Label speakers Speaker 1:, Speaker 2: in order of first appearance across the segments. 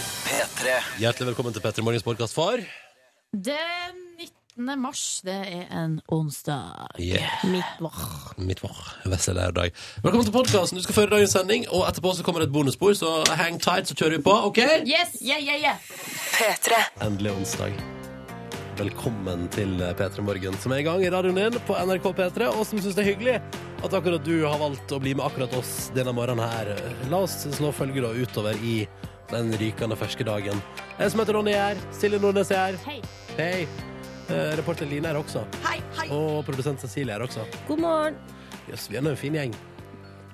Speaker 1: P3.
Speaker 2: Hjertelig velkommen til Petter Morgens podkast for
Speaker 3: Den 19. mars, det er en onsdag.
Speaker 2: yeah.
Speaker 3: Midtvår.
Speaker 2: midtvår. Vesselærdag. Velkommen til podkasten. Du skal føre dagens sending, og etterpå så kommer det et bonusspor, så hang tight, så kjører vi på, OK?
Speaker 3: Yes! Yeah, yeah, yeah.
Speaker 2: Endelig onsdag. Velkommen til P3 Morgen, som er i gang i radioen din på NRK P3, og som syns det er hyggelig at akkurat du har valgt å bli med akkurat oss denne morgenen her. La oss slå følge da utover i den rykende ferske dagen. Jeg som heter Ronny er her. Silje Nordnes er her.
Speaker 3: Hei.
Speaker 2: Hei. Eh, reporter Line er her også.
Speaker 4: Hei, hei.
Speaker 2: Og produsent Cecilie er her også.
Speaker 3: God morgen.
Speaker 2: Jøss, vi er nå en fin gjeng.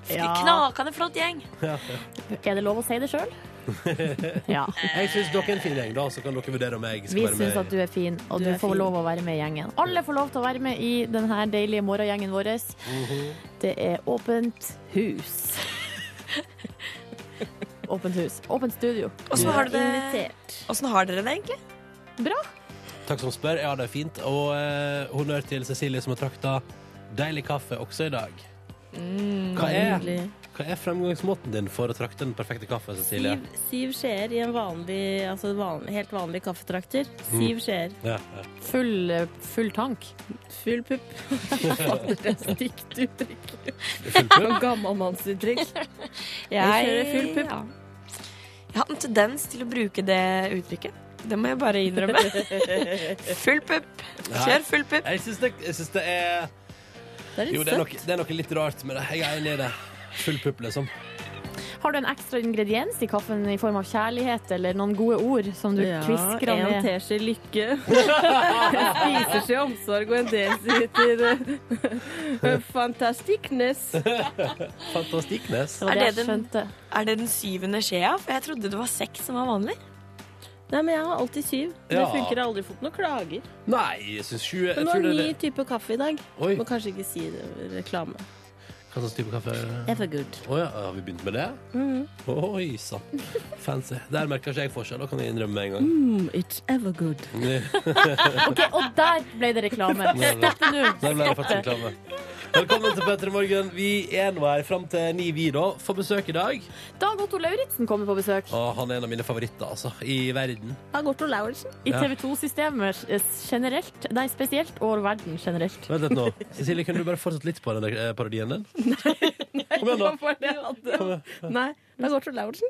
Speaker 4: Knakende flott gjeng.
Speaker 3: Er det lov å si det sjøl? ja.
Speaker 2: Jeg syns dere er en fin gjeng, da, så kan dere vurdere om jeg skal
Speaker 3: Vi
Speaker 2: være med.
Speaker 3: syns at du er fin, og du,
Speaker 4: Du er
Speaker 3: får
Speaker 4: fin.
Speaker 3: lov å være med i gjengen. Alle får lov til å være med i denne deilige morgengjengen vår.
Speaker 5: Mhm.
Speaker 3: Det er åpent hus. åpent hus. Åpent studio.
Speaker 4: Åssen har, du det-
Speaker 3: Invitert.
Speaker 4: hvordan har dere det, egentlig?
Speaker 3: Bra.
Speaker 2: Takk som spør. Ja, det er fint. Og eh, honnør til Cecilie som har trakta deilig kaffe også i dag.
Speaker 5: Mm,
Speaker 2: hva, er,
Speaker 5: Nydelig.
Speaker 2: hva er fremgangsmåten din for å trakte den perfekte kaffe, Cecilie?
Speaker 5: Syv, syv skjeer i en vanlig, altså van, helt vanlig kaffetrakter. Syv skjeer.
Speaker 2: Mm. Ja, ja.
Speaker 3: Full, eh, full tank.
Speaker 5: Full pupp. Stygt uttrykk.
Speaker 2: Full pupp?
Speaker 5: Sånn Gammalmannsuttrykk. Jeg kjører full pupp.
Speaker 4: ja. Jeg har en tendens til å bruke det uttrykket. Det må jeg bare innrømme. full pupp. Kjør full pupp.
Speaker 2: Jeg syns det, jeg syns det er
Speaker 5: Det er
Speaker 2: Jo,
Speaker 5: litt
Speaker 2: det er,
Speaker 5: søtt.
Speaker 2: noe, det er noe litt rart med det. Jeg er enig i det. Full pupp, liksom.
Speaker 3: Har du en ekstra ingrediens i kaffen i form av kjærlighet eller noen gode ord som du
Speaker 5: Ja,
Speaker 3: kviskrer
Speaker 5: en
Speaker 3: ned?
Speaker 5: teskje lykke. En spiseskje omsorg og en desiliter eh, fantastikness.
Speaker 2: Fantastikknes.
Speaker 3: Det var
Speaker 4: Er
Speaker 3: det
Speaker 4: det
Speaker 3: jeg
Speaker 4: den-
Speaker 3: skjønte.
Speaker 4: Er det den syvende skjea? For jeg trodde det var seks som var vanlig.
Speaker 5: Nei, men jeg har alltid syv. Det
Speaker 2: Ja.
Speaker 5: funker. Jeg har aldri fått noen klager.
Speaker 2: Nei, jeg syns sju jeg
Speaker 5: Men nå
Speaker 2: tror
Speaker 5: er
Speaker 2: det
Speaker 5: det
Speaker 2: er
Speaker 5: ny
Speaker 2: det.
Speaker 5: type kaffe i dag.
Speaker 2: Oi,
Speaker 5: Må kanskje ikke si det reklame.
Speaker 2: hva slags type kaffe er det?
Speaker 5: Jeg får good.
Speaker 2: Å ja, har vi begynt med det?
Speaker 5: Mm.
Speaker 2: Oi sann. Fancy. Der merker ikke jeg forskjell, da kan jeg innrømme med en gang.
Speaker 5: Mm, it's ever good.
Speaker 3: Ok, og der ble det reklame. Stopp det nå.
Speaker 2: Der ble det faktisk reklame. Velkommen til Petter i morgen. Vi er nå her fram til ni, vi, da. Får besøk i dag.
Speaker 3: Dag Otto Lauritzen kommer på besøk.
Speaker 2: Og han er en av mine favoritter, altså. I verden.
Speaker 5: Dag Otto Lauritzen.
Speaker 3: I
Speaker 2: Ja.
Speaker 3: TV 2-systemet eh, generelt, nei spesielt, og verden generelt.
Speaker 2: Vent litt nå. Cecilie, kunne du bare fortsatt litt på den der, eh, parodien din? Kom igjen, da.
Speaker 5: Nei, Dag Otto Lauritzen.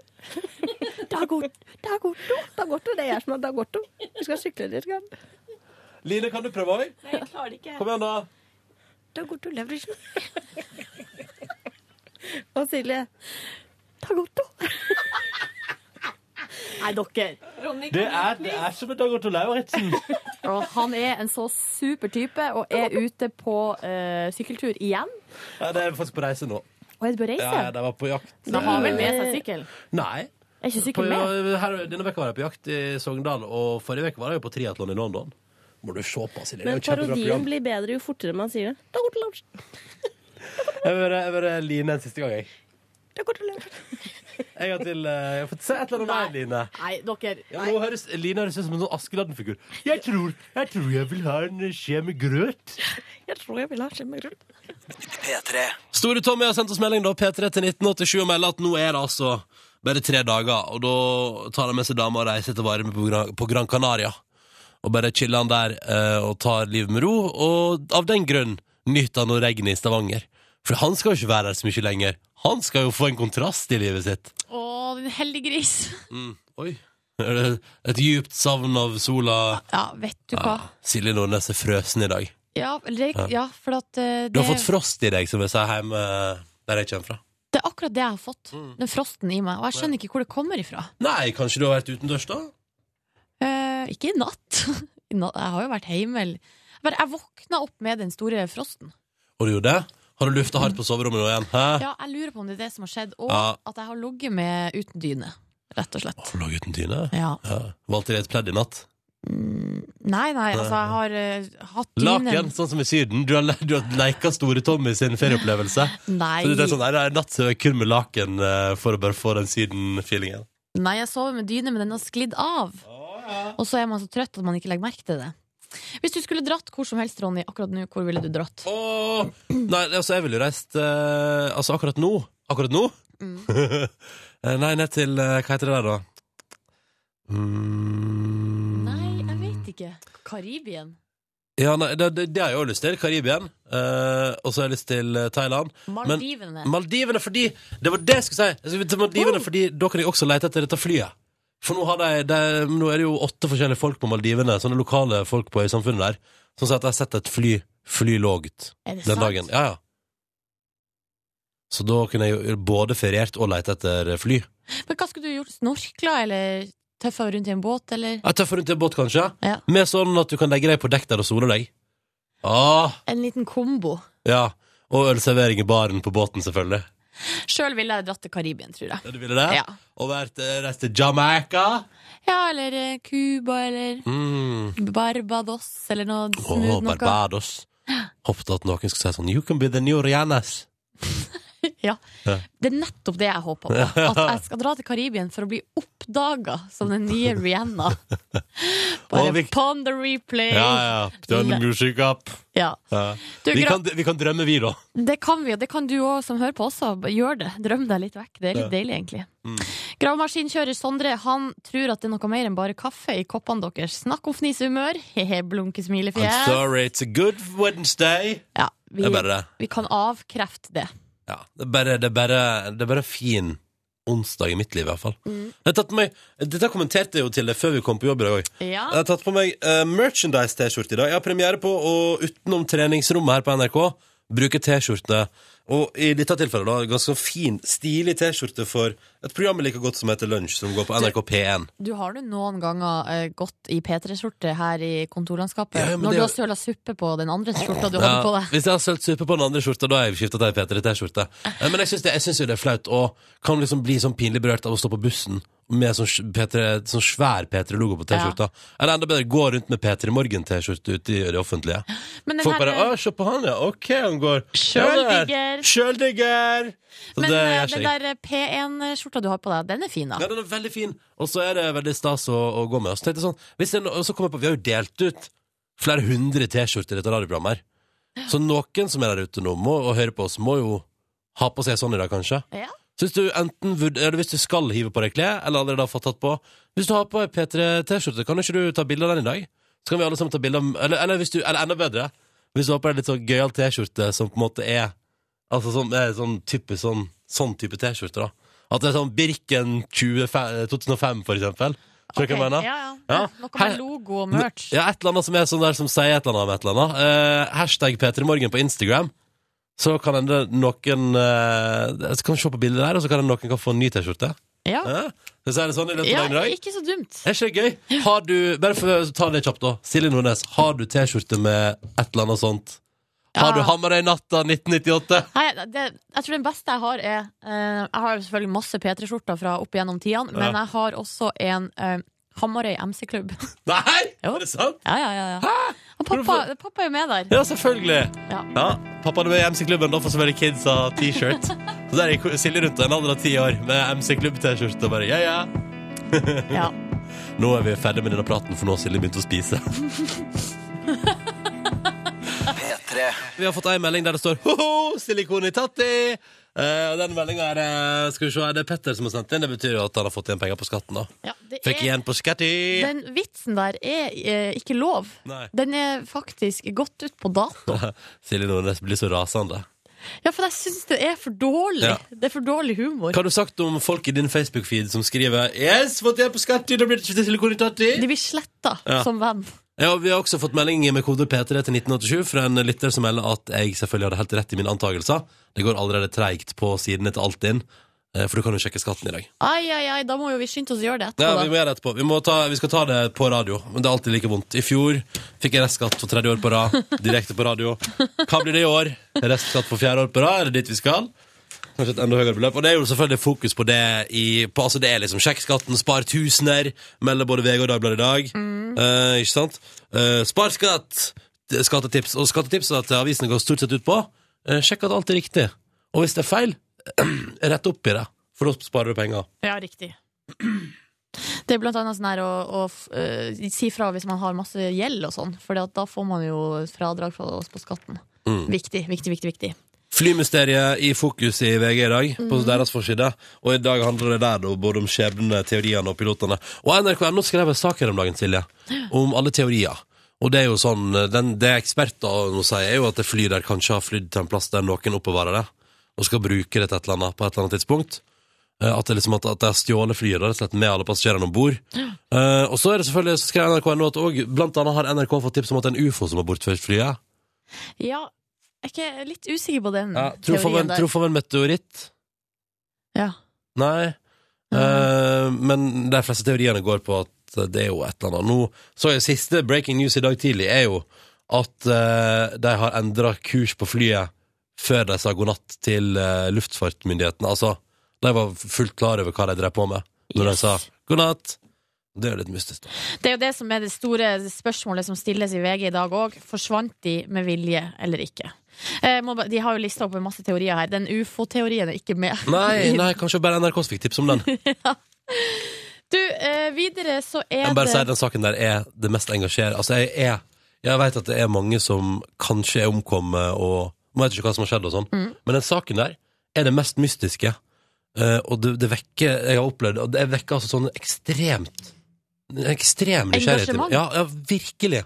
Speaker 5: Dag Otto. Dag Otto. Dag Otto, Det er jeg som er Dag Otto. Vi skal sykle litt. Grann.
Speaker 2: Line, kan du prøve òg?
Speaker 4: Nei, jeg klarer det ikke.
Speaker 2: Kom igjen, da.
Speaker 4: Dag Otto Lauritzen.
Speaker 5: Og Silje. Dag Otto.
Speaker 3: Nei, dere.
Speaker 4: Ronny,
Speaker 2: Det er, det er som et Dag Otto Lauritzen.
Speaker 3: Og han er en så super type, og er ute på eh, sykkeltur igjen.
Speaker 2: Ja, det er faktisk på reise nå.
Speaker 3: Og er det på reise?
Speaker 2: Ja, ja, de var på jakt.
Speaker 3: Da har han vel med seg sykkel.
Speaker 2: Nei.
Speaker 3: Er ikke
Speaker 2: På, eh,
Speaker 3: sykkel med?
Speaker 2: her, denne veka var jeg på jakt i Sogndal, og forrige veka var jeg jo på triatlon i London. Må du se på, Silje. Det er
Speaker 5: Men
Speaker 2: jo et kjempebra
Speaker 5: parodien
Speaker 2: program.
Speaker 5: blir bedre jo fortere man sier det. Dag Otto Lauritzen.
Speaker 2: Jeg vil være- jeg vil være Line en siste gang, jeg.
Speaker 5: Dag Otto Lauritzen.
Speaker 2: En gang til. eh, Jeg får se et eller annet mer, Line.
Speaker 3: Nei, dere.
Speaker 2: Ja, nå høres, Line høres ut som en sånn Askeladden-figur. Jeg tror, jeg tror jeg vil ha en skje med grøt.
Speaker 4: Jeg tror jeg vil ha skjemmegrunn.
Speaker 1: P3.
Speaker 2: Store Tommy har sendt oss melding da, P3 til 1987 og melder at nå er det altså bare tre dager, og da tar han med seg dama og reiser til varme på Gran, på Gran Canaria. Og bare chiller han der eh, og tar livet med ro, og av den grunn nyter han å regne i Stavanger. For han skal jo ikke være der så mye lenger. Han skal jo få en kontrast i livet sitt.
Speaker 3: Å, din heldige gris.
Speaker 2: Mm, Oi. Er det Et djupt savn av sola.
Speaker 3: Ja, vet du
Speaker 2: Ja, Silje Nordnes er frøsen i dag.
Speaker 3: Ja, for at eh,
Speaker 2: Du har fått frost i deg, som jeg sa hjemme eh, der jeg kommer fra.
Speaker 3: Det er akkurat det jeg har fått.
Speaker 2: Mm.
Speaker 3: Den frosten i meg. Og jeg skjønner ikke hvor det kommer ifra.
Speaker 2: Nei, kanskje du har vært utendørs, da?
Speaker 3: Eh, ikke i natt. I natt. Jeg har jo vært hjemme. eller- Jeg, bare, jeg våkna opp med den store frosten.
Speaker 2: Har du gjort det? Har du lufta hardt på soverommet nå igjen? Hæ?
Speaker 3: Ja, Jeg lurer på om det er det som har skjedd, og
Speaker 2: Ja.
Speaker 3: at jeg har ligget med uten dyne. Rett og slett.
Speaker 2: Har du ligget uten dyne?
Speaker 3: Ja.
Speaker 2: Ja. Valgte deg et pledd i natt?
Speaker 3: Nei, nei, altså, jeg har eh, hatt dyne
Speaker 2: Laken, sånn som i Syden. Du har, le- du har leika Store Tommy sin ferieopplevelse.
Speaker 3: Nei.
Speaker 2: Så du tenker sånn, nei, det er nattsøvn kun med laken eh, for å bare få den Syden-feelingen.
Speaker 3: nei, jeg sover med dyne, men den har sklidd av. Og så er man så trøtt at man ikke legger merke til det. Hvis du skulle dratt hvor som helst, Ronny, akkurat nå, hvor ville du dratt?
Speaker 2: Åh! Nei, altså, jeg ville jo reist eh, Altså, akkurat
Speaker 3: Mm.
Speaker 2: nå Akkurat nå? Eh, nei, ned til eh, Hva heter det der, da? Mm.
Speaker 3: Nei, jeg vet ikke. Karibien.
Speaker 2: Ja, nei, det, det, det har jeg òg lyst til. Karibien. Eh, og så har jeg lyst til eh, Thailand.
Speaker 3: Maldivene.
Speaker 2: Maldivene fordi Det var det jeg skulle si! Jeg skulle til Maldivene fordi Da kan jeg også lete etter dette flyet. For nå, har de, de, nå er det jo åtte forskjellige folk på Maldivene, sånne lokale folk på øysamfunnet der, som sier at de har sett et fly fly lågt
Speaker 3: er det
Speaker 2: den
Speaker 3: sant?
Speaker 2: dagen. Ja, ja. Så da kunne jeg jo både feriert og lete etter fly.
Speaker 3: Men hva skulle du gjort? Snorkla eller tøffa rundt i en båt, eller?
Speaker 2: Jeg tøffer rundt i en båt, kanskje,
Speaker 3: Ja.
Speaker 2: med sånn at du kan legge deg på dekk der og sole deg. Ah,
Speaker 3: En liten kombo.
Speaker 2: ja. Og ølservering i baren på båten, selvfølgelig.
Speaker 3: Sjøl ville jeg dratt til Karibien, tror jeg.
Speaker 2: Ja, Du ville det?
Speaker 3: Ja.
Speaker 2: Og vært eh, reist til Jamaica?
Speaker 3: ja, eller eh, Cuba, eller
Speaker 2: Mm.
Speaker 3: Barbados, eller noe
Speaker 2: Og
Speaker 3: smooth noe.
Speaker 2: Barbados. Håpet at noen skulle si sånn You can be the new Rihannas.
Speaker 3: Ja.
Speaker 2: Ja.
Speaker 3: Det er nettopp det jeg håper på. At jeg skal dra til Karibien for å bli oppdaga som den nye Rihanna.
Speaker 2: Og
Speaker 3: Bare
Speaker 2: vi-
Speaker 3: pon the replay!
Speaker 2: Ja, ja. Turn the music up.
Speaker 3: Eh, Ja.
Speaker 2: Ja.
Speaker 3: Du,
Speaker 2: Vi,
Speaker 3: gra-
Speaker 2: kan, vi kan drømme, vi, da.
Speaker 3: Det kan vi, og det kan du òg som hører på også. Gjør det. Drøm deg litt vekk. Det er litt deilig, egentlig.
Speaker 2: Mm.
Speaker 3: Gravemaskinkjører Sondre han tror at det er noe mer enn bare kaffe i koppene deres. Snakk om fnisehumør. He-he, blunke
Speaker 2: I'm
Speaker 3: smilefjes.
Speaker 2: sorry, it's a good Wednesday.
Speaker 3: Ja,
Speaker 2: Det
Speaker 3: vi,
Speaker 2: er bare det.
Speaker 3: vi kan avkrefte det.
Speaker 2: Ja, det er bare, det er bare, det er bare en fin onsdag i mitt liv, i hvert fall. Jeg har tatt på meg, dette kommenterte jeg jo til deg før vi kom på jobb i dag òg.
Speaker 3: Ja.
Speaker 2: Jeg har tatt på meg eh, merchandise-T-skjorte i dag. Jeg har premiere på og utenom treningsrommet her på NRK. Bruker T-skjorte. Og i dette tilfellet da, ganske fin, stilig T-skjorte for et program like godt som heter Lunsj, som går på NRK P1.
Speaker 3: Du har du noen ganger eh, gått i P3-skjorte her i kontorlandskapet?
Speaker 2: Ja, ja, men
Speaker 3: når
Speaker 2: det-
Speaker 3: du har søla suppe på den andre skjorta du hadde på
Speaker 2: Ja,
Speaker 3: deg?
Speaker 2: hvis jeg har sølt suppe på den andre skjorta, da har jeg skifta til ei P3 T-skjorte. Eh, Men jeg syns det, jeg synes jo det er flaut, og kan liksom bli sånn pinlig berørt av å stå på bussen med sånn, sj- P3, sånn svær P3-logo på T-skjorta. Eller enda bedre, gå rundt med P3 Morgen-T-skjorte ute i det offentlige.
Speaker 3: Men den
Speaker 2: Folk
Speaker 3: her, eh,
Speaker 2: bare 'Å, se på han, ja. Ok, han går
Speaker 3: Sjøldigger.
Speaker 2: Sjøldigger! Så
Speaker 3: men
Speaker 2: det
Speaker 3: eh,
Speaker 2: gjør
Speaker 3: den
Speaker 2: seg.
Speaker 3: der eh, P1-skjorta du har på deg, den er fin,
Speaker 2: Ja,
Speaker 3: da.
Speaker 2: den er veldig fin, og så er det veldig stas å, å gå med. Og så tenkte jeg sånn, hvis jeg, nå- og så kom jeg på, Vi har jo delt ut flere hundre T-skjorter i dette radioprogrammet. her Så noen som er der ute nå må, og hører på oss, må jo ha på seg sånn i dag, kanskje.
Speaker 3: Ja.
Speaker 2: Så hvis du enten vurd- eller hvis du skal hive på deg klær, eller allerede har fått tatt på Hvis du har på ei P3-T-skjorte, kan ikke du ta bilde av den i dag? Så kan vi alle sammen ta bilde av eller, eller, hvis du, eller enda bedre, hvis du har på deg litt sånn gøyal T-skjorte som på en måte er Altså sånn, er sånn type sånn, sånn type T-skjorte, da. At det er sånn Birken 20, 2005, for eksempel. Skjønner du hva jeg
Speaker 3: Ok,
Speaker 2: mener?
Speaker 3: ja, ja.
Speaker 2: Ja.
Speaker 3: Noe med
Speaker 2: Her-
Speaker 3: logo og merch.
Speaker 2: Ja, et eller annet som er sånn der som sier et eller annet om et eller annet. Eh, hashtag P3morgen på Instagram. Så kan hende noen eh, Så kan vi se på bildet der, og så kan hende noen kan få en ny T-skjorte.
Speaker 3: Ja.
Speaker 2: Eh? Så er det sånn i løpet av
Speaker 3: ja,
Speaker 2: dagen i dag.
Speaker 3: ikke så dumt.
Speaker 2: Er ikke det gøy? Har du, bare for å ta det kjapt, da. Silje Nordnes, har du T-skjorte med et eller annet sånt? Har
Speaker 3: Ja.
Speaker 2: du 'Hammer deg i natta' 1998?
Speaker 3: Nei, det, jeg tror den beste jeg har, er eh, Jeg har selvfølgelig masse P3-skjorter fra opp gjennom tidene, men
Speaker 2: Ja.
Speaker 3: jeg har også en eh, Hamarøy MC-klubb.
Speaker 2: Nei!
Speaker 3: Jo.
Speaker 2: Er det sant?
Speaker 3: Ja, ja, ja. ja. Og pappa, pappa er jo med der.
Speaker 2: Ja, selvfølgelig.
Speaker 3: Ja.
Speaker 2: Pappa hadde med i MC-klubben, da får så veldig kids av T-shirt. Så der gikk Silje rundt en alder av ti år med MC-klubb-T-skjorte og bare ja, ja.
Speaker 3: Ja.
Speaker 2: Nå er vi ferdig med denne praten, for nå har Silje begynt å spise. Vi har fått ei melding der det står «Hoho, silikon i tatti! Eh, og den meldinga er eh, Skal vi se, er det Petter som har sendt den? Det betyr jo at han har fått igjen penger på skatten, da.
Speaker 3: Ja, det
Speaker 2: Fikk
Speaker 3: er,
Speaker 2: igjen på skatti!
Speaker 3: den vitsen der er eh, ikke lov.
Speaker 2: Nei.
Speaker 3: Den er faktisk gått ut på dato.
Speaker 2: Silje Nordnes blir så rasende.
Speaker 3: Ja, for jeg syns det er for dårlig.
Speaker 2: Ja.
Speaker 3: Det er for dårlig humor.
Speaker 2: Hva har du sagt om folk i din Facebook-feed som skriver Yes, fått igjen på skatti, da blir det ikke silikon i tatti!
Speaker 3: De blir sletta
Speaker 2: Ja.
Speaker 3: som venn.
Speaker 2: Ja, og Vi har også fått melding med kode P3 til 1987 fra en lytter som melder at jeg selvfølgelig hadde helt rett i mine antakelser. Det går allerede treigt på sidene til Altinn, eh, for du kan jo sjekke skatten i dag.
Speaker 3: Ai, ai, ai, da må jo vi skynde oss å gjøre det
Speaker 2: Ja,
Speaker 3: etterpå.
Speaker 2: Vi må gjøre det etterpå. Vi, må ta, vi skal ta det på radio, men det er alltid like vondt. I fjor fikk jeg restskatt for tredje år på rad, direkte på radio. Hva blir det i år? Restskatt for fjerde år på rad, er det dit vi skal? Kanskje et enda høyere beløp. Og det er jo selvfølgelig fokus på det i på, Altså det er liksom sjekk skatten, spar tusener, melder både VG og Dagbladet i dag. Eh, ikke sant? Eh, spar skatt! Det er Skattetips. Og skattetipsene til avisene går stort sett ut på eh, sjekk at alt er riktig. Og hvis det er feil, rett opp i det, for da sparer du penger.
Speaker 3: da. Ja, riktig. Det er blant annet sånn her å, å f- eh, si fra hvis man har masse gjeld og sånn, for da får man jo fradrag fra oss på skatten.
Speaker 2: Mm.
Speaker 3: Viktig, viktig, viktig. viktig.
Speaker 2: Flymysteriet i fokus i VG i dag, på deres forside. Og i dag handler det der da, både om skjebnene, teoriene og pilotene. Og NRK.no skrev en sak her om dagen, Silje, om alle teorier. Og det er jo sånn, den, det eksperter nå sier, er jo at det fly der kanskje har flydd til en plass der noen oppbevarer det, og skal bruke det til et eller annet på et eller annet tidspunkt. Eh, At det liksom at, at de har stjålet flyet da, rett og slett med alle passasjerene om bord. Eh, og så er det selvfølgelig, så skrev NRK nå at òg Blant annet har NRK fått tips om at det er en ufo som har bortført flyet.
Speaker 3: Ja, jeg er ikke litt usikker på den
Speaker 2: Ja, Truff av
Speaker 3: Mm. teorien
Speaker 2: en-
Speaker 3: der.
Speaker 2: truff av en meteoritt.
Speaker 3: Ja.
Speaker 2: Nei. Eh, men de fleste teoriene går på at det er jo et eller annet. Nå så jeg siste breaking news i dag tidlig, er jo at eh, de har endra kurs på flyet før de sa god natt til eh, luftfartsmyndighetene. Altså, de var fullt klar over hva de drev på med når
Speaker 3: Yes.
Speaker 2: de sa god natt. Det er jo litt mystisk. da.
Speaker 3: Det er jo det som er det store spørsmålet som stilles i VG i dag òg. Forsvant de med vilje eller ikke? Eh, må, ba- de har jo lista opp en masse teorier her. Den ufo-teorien er ikke med.
Speaker 2: Nei, nei, kanskje bare NRK fikk tips om den.
Speaker 3: Du, eh, videre så er
Speaker 2: Jeg må bare si
Speaker 3: det
Speaker 2: at Den saken der er det mest engasjerende. Altså, jeg er Jeg vet at det er mange som kanskje er omkommet og Man vet ikke hva som har skjedd og sånn,
Speaker 3: Mm.
Speaker 2: men den saken der er det mest mystiske. Eh, og det, det vekker Jeg har opplevd og det vekker altså sånn ekstremt Ekstrem nysgjerrighet. i meg.
Speaker 3: Engasjement?
Speaker 2: Ja, ja, virkelig.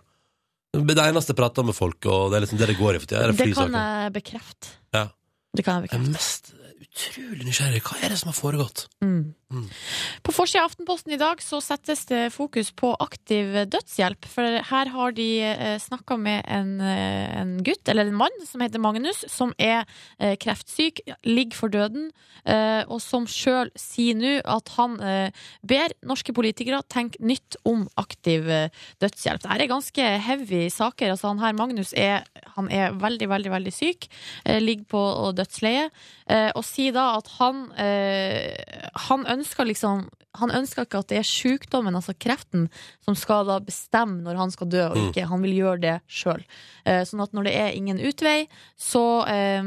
Speaker 2: Det er det eneste jeg prater med folk, og det er liksom det det går i for tida. er
Speaker 3: Det kan
Speaker 2: flysaken.
Speaker 3: jeg bekrefte.
Speaker 2: Ja.
Speaker 3: Det kan
Speaker 2: Jeg
Speaker 3: jeg
Speaker 2: er
Speaker 3: bekrefte.
Speaker 2: mest utrolig nysgjerrig. Hva er det som har foregått?
Speaker 3: Mm.
Speaker 2: Mm.
Speaker 3: På forsida av Aftenposten i dag så settes det fokus på aktiv dødshjelp. For her har de eh, snakka med en, eh, en gutt, eller en mann, som heter Magnus, som er eh, kreftsyk, ligger for døden, eh, og som sjøl sier nå at han eh, ber norske politikere tenke nytt om aktiv eh, dødshjelp. Dette er ganske heavy saker. Altså, han her Magnus er, han er veldig, veldig, veldig syk, eh, ligger på dødsleie. Eh, og si da at han eh, Han ønsker liksom Han ønsker ikke at det er sykdommen, altså kreften, som skal da bestemme når han skal dø og
Speaker 2: Mm.
Speaker 3: ikke. Han vil gjøre det sjøl. Eh, sånn at når det er ingen utvei, så, eh,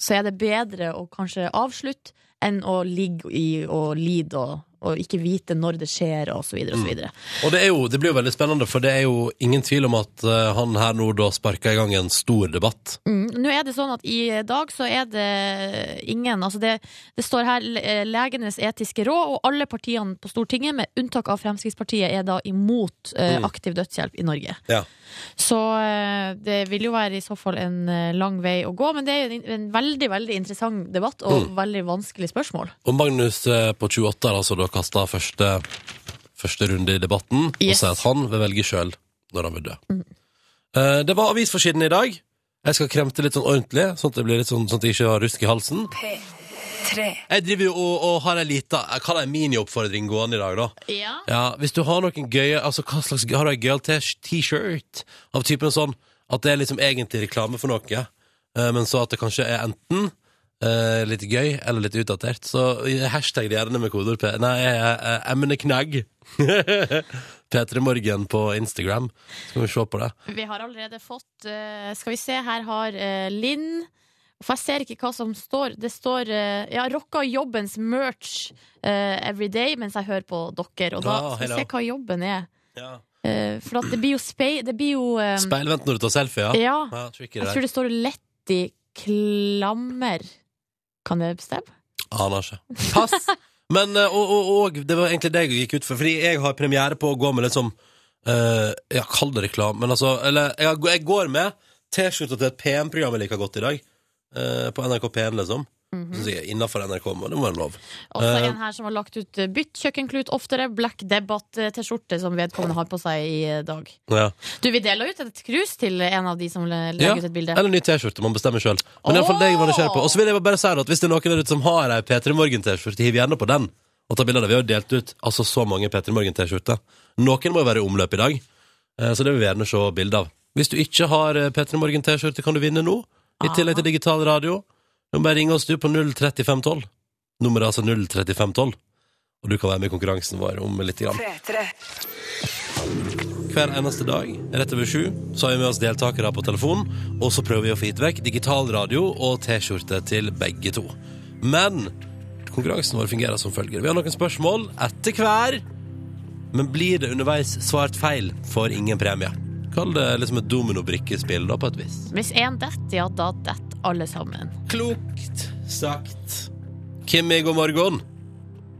Speaker 3: så er det bedre å kanskje avslutte enn å ligge i og lide og, og ikke vite når det skjer, og så videre og så videre.
Speaker 2: Mm. Og det, er jo, det blir jo veldig spennende, for det er jo ingen tvil om at eh, han her nå da sparka i gang en stor debatt.
Speaker 3: Mm. Nå er det sånn at i dag så er det ingen Altså det, det står her eh, Legenes etiske råd, og alle partiene på Stortinget, med unntak av Fremskrittspartiet, er da imot eh,
Speaker 2: Mm.
Speaker 3: aktiv dødshjelp i Norge.
Speaker 2: Ja.
Speaker 3: Så eh, det vil jo være i så fall en eh, lang vei å gå, men det er jo en, en veldig, veldig interessant debatt, og veldig vanskelig spørsmål.
Speaker 2: Og Magnus eh, på 28 har altså da kasta første, første runde i debatten og
Speaker 3: Yes. Mm.
Speaker 2: sier at han vil velge sjøl når han vil dø. Eh, det var avisforsiden i dag. Jeg skal kremte litt sånn ordentlig, sånn at det blir litt sånn, sånn at jeg ikke har rusk i halsen. Jeg driver jo og, og har ei lita jeg kaller det en minioppfordring gående i dag, da.
Speaker 3: Ja.
Speaker 2: Ja, hvis du har noen gøye Altså, hva slags Har du en gøyal t- t-shirt av typen sånn at det er liksom egentlig reklame for noe, eh, men så at det kanskje er enten eh, litt gøy eller litt utdatert, så hashtag det gjerne med kodeord P... Nei, eh, eh, emneknagg. P3morgen på Instagram. Skal vi se på det.
Speaker 3: Vi har allerede fått eh, Skal vi se, her har eh, Linn For jeg ser ikke hva som står. Det står eh, ja, 'Rocka jobbens merch eh, every day' mens jeg hører på dere. Og da
Speaker 2: Ah,
Speaker 3: skal vi
Speaker 2: hello.
Speaker 3: se hva jobben er. Eh, for at det blir jo spei... Det blir jo eh,
Speaker 2: Speilvendt når du tar selfie, ja.
Speaker 3: Ja.
Speaker 2: ja tricky
Speaker 3: Jeg
Speaker 2: det
Speaker 3: tror
Speaker 2: der.
Speaker 3: det står 'Letty Klammer'. Kan det stemme?
Speaker 2: Aner ikke. Pass! Men, eh, og, og, og det var egentlig det jeg gikk ut for, fordi jeg har premiere på å gå med litt sånn eh, Ja, kall det reklame, men altså Eller jeg, har- jeg går med T-skjorta til et PM-program jeg liker godt i dag. eh, på NRK P1, liksom. Mm jeg Innafor NRK, men det må være lov.
Speaker 3: Og så
Speaker 2: Eh.
Speaker 3: en her som har lagt ut eh, 'Bytt kjøkkenklut oftere', black debatt-T-skjorte, som vedkommende har på seg i eh, dag.
Speaker 2: Ja.
Speaker 3: Du, vi deler ut et krus til en av de som le- legger
Speaker 2: Ja,
Speaker 3: ut eh, et bilde.
Speaker 2: Eller ny T-skjorte, man bestemmer sjøl. Men iallfall det jeg var nysgjerrig på. Og så vil jeg bare si at hvis det er noen der ute som har ei P3 Morgen-T-skjorte, hiv gjerne på den. Og ta bilder av det. Vi har jo delt ut altså så mange P3 Morgen-T-skjorter. Noen må jo være i omløp i dag, eh, så det vil vi gjerne se bilde av. Hvis du ikke har eh, P3 Morgen-T-skjorte, kan du vinne nå.
Speaker 3: Ah.
Speaker 2: I tillegg til digital radio. Du må bare ringe oss du på 03512. Nummeret er altså 03512. Og du kan være med i konkurransen vår om litt. Grann. Hver eneste dag rett over sju så har vi med oss deltakere på telefon, og så prøver vi å få gitt vekk digital radio og T-skjorte til begge to. Men konkurransen vår fungerer som følger. Vi har noen spørsmål etter hver, men blir det underveis svart feil, får ingen premie. Kall det liksom et dominobrikkespill, da, på et vis.
Speaker 3: Hvis én detter, ja, da detter alle sammen.
Speaker 2: Klokt sagt. Kimmi, god morgen.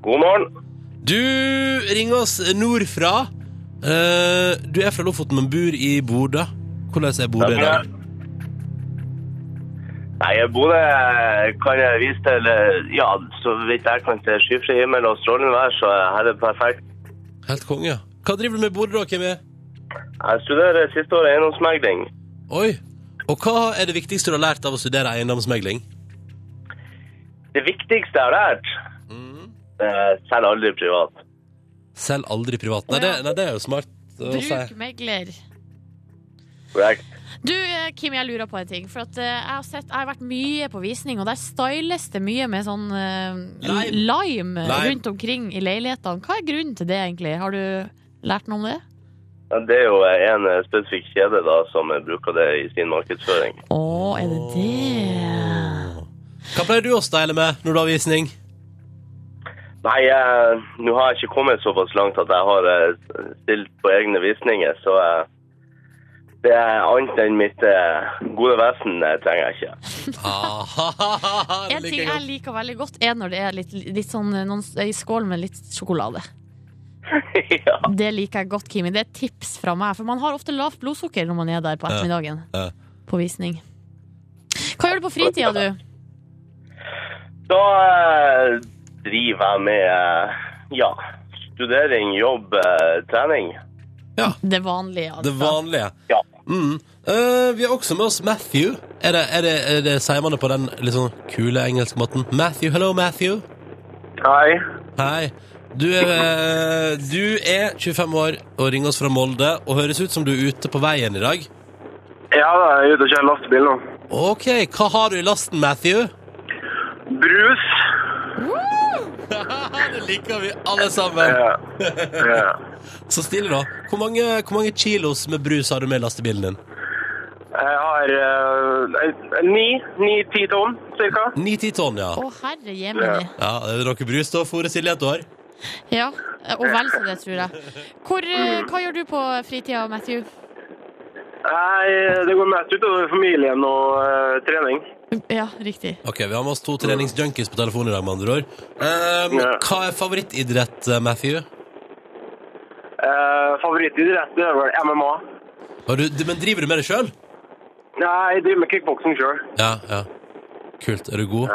Speaker 6: God morgen.
Speaker 2: Du ringer oss nordfra. Eh, du er fra Lofoten, men bor i Bodø. Hvordan er Bodø i dag?
Speaker 6: Nei, Bodø kan jeg vise til eh, Ja, så vidt jeg kan til skyfri himmel og strålende vær, så her er det perfekt.
Speaker 2: Helt konge. Hva driver du med i Bodø da, Kimmi?
Speaker 6: Jeg studerer siste året eiendomsmegling.
Speaker 2: Oi. Og hva er det viktigste du har lært av å studere eiendomsmegling?
Speaker 6: Det viktigste jeg har lært,
Speaker 2: Mm.
Speaker 6: eh, selv aldri privat.
Speaker 2: Selv aldri privat. Nei, det, nei, det er jo smart å si.
Speaker 3: Bruk megler.
Speaker 6: Korrekt.
Speaker 3: Du, eh, Kim, jeg lurer på en ting. For at eh, jeg, har sett, jeg har vært mye på visning, og der styles det mye med sånn eh,
Speaker 2: Lime.
Speaker 3: lime
Speaker 2: Lime.
Speaker 3: rundt omkring i leilighetene. Hva er grunnen til det, egentlig? Har du lært noe om det?
Speaker 6: Ja, Det er jo en eh, spesifikk kjede da, som eh, bruker det i sin markedsføring.
Speaker 3: Å, er det det?
Speaker 2: Hva pleier du å style med når du har visning?
Speaker 6: Nei, eh, nå har jeg ikke kommet såpass langt at jeg har eh, stilt på egne visninger, så eh, det er annet enn mitt eh, gode vesen eh, trenger jeg ikke.
Speaker 2: Ah, det
Speaker 3: En
Speaker 2: liker
Speaker 3: ting
Speaker 2: jeg
Speaker 3: jeg
Speaker 2: godt.
Speaker 3: liker veldig godt, er når det er litt, litt sånn eh, noen, ei skål med litt sjokolade.
Speaker 6: ja.
Speaker 3: Det liker jeg godt, Kimi. Det er et tips fra meg. For man har ofte lavt blodsukker når man er der på ettermiddagen.
Speaker 2: Ja.
Speaker 3: På visning. Hva gjør du på fritida, du?
Speaker 6: Da eh, driver jeg med eh, ja, studering, jobb, eh, trening.
Speaker 3: Det vanlige, altså.
Speaker 2: Det vanlige.
Speaker 6: Ja.
Speaker 2: Mm. Eh, vi har også med oss Matthew. Er det, er det, er det Sier man det på den litt sånn kule engelske måten? Matthew, hello, Matthew.
Speaker 6: Hei.
Speaker 2: Hei. Du er, eh, du er 25 år og ringer oss fra Molde og høres ut som du er ute på veien i dag.
Speaker 6: Ja, jeg er ute og kjører lastebil nå.
Speaker 2: OK, hva har du i lasten, Matthew?
Speaker 6: Brus.
Speaker 2: det liker vi alle sammen. Så stilig, da. Hvor mange, hvor mange kilos med brus har du med i lastebilen din?
Speaker 6: Jeg har eh, ni-ti tonn, cirka.
Speaker 2: 9-10 tonn, ja.
Speaker 3: Å, herre jemini.
Speaker 2: Ja, er det noe brus da, Fore Silje, et år?
Speaker 3: Ja, og vel så det, tror jeg. Hvor, eh,
Speaker 2: Mm.
Speaker 3: hva gjør du på fritida, Matthew?
Speaker 6: Nei, det går mest utover familien og eh, trening.
Speaker 3: Ja, riktig.
Speaker 2: Ok, vi har med oss to treningsjunkies på telefonen i dag, med andre ord. Ehm,
Speaker 6: Ja.
Speaker 2: hva er favorittidrett, Matthew?
Speaker 6: Eh, Favorittidrett det er vel MMA.
Speaker 2: Har du, du- men driver du med det sjøl?
Speaker 6: Nei, jeg driver med kickboksing sjøl.
Speaker 2: Ja, ja. Kult. Er du god?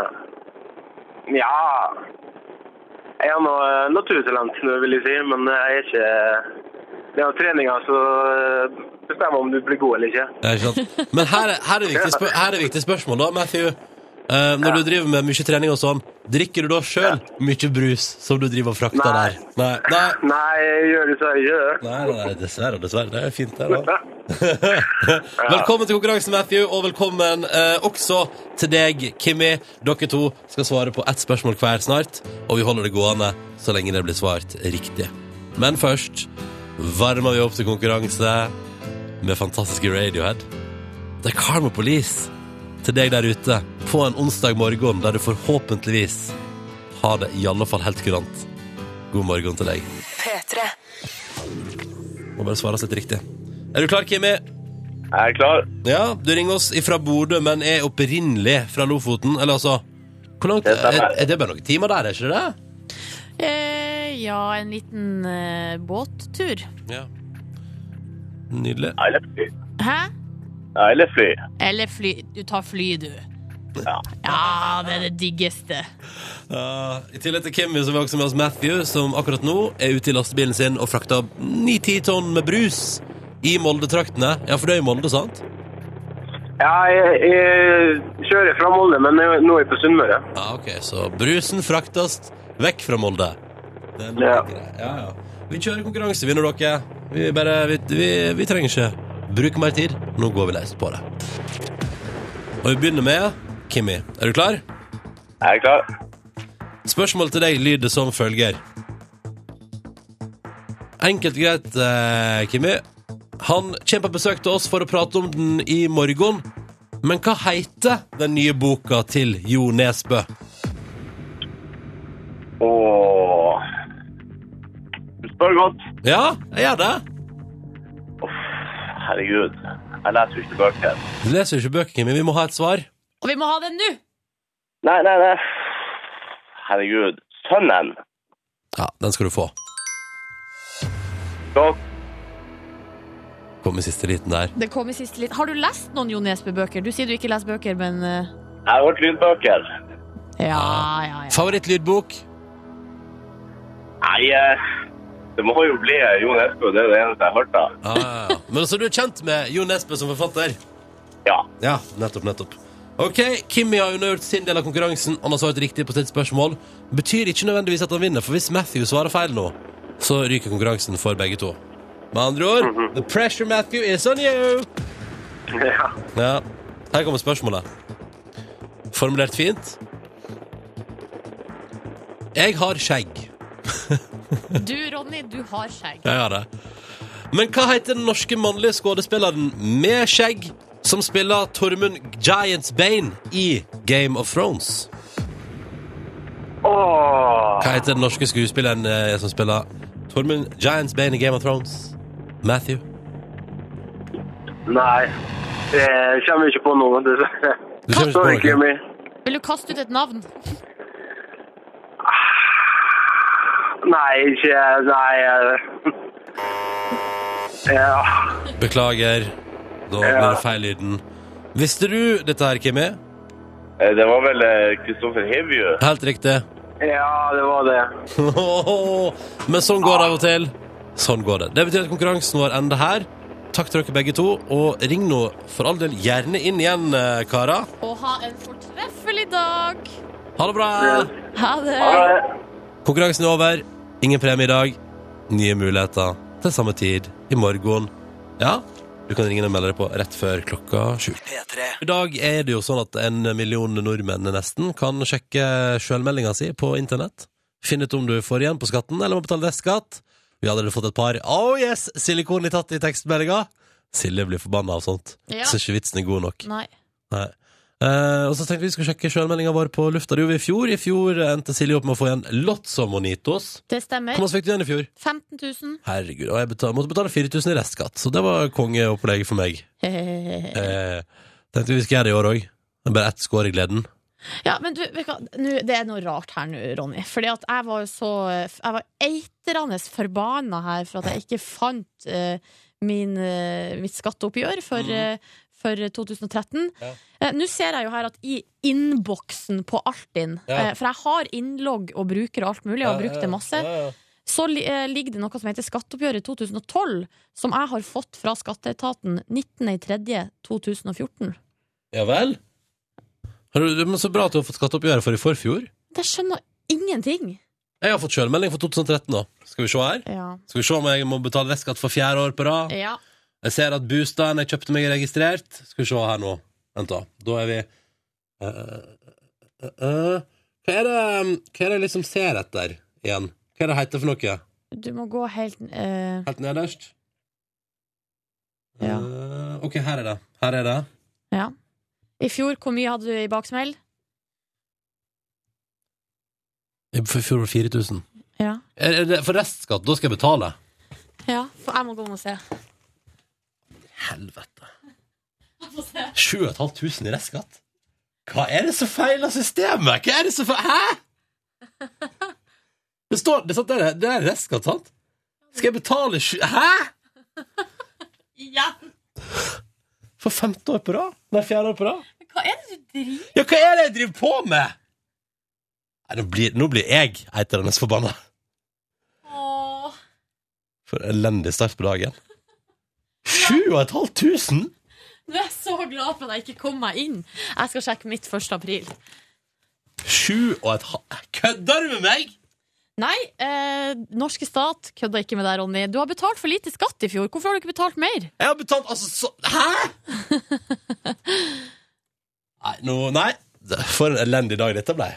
Speaker 6: Ja Jeg er noe eh, naturtalent, vil jeg si, men jeg er ikke Det er jo treninga som eh, bestemmer om du blir god eller ikke.
Speaker 2: Ja, ikke sant? Men her er, her, er viktig spør, her er viktig spørsmål, da, Matthew. Ehm, når du driver med mye trening og sånn, drikker du da sjøl mye brus som du driver og frakter
Speaker 6: Nei.
Speaker 2: der? Nei, nei,
Speaker 6: Nei, jeg gjør dessverre ikke det.
Speaker 2: nei, nei, dessverre, dessverre. Det er fint, det, da. Velkommen til konkurransen, Matthew, og velkommen eh, også til deg, Kimmi. Dere to skal svare på ett spørsmål hver snart, og vi holder det gående så lenge det blir svart riktig. Men først varmer vi opp til konkurranse med fantastiske Radiohead. Det er Karma Police til deg der ute på en onsdag morgen der du forhåpentligvis har det i alle fall helt kurant. God morgen til deg. Må bare svare oss litt riktig. Er du klar, Kimmi?
Speaker 6: Jeg er klar.
Speaker 2: Ja, du ringer oss ifra Bodø, men er opprinnelig fra Lofoten. Eller altså hvor langt,
Speaker 6: Det
Speaker 2: er,
Speaker 6: stemmer.
Speaker 2: er det bare noen timer der, er ikke det?
Speaker 3: Eh, ja, en liten eh, båttur.
Speaker 2: Ja. Nydelig.
Speaker 6: Eller fly.
Speaker 3: Hæ?
Speaker 6: Eller fly.
Speaker 3: Eller fly. Du tar fly, du.
Speaker 6: Ja.
Speaker 3: Ja, det er det diggeste.
Speaker 2: Ja, I tillegg til Kimmy så er vi også med oss Matthew, som akkurat nå er ute i lastebilen sin og frakter 9-10 tonn med brus i Molde-traktene. Ja, for det er jo Molde, sant?
Speaker 6: Ja, jeg, jeg kjører fra Molde, men jeg- nå er jeg på Sunnmøre.
Speaker 2: Ja, ok, så brusen fraktes vekk fra Molde. Det er
Speaker 6: Ja.
Speaker 2: ja. ja, ja. Vi kjører konkurranse, vinner dere. Vi, bare, vi, vi, vi trenger ikke bruke mer tid. Nå går vi løs på det. Og vi begynner med Kimmi. Er du klar?
Speaker 6: Jeg er klar.
Speaker 2: Spørsmålet til deg lyder som følger. Enkelt greit, eh, Kimmi. Han kommer på besøk til oss for å prate om den i morgen. Men hva heter den nye boka til Jo Nesbø?
Speaker 6: Åh. Du spør godt.
Speaker 2: Ja, jeg gjør det.
Speaker 6: Herregud, jeg leser jo ikke bøker.
Speaker 2: Du leser jo ikke bøker, Kimi. Vi må ha et svar.
Speaker 3: Å, Og vi må ha den nå!
Speaker 6: Nei, nei, nei. Herregud. Sønnen.
Speaker 2: Ja, den skal du få.
Speaker 6: Dere
Speaker 2: Kom i siste liten der.
Speaker 3: Det kom i siste litt. Har du lest noen Jo Nesbø-bøker? Du sier du ikke leser bøker, men eh,
Speaker 6: Jeg har hørt lydbøker.
Speaker 3: Ja, ja, ja.
Speaker 2: Favorittlydbok?
Speaker 6: Nei, eh, det må jo bli eh, Jon Espo. Det er det eneste jeg har hørt da.
Speaker 2: Ja, ja, ja. Men altså, du er kjent med Jo Nesbø som forfatter?
Speaker 6: Ja.
Speaker 2: Ja, nettopp, nettopp. Ok, Kimmy har unnagjort sin del av konkurransen. Han har svart riktig på sitt spørsmål. Betyr ikke nødvendigvis at han vinner, for hvis Matthew svarer feil nå, så ryker konkurransen for begge to. Med andre ord, the pressure, Matthew, is on you!
Speaker 6: Mhm. ja.
Speaker 2: Ja, her kommer spørsmålet. Formulert fint. Jeg har skjegg.
Speaker 3: Du, Ronny, du har skjegg.
Speaker 2: Jeg har det. Men hva heter den norske mannlige skuespilleren med skjegg som spiller Tormund Giants Bane i Game of Thrones?
Speaker 6: Åh.
Speaker 2: Hva heter den norske skuespilleren eh, som spiller Tormund Giants Bane i Game of Thrones? Matthew.
Speaker 6: Nei. Det kommer ikke på noe, dessverre.
Speaker 2: Du kommer ikke på noe.
Speaker 6: Sorry, Kimmy.
Speaker 3: Vil du kaste ut et navn?
Speaker 6: Nei, ikke Nei. eh. Ja.
Speaker 2: Beklager. Da ble
Speaker 6: Ja.
Speaker 2: det feil lyden. Visste du dette her, Kimmy?
Speaker 6: Eh, Det var vel eh, Kristoffer Hivju.
Speaker 2: Helt riktig.
Speaker 6: Ja, det var det.
Speaker 2: Men sånn går det av og til. Sånn går det. Det betyr at konkurransen vår ender her. Takk til dere begge to, og ring nå for all del gjerne inn igjen, eh, karer.
Speaker 3: Og ha en fortreffelig dag!
Speaker 2: Ha det bra!
Speaker 3: Ha det!
Speaker 6: Ha det.
Speaker 2: Konkurransen er over. Ingen premie i dag. Nye muligheter til samme tid i morgen. Ja, du kan ringe og melde deg på rett før klokka sju. I dag er det jo sånn at en million nordmenn nesten kan sjekke sjølmeldinga si på internett. Finne ut om du får igjen på skatten eller må betale restskatt. Vi har allerede fått et par oh yes, silikon i tatt i tekstmeldinga. Silje blir forbanna av sånt.
Speaker 3: Ja.
Speaker 2: Så ikke vitsen er god nok.
Speaker 3: Nei.
Speaker 2: Nei. Eh, og så tenkte vi skulle sjekke sjølmeldinga vår på lufta. Det gjorde vi i fjor. I fjor endte Silje opp med å få igjen Lotso Monitos.
Speaker 3: Det stemmer.
Speaker 2: Hvor mye fikk du igjen i fjor?
Speaker 3: 15 000.
Speaker 2: Herregud. Og jeg betal, måtte betale 4000 i restskatt, så det var kongeopplegget for meg. Eh, tenkte vi skulle gjøre det i år òg. Bare ett skår i gleden.
Speaker 3: Ja, men du, vet du hva? Nå, det er noe rart her nå, Ronny. Fordi at jeg var jo så Jeg var eitrende forbanna her for at jeg ikke fant eh, min, eh, mitt skatteoppgjør for, eh, for 2013.
Speaker 2: Mhm. Ja.
Speaker 3: Eh, Nå ser jeg jo her at i innboksen på Altinn,
Speaker 2: Ja.
Speaker 3: eh, for jeg har innlogg og bruker og alt mulig, og har brukt det masse,
Speaker 2: Ja, ja.
Speaker 3: så li- eh, ligger det noe som heter Skatteoppgjøret 2012, som jeg har fått fra Skatteetaten 19.3.2014.
Speaker 2: Ja vel? Har du, men Så bra at du har fått skatteoppgjøret for i forfjor.
Speaker 3: Jeg skjønner ingenting!
Speaker 2: Jeg har fått sjølmelding for 2013 nå. Skal vi se her.
Speaker 3: Ja.
Speaker 2: Skal vi se om jeg må betale restskatt for fjerde år på rad.
Speaker 3: ja.
Speaker 2: Jeg ser at bostaden jeg kjøpte meg er registrert. Skal vi se her nå. Vent, da. Da er vi Eh, eh, eh. Hva er det Hva er det jeg liksom ser etter igjen? Hva er det heter for noe?
Speaker 3: Du må gå helt eh,
Speaker 2: Helt nederst?
Speaker 3: Ja.
Speaker 2: Eh, OK, her er det. Her er det.
Speaker 3: Ja. I fjor, hvor mye hadde du i baksmell?
Speaker 2: For i fjor var det 4000.
Speaker 3: Ja.
Speaker 2: Er- er det- For restskatt, da skal jeg betale.
Speaker 3: ja. For jeg må gå inn og se.
Speaker 2: Helvete. 7500 i restskatt? Hva er det som feiler systemet? Hva er det som feil... Hæ?! Det står Det, sant, det, er, det er restskatt, sant? Skal jeg betale sju... Hæ?!
Speaker 3: Ja,
Speaker 2: For femte år på rad? Nei, fjerde år på rad?
Speaker 3: hva er det du driver
Speaker 2: Ja, hva er det jeg driver på med?! Nei, nå blir, nå blir jeg eitrende forbanna.
Speaker 3: med?
Speaker 2: For en elendig start på dagen. 7500?!
Speaker 3: Nå er jeg så glad for at jeg ikke kom meg inn. Jeg skal sjekke mitt 1. april.
Speaker 2: Sju og et halvt Kødder du med meg?!
Speaker 3: Nei, eh, norske stat kødda ikke med deg, Ronny. Du har betalt for lite skatt i fjor. Hvorfor har du ikke betalt mer?
Speaker 2: Jeg har betalt altså så Hæ?! nei, nå, nei. For en elendig dag dette ble.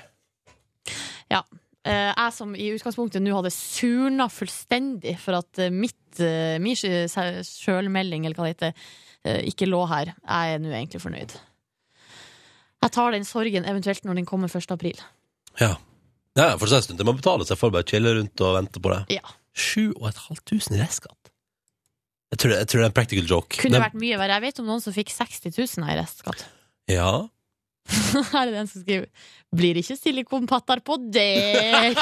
Speaker 3: Eh, jeg som i utgangspunktet nå hadde surna fullstendig for at eh, mitt, eh, min sjø- sjølmelding, eller hva det heter, eh, ikke lå her. Jeg er nå egentlig fornøyd. Jeg tar den sorgen eventuelt når den kommer 1. april.
Speaker 2: Ja. ja for det er en stund til man betaler, så jeg får bare chille rundt og vente på det.
Speaker 3: Ja.
Speaker 2: 7500 i restskatt. Jeg tror, det- jeg tror det er en practical joke.
Speaker 3: Kunne
Speaker 2: Den-
Speaker 3: vært mye verre. Jeg vet om noen som fikk 60 000 her i restskatt.
Speaker 2: Ja.
Speaker 3: Her er det en som skriver Blir ikke silikonpatter på deg!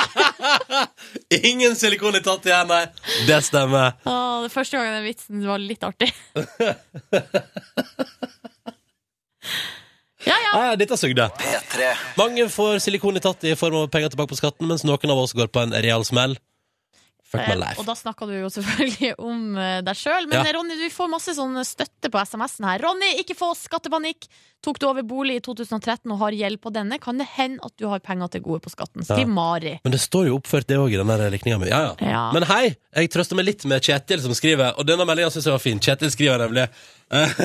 Speaker 2: Ingen silikon i tatt igjen, nei. Det stemmer.
Speaker 3: Åh, det første gangen den vitsen var litt artig. ja, ja.
Speaker 2: Nei, dette sugde. Mange får silikon i tatt i form av penger tilbake på skatten, mens noen av oss går på en real smell. Fuck my
Speaker 3: Eh, Og
Speaker 2: life.
Speaker 3: da snakka du jo selvfølgelig om eh, deg sjøl. Men
Speaker 2: Ja.
Speaker 3: Ronny, du får masse sånn støtte på SMS-en her. Ronny, ikke få skattepanikk! Tok du over bolig i 2013 og har gjeld på denne, kan det hende at du har penger til gode på skatten. Skriv
Speaker 2: Ja.
Speaker 3: Mari.
Speaker 2: Men det står jo oppført, det òg, i den der likninga mi. Ja, ja.
Speaker 3: Ja.
Speaker 2: Men hei, jeg trøster meg litt med Kjetil som skriver, og denne meldinga syns jeg var fin. Kjetil skriver nemlig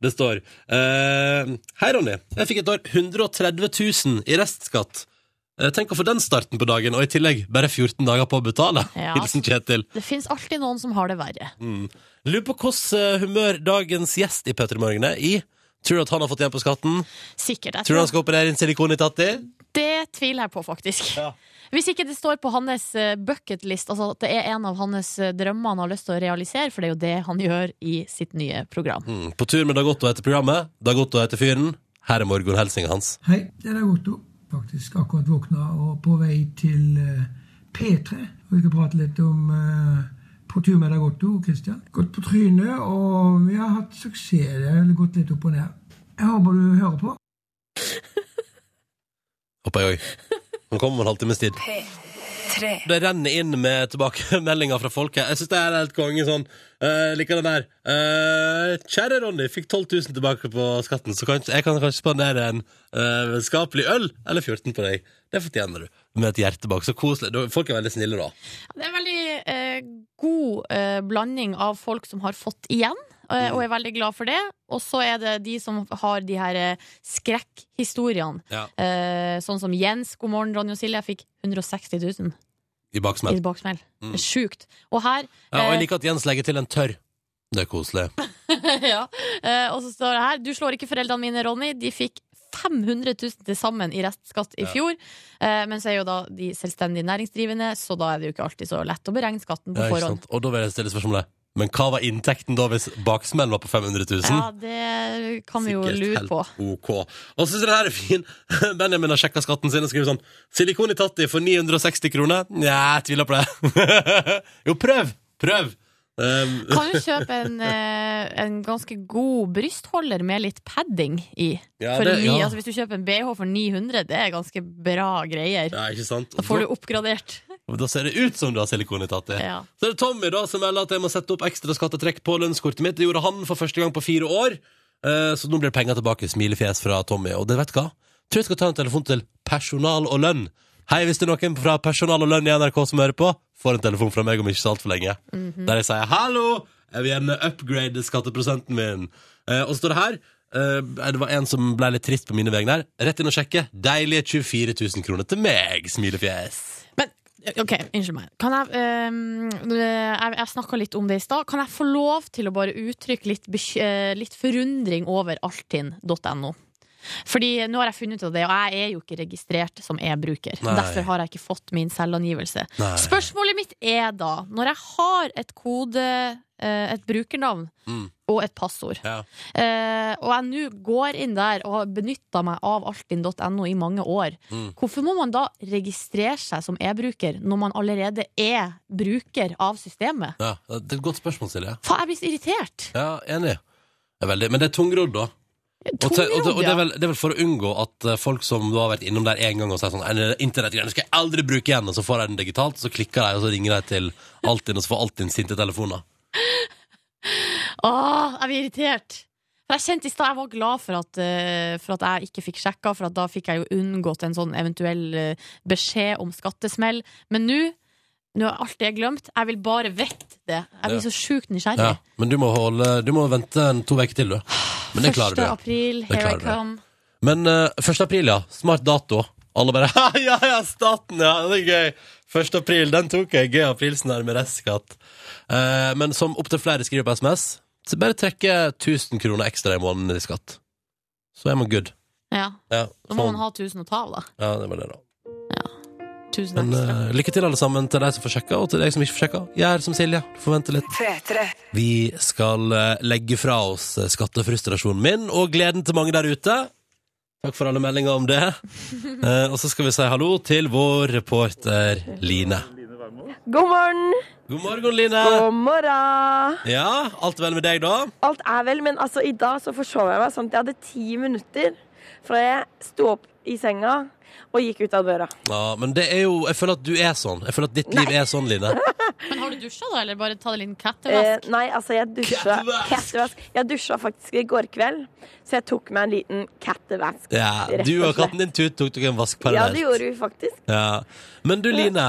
Speaker 2: Det står eh, Hei, Ronny. Jeg fikk et år 130 000 i restskatt. Eh, Tenk å få den starten på dagen, og i tillegg bare 14 dager på å betale.
Speaker 3: Ja.
Speaker 2: Hilsen Kjetil.
Speaker 3: Det fins alltid noen som har det verre.
Speaker 2: Mm. Lurer på hvordan humør dagens gjest i P3 Morgen er i. Tror du at han har fått igjen på skatten?
Speaker 3: Sikkert. Jeg
Speaker 2: Tror du han skal operere inn silikon i tatt i?
Speaker 3: Det tviler jeg på, faktisk.
Speaker 2: Ja.
Speaker 3: Hvis ikke det står på hans eh, bucketlist, altså at det er en av hans eh, drømmer han har lyst til å realisere, for det er jo det han gjør i sitt nye program.
Speaker 2: Mm. På tur med Dagotto etter programmet. Dagotto etter fyren. Her er morgenhelsinga hans.
Speaker 7: Hei, det er Dagotto. Faktisk akkurat våkna og på vei til eh, P3. Og vi skal prate litt om eh, På tur med Dagotto, Christian. Gått på trynet, og vi har hatt suksess. Det har gått litt opp og ned. Jeg håper du hører på.
Speaker 2: Håper jeg òg. Han kommer om en halvtimes tid. Det renner inn med tilbakemeldinger fra folk her. Jeg syns det er helt konge. Sånn, eh, liker den der. Eh, kjære Ronny, fikk 12 000 tilbake på skatten, så kanskje, jeg kan kanskje spandere en eh, skapelig øl eller 14 på deg. Det fortjener du. Med et hjerte bak. Så koselig. Da- Folk er veldig snille, da.
Speaker 3: Det er en veldig eh, god eh, blanding av folk som har fått igjen,
Speaker 2: Mm.
Speaker 3: eh, og er veldig glad for det. Og så er det de som har de her eh, skrekkhistoriene.
Speaker 2: Ja.
Speaker 3: Eh, sånn som Jens, god morgen, Ronny og Silje. Jeg fikk 160 000
Speaker 2: I baksmell.
Speaker 3: i baksmell.
Speaker 2: Mm.
Speaker 3: Det er sjukt. Og her eh,
Speaker 2: Ja, og jeg liker at Jens legger til en tørr. Det er koselig.
Speaker 3: ja. Eh, og så står det her Du slår ikke foreldrene mine, Ronny. De fikk 500 000 til sammen i restskatt i
Speaker 2: Ja.
Speaker 3: fjor. Eh, men så er jo da de selvstendig næringsdrivende, så da er det jo ikke alltid så lett å beregne skatten på
Speaker 2: Ja, ikke
Speaker 3: forhånd.
Speaker 2: sant? Og da vil jeg stille spørsmålet Men hva var inntekten da hvis baksmellen var på 500 000?
Speaker 3: Ja, det kan vi jo
Speaker 2: Sikkert
Speaker 3: lure
Speaker 2: helt
Speaker 3: på.
Speaker 2: Ok. Og så syns jeg den her er fin. Benjamin har sjekka skatten sin og skriver sånn Silikon i Tatti for 960 kroner. Nja, jeg tviler på det. jo, prøv! Prøv! Um,
Speaker 3: Kan jo kjøpe en, eh, en ganske god brystholder med litt padding i.
Speaker 2: Ja,
Speaker 3: for
Speaker 2: det-
Speaker 3: ni,
Speaker 2: ja.
Speaker 3: altså, hvis du kjøper en BH for 900, det er ganske bra greier.
Speaker 2: ja, ikke sant?
Speaker 3: Da får du oppgradert.
Speaker 2: Da, da ser det ut som du har silikon i Tatti.
Speaker 3: Ja.
Speaker 2: Så er det Tommy da som melder at jeg må sette opp ekstra skattetrekk på lønnskortet mitt. Det gjorde han for første gang på fire år. Eh, Så nå blir det penger tilbake. Smilefjes fra Tommy. Og det vet du hva? Tror jeg skal ta en telefon til Personal og lønn. Hei, hvis det er noen fra Personal og lønn i NRK som hører på, får en telefon fra meg om ikke så altfor lenge.
Speaker 6: Mm.
Speaker 8: Mhm.
Speaker 2: Der jeg sier 'hallo, jeg vil gjerne upgrade skatteprosenten min'. Eh, Og så står det her eh, det var en som ble litt trist på mine vegne her. Rett inn og sjekke. Deilige 24 000 kroner til meg, smilefjes.
Speaker 3: Men OK, unnskyld meg. Kan jeg, ehm, jeg, jeg snakka litt om det i stad. Kan jeg få lov til å bare uttrykke litt, bekj- eh, litt forundring over altinn.no? Fordi nå har jeg funnet ut av det, og jeg er jo ikke registrert som e-bruker.
Speaker 2: Nei.
Speaker 3: Derfor har jeg ikke fått min selvangivelse.
Speaker 2: Nei.
Speaker 3: Spørsmålet mitt er da, når jeg har et kode, eh, et brukernavn
Speaker 2: Mm.
Speaker 3: og et passord,
Speaker 2: Ja.
Speaker 3: eh, og jeg nå går inn der og har benytta meg av altinn.no i mange år,
Speaker 2: Mm.
Speaker 3: hvorfor må man da registrere seg som e-bruker når man allerede er bruker av systemet?
Speaker 2: ja. Det er et godt spørsmål, Silje.
Speaker 3: Faen, jeg blir så irritert!
Speaker 2: Ja, enig. Det er veldig, men det er tungrodd, da. Og, te- og, te- og
Speaker 3: Tungrodd,
Speaker 2: det, er
Speaker 3: ja.
Speaker 2: vel, det er vel for å unngå at eh, folk som da har vært innom der én gang og sier sånn «Nei, det internettgreiene skal jeg aldri bruke igjen, og så får de den digitalt, og så klikker de, og så ringer de til Altinn, og så får Altinn sinte telefoner.
Speaker 3: Åh, Ah, jeg blir irritert! For jeg kjente i stad jeg var glad for at, eh, for at jeg ikke fikk sjekka, for at da fikk jeg jo unngått en sånn eventuell eh, beskjed om skattesmell. Men nå nå er alt det glemt. Jeg vil bare vite det. Jeg blir
Speaker 2: Ja.
Speaker 3: så sjukt nysgjerrig.
Speaker 2: Ja, men du må, holde, du må vente en, to uker til, du. Men det klarer
Speaker 3: 1.
Speaker 2: du.
Speaker 3: april,
Speaker 2: Det
Speaker 3: here I
Speaker 2: klarer du.
Speaker 3: come.
Speaker 2: Men eh, 1. april, ja. Smart dato. Alle bare Ja, ja, staten, ja! Det er gøy! 1. april, den tok jeg. Gøy aprilsen her med restskatt. Eh, men som opptil flere skriver på SMS, så bare trekke 1000 kroner ekstra i måneden i skatt. Så er man good.
Speaker 3: Ja.
Speaker 2: Ja, sånn.
Speaker 3: Da må man ha 1000 å ta av, da.
Speaker 2: ja det var det, da.
Speaker 3: 1000
Speaker 2: Men
Speaker 3: ekstra.
Speaker 2: eh, lykke til, alle sammen, til deg som får sjekka, og til deg som ikke får sjekka. Gjør som Silje. Forvente litt. Vi skal eh, legge fra oss eh, skattefrustrasjonen min og gleden til mange der ute. Takk for alle meldinger om det. Eh, og så skal vi si hallo til vår reporter Line.
Speaker 4: God morgen!
Speaker 2: God morgen, Line.
Speaker 4: God morgen!
Speaker 2: Ja, alt vel med deg, da?
Speaker 4: Alt er vel, men altså, i dag så forsov jeg meg sånn at jeg hadde ti minutter fra jeg sto opp i senga og gikk ut av døra.
Speaker 2: Ja, Men det er jo Jeg føler at du er sånn. Jeg føler at ditt liv er sånn, Line.
Speaker 3: Men har du dusja, da, eller bare ta det litt
Speaker 4: Eh,
Speaker 3: cattevask?
Speaker 4: nei, altså, jeg dusja
Speaker 2: Cattevask!
Speaker 4: Cattevask. Jeg dusja faktisk i går kveld, så jeg tok meg en liten cattevask.
Speaker 2: Ja,
Speaker 4: Rett og
Speaker 2: Du og
Speaker 4: slett.
Speaker 2: katten din Tut tok dere en vask
Speaker 4: Ja, det
Speaker 2: parallelt.
Speaker 4: gjorde Mhm. vi faktisk.
Speaker 2: Ja. Men du, Line.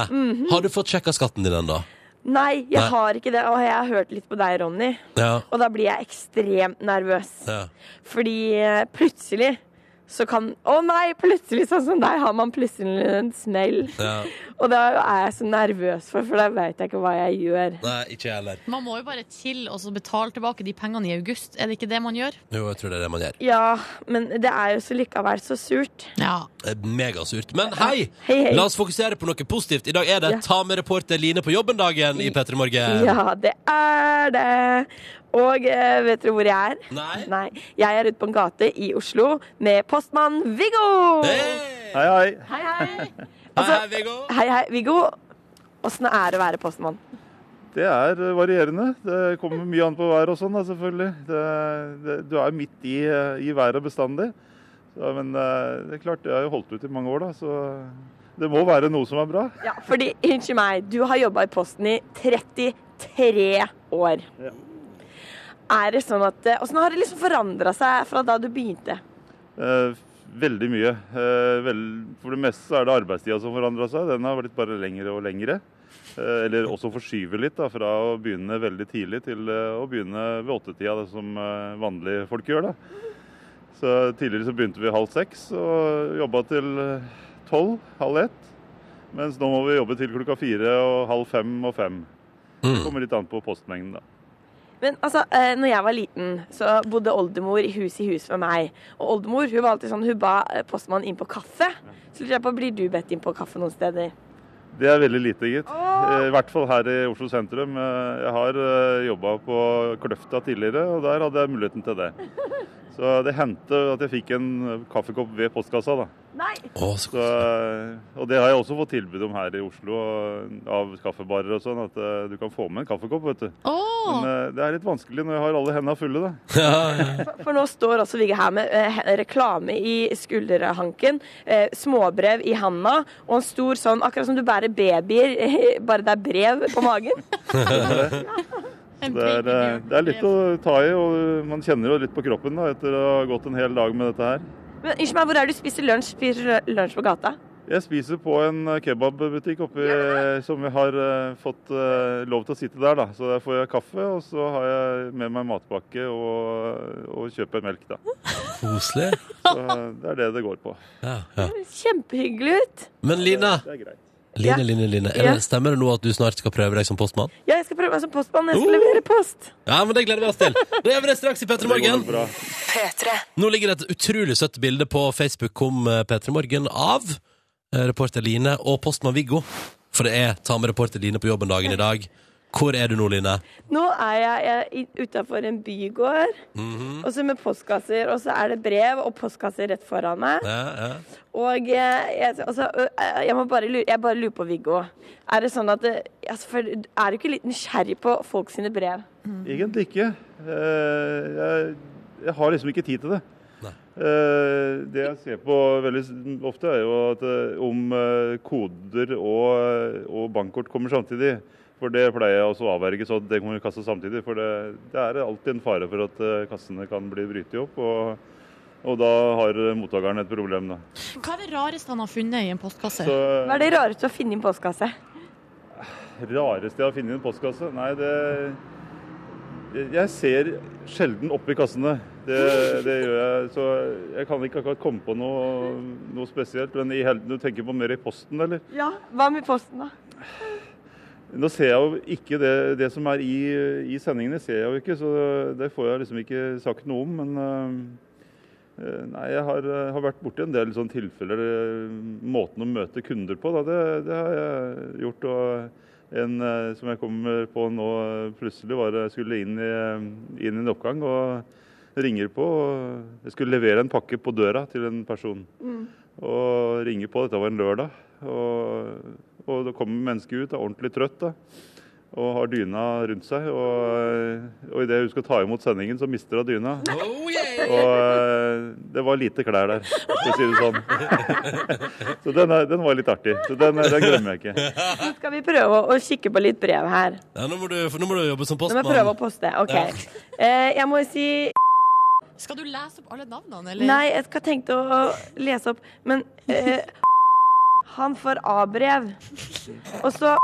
Speaker 2: Har du fått sjekka skatten din ennå?
Speaker 4: Nei, jeg
Speaker 2: Nei.
Speaker 4: har ikke det, og jeg har hørt litt på deg, Ronny,
Speaker 2: Ja.
Speaker 4: og da blir jeg ekstremt nervøs.
Speaker 2: ja.
Speaker 4: Fordi eh, plutselig så kan Å nei, plutselig sånn som deg har man plutselig en smell.
Speaker 2: ja.
Speaker 4: Og det er jeg så nervøs for, for da veit jeg ikke hva jeg gjør.
Speaker 2: Nei, ikke jeg heller.
Speaker 3: Man må jo bare til og så betale tilbake de pengene i august. Er det ikke det man gjør?
Speaker 2: Jo, jeg tror det er det man gjør.
Speaker 4: Ja, men det er jo så likevel så surt.
Speaker 3: Ja.
Speaker 2: Det er Eh, Megasurt. Men hei,
Speaker 4: Hei, hei.
Speaker 2: la oss fokusere på noe positivt. I dag er det
Speaker 4: Ja.
Speaker 2: Ta med reporter Line på jobben-dagen i P3 Morgen.
Speaker 4: Ja, det er det. Og eh, vet dere hvor jeg er?
Speaker 2: Nei?
Speaker 4: Nei. Jeg er ute på en gate i Oslo med postmann Viggo.
Speaker 2: Hei,
Speaker 9: Hei, hei.
Speaker 4: Hei, hei.
Speaker 2: hei, Viggo.
Speaker 4: Hei, hei, Viggo. Åssen er det å være postmann?
Speaker 9: Det er eh, varierende. Det kommer mye an på været og sånn, da, selvfølgelig. Det, det, du er midt i, eh, i været bestandig. Så, men eh, det er klart, jeg har jo holdt ut i mange år, da, så det må være noe som er bra.
Speaker 4: Ja, fordi, unnskyld meg, du har jobba i Posten i 33 år.
Speaker 9: Ja.
Speaker 4: Er det sånn at eh, Åssen har det liksom forandra seg fra da du begynte?
Speaker 9: Eh, Veldig mye. Eh, Vel, for det meste så er det arbeidstida som forandra seg. Den har blitt bare lengre og lengre. Eh, Eller også forskyver litt, da, fra å begynne veldig tidlig til eh, å begynne ved åttetida, det som eh, vanlige folk gjør. da. Så Tidligere så begynte vi halv seks og jobba til eh, tolv, halv ett. Mens nå må vi jobbe til klokka fire og halv fem og fem. Det kommer litt an på postmengden, da.
Speaker 4: Men altså, eh, når jeg var liten, så bodde oldemor i hus i hus med meg. Og oldemor hun var alltid sånn, hun ba eh, postmannen inn på kaffe. Så lurer jeg på, blir du bedt inn på kaffe noen steder?
Speaker 9: Det er veldig lite, gitt. Eh, I hvert fall her i Oslo sentrum. Eh, Jeg har jobba på Kløfta tidligere, og der hadde jeg muligheten til det. Så det hendte at jeg fikk en eh, kaffekopp ved postkassa, da.
Speaker 4: Nei!
Speaker 2: Å, så
Speaker 9: Så, eh, og det har jeg også fått tilbud om her i Oslo og av kaffebarer og sånn, at eh, du kan få med en kaffekopp, vet du.
Speaker 3: Åh,
Speaker 9: Men eh, det er litt vanskelig når jeg har alle hendene fulle, da.
Speaker 4: For, for nå står også Vigge her med eh, he- reklame i skulderhanken, eh, småbrev i handa og en stor sånn, akkurat som du bærer babyer, eh, bare det er brev på magen.
Speaker 3: en
Speaker 9: Det er, eh,
Speaker 3: baby
Speaker 9: det er litt å ta i, og man kjenner jo litt på kroppen da, etter å ha gått en hel dag med dette her.
Speaker 4: Men unnskyld meg, hvor er det du spiser lunsj? Spiser du lunsj på gata?
Speaker 9: Jeg spiser på en eh, kebabbutikk oppe i- som vi har eh, fått eh, lov til å sitte der. da. Så der får jeg kaffe, og så har jeg med meg matpakke og, og kjøper melk. da.
Speaker 2: koselig.
Speaker 9: Så eh, Det er det det går på.
Speaker 2: Ja, ja.
Speaker 4: Det ser Kjempehyggelig ut.
Speaker 2: Men Line,
Speaker 9: Det er greit.
Speaker 2: Line,
Speaker 4: Ja.
Speaker 2: Line, Line. Er
Speaker 4: Ja.
Speaker 2: det, stemmer det nå at du snart skal prøve deg som postmann?
Speaker 4: Ja, jeg skal prøve meg som postmann. Jeg skal
Speaker 2: Oh.
Speaker 4: levere post.
Speaker 2: Ja, men det gleder vi oss til. Da gjør vi det straks i P3
Speaker 9: Det går
Speaker 2: Morgen.
Speaker 9: nok bra.
Speaker 2: Nå ligger det et utrolig søtt bilde på Facebook om eh, P3 Morgen av eh, reporter Line og postmann Viggo. For det er ta med reporter Line på jobben dagen i dag. Hvor er du nå, Line?
Speaker 4: Nå er jeg, jeg utafor en bygård,
Speaker 2: Mm. Mhm.
Speaker 4: og så med postkasser. Og så er det brev og postkasser rett foran meg.
Speaker 2: Ja, ja.
Speaker 4: Og eh, jeg, altså, eh, jeg må bare lure, jeg bare lurer på, Viggo. Er det sånn at eh, altså, for, Er du ikke litt nysgjerrig på folk sine brev?
Speaker 9: Egentlig ikke. Eh, Jeg, jeg har liksom ikke tid til det.
Speaker 2: Nei.
Speaker 9: Eh, Det jeg ser på veldig s- ofte, er jo at eh, om eh, koder og, eh, og bankkort kommer samtidig. For det pleier jeg også å avverge, så det kommer i kassa samtidig. For det, det er alltid en fare for at eh, kassene kan bli brytet opp. og og da har eh, mottakeren et problem, da.
Speaker 3: Hva er det rareste han har funnet i en postkasse?
Speaker 9: Så eh,
Speaker 4: Hva er det rareste å finne i en postkasse?
Speaker 9: rareste jeg har funnet i en postkasse? Nei, det Jeg- Jeg ser sjelden oppi kassene. Det, det gjør jeg. Så jeg kan ikke akkurat komme på noe, noe spesielt. Men i hel, du tenker på mer i posten, eller?
Speaker 4: Ja, Hva med posten, da?
Speaker 9: Nå ser jeg jo ikke det, det som er i, i sendingene, ser jeg jo ikke, så det får jeg liksom ikke sagt noe om. Men eh, eh, nei, jeg har, eh, har vært borti en del sånne tilfeller. eh, Måten å møte kunder på, da, det, det har jeg gjort. Og en eh, som jeg kommer på nå eh, plutselig, var jeg skulle inn i, eh, inn i en oppgang. og ringer på. og Jeg skulle levere en pakke på døra til en person. Og ringer på, dette var en lørdag. Og, og da kommer mennesket ut, er ordentlig trøtt da. Og har dyna rundt seg. Og, og idet hun skal ta imot sendingen, så mister hun dyna.
Speaker 2: Oh, yeah.
Speaker 9: Og eh, det var lite klær der, for å si det sånn. Så den, er, den var litt artig. Så den, den glemmer jeg ikke.
Speaker 4: Nå skal vi prøve å- å kikke på litt brev her.
Speaker 2: Ja, nå, må du, for nå må du jobbe som
Speaker 4: Nå må jeg prøve
Speaker 2: postmann.
Speaker 4: å poste. OK.
Speaker 2: Ja.
Speaker 4: Eh, jeg må si
Speaker 3: Skal du lese opp alle navnene, eller?
Speaker 4: Nei, jeg skal tenke å lese opp, men eh, Han får A-brev. Og så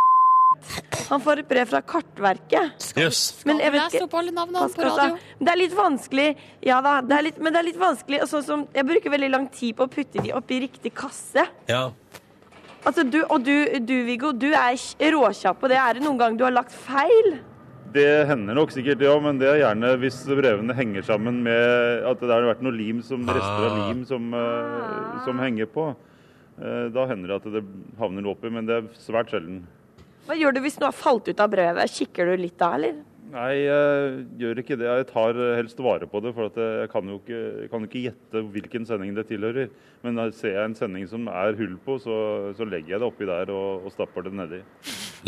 Speaker 4: Han får et brev fra Kartverket.
Speaker 2: Jøss.
Speaker 4: Men jeg
Speaker 3: Skal du
Speaker 4: vet
Speaker 3: lese
Speaker 4: ikke
Speaker 3: opp alle navnene på radio?
Speaker 4: postkassa. Det er litt vanskelig. Ja da, det er litt, men det er litt vanskelig. Og sånn som, jeg bruker veldig lang tid på å putte de oppi riktig kasse.
Speaker 2: Ja.
Speaker 4: Altså, du, og du, du, Viggo, du er kj- råkjapp på det. Er det noen gang du har lagt feil?
Speaker 9: Det hender nok sikkert, ja, men det er gjerne hvis brevene henger sammen med at det har vært noe lim som, rester av
Speaker 2: Ah.
Speaker 9: lim som, eh, som henger på. Eh, Da hender det at det havner noe oppi, men det er svært sjelden.
Speaker 4: Hva gjør du hvis noe har falt ut av brevet? Kikker du litt da, eller?
Speaker 9: Nei, jeg gjør ikke det. Jeg tar eh, helst vare på det, for at eh, jeg kan jo ikke, jeg kan ikke gjette hvilken sending det tilhører. Men da ser jeg en sending som er hull på, så, så legger jeg det oppi der og, og stapper det nedi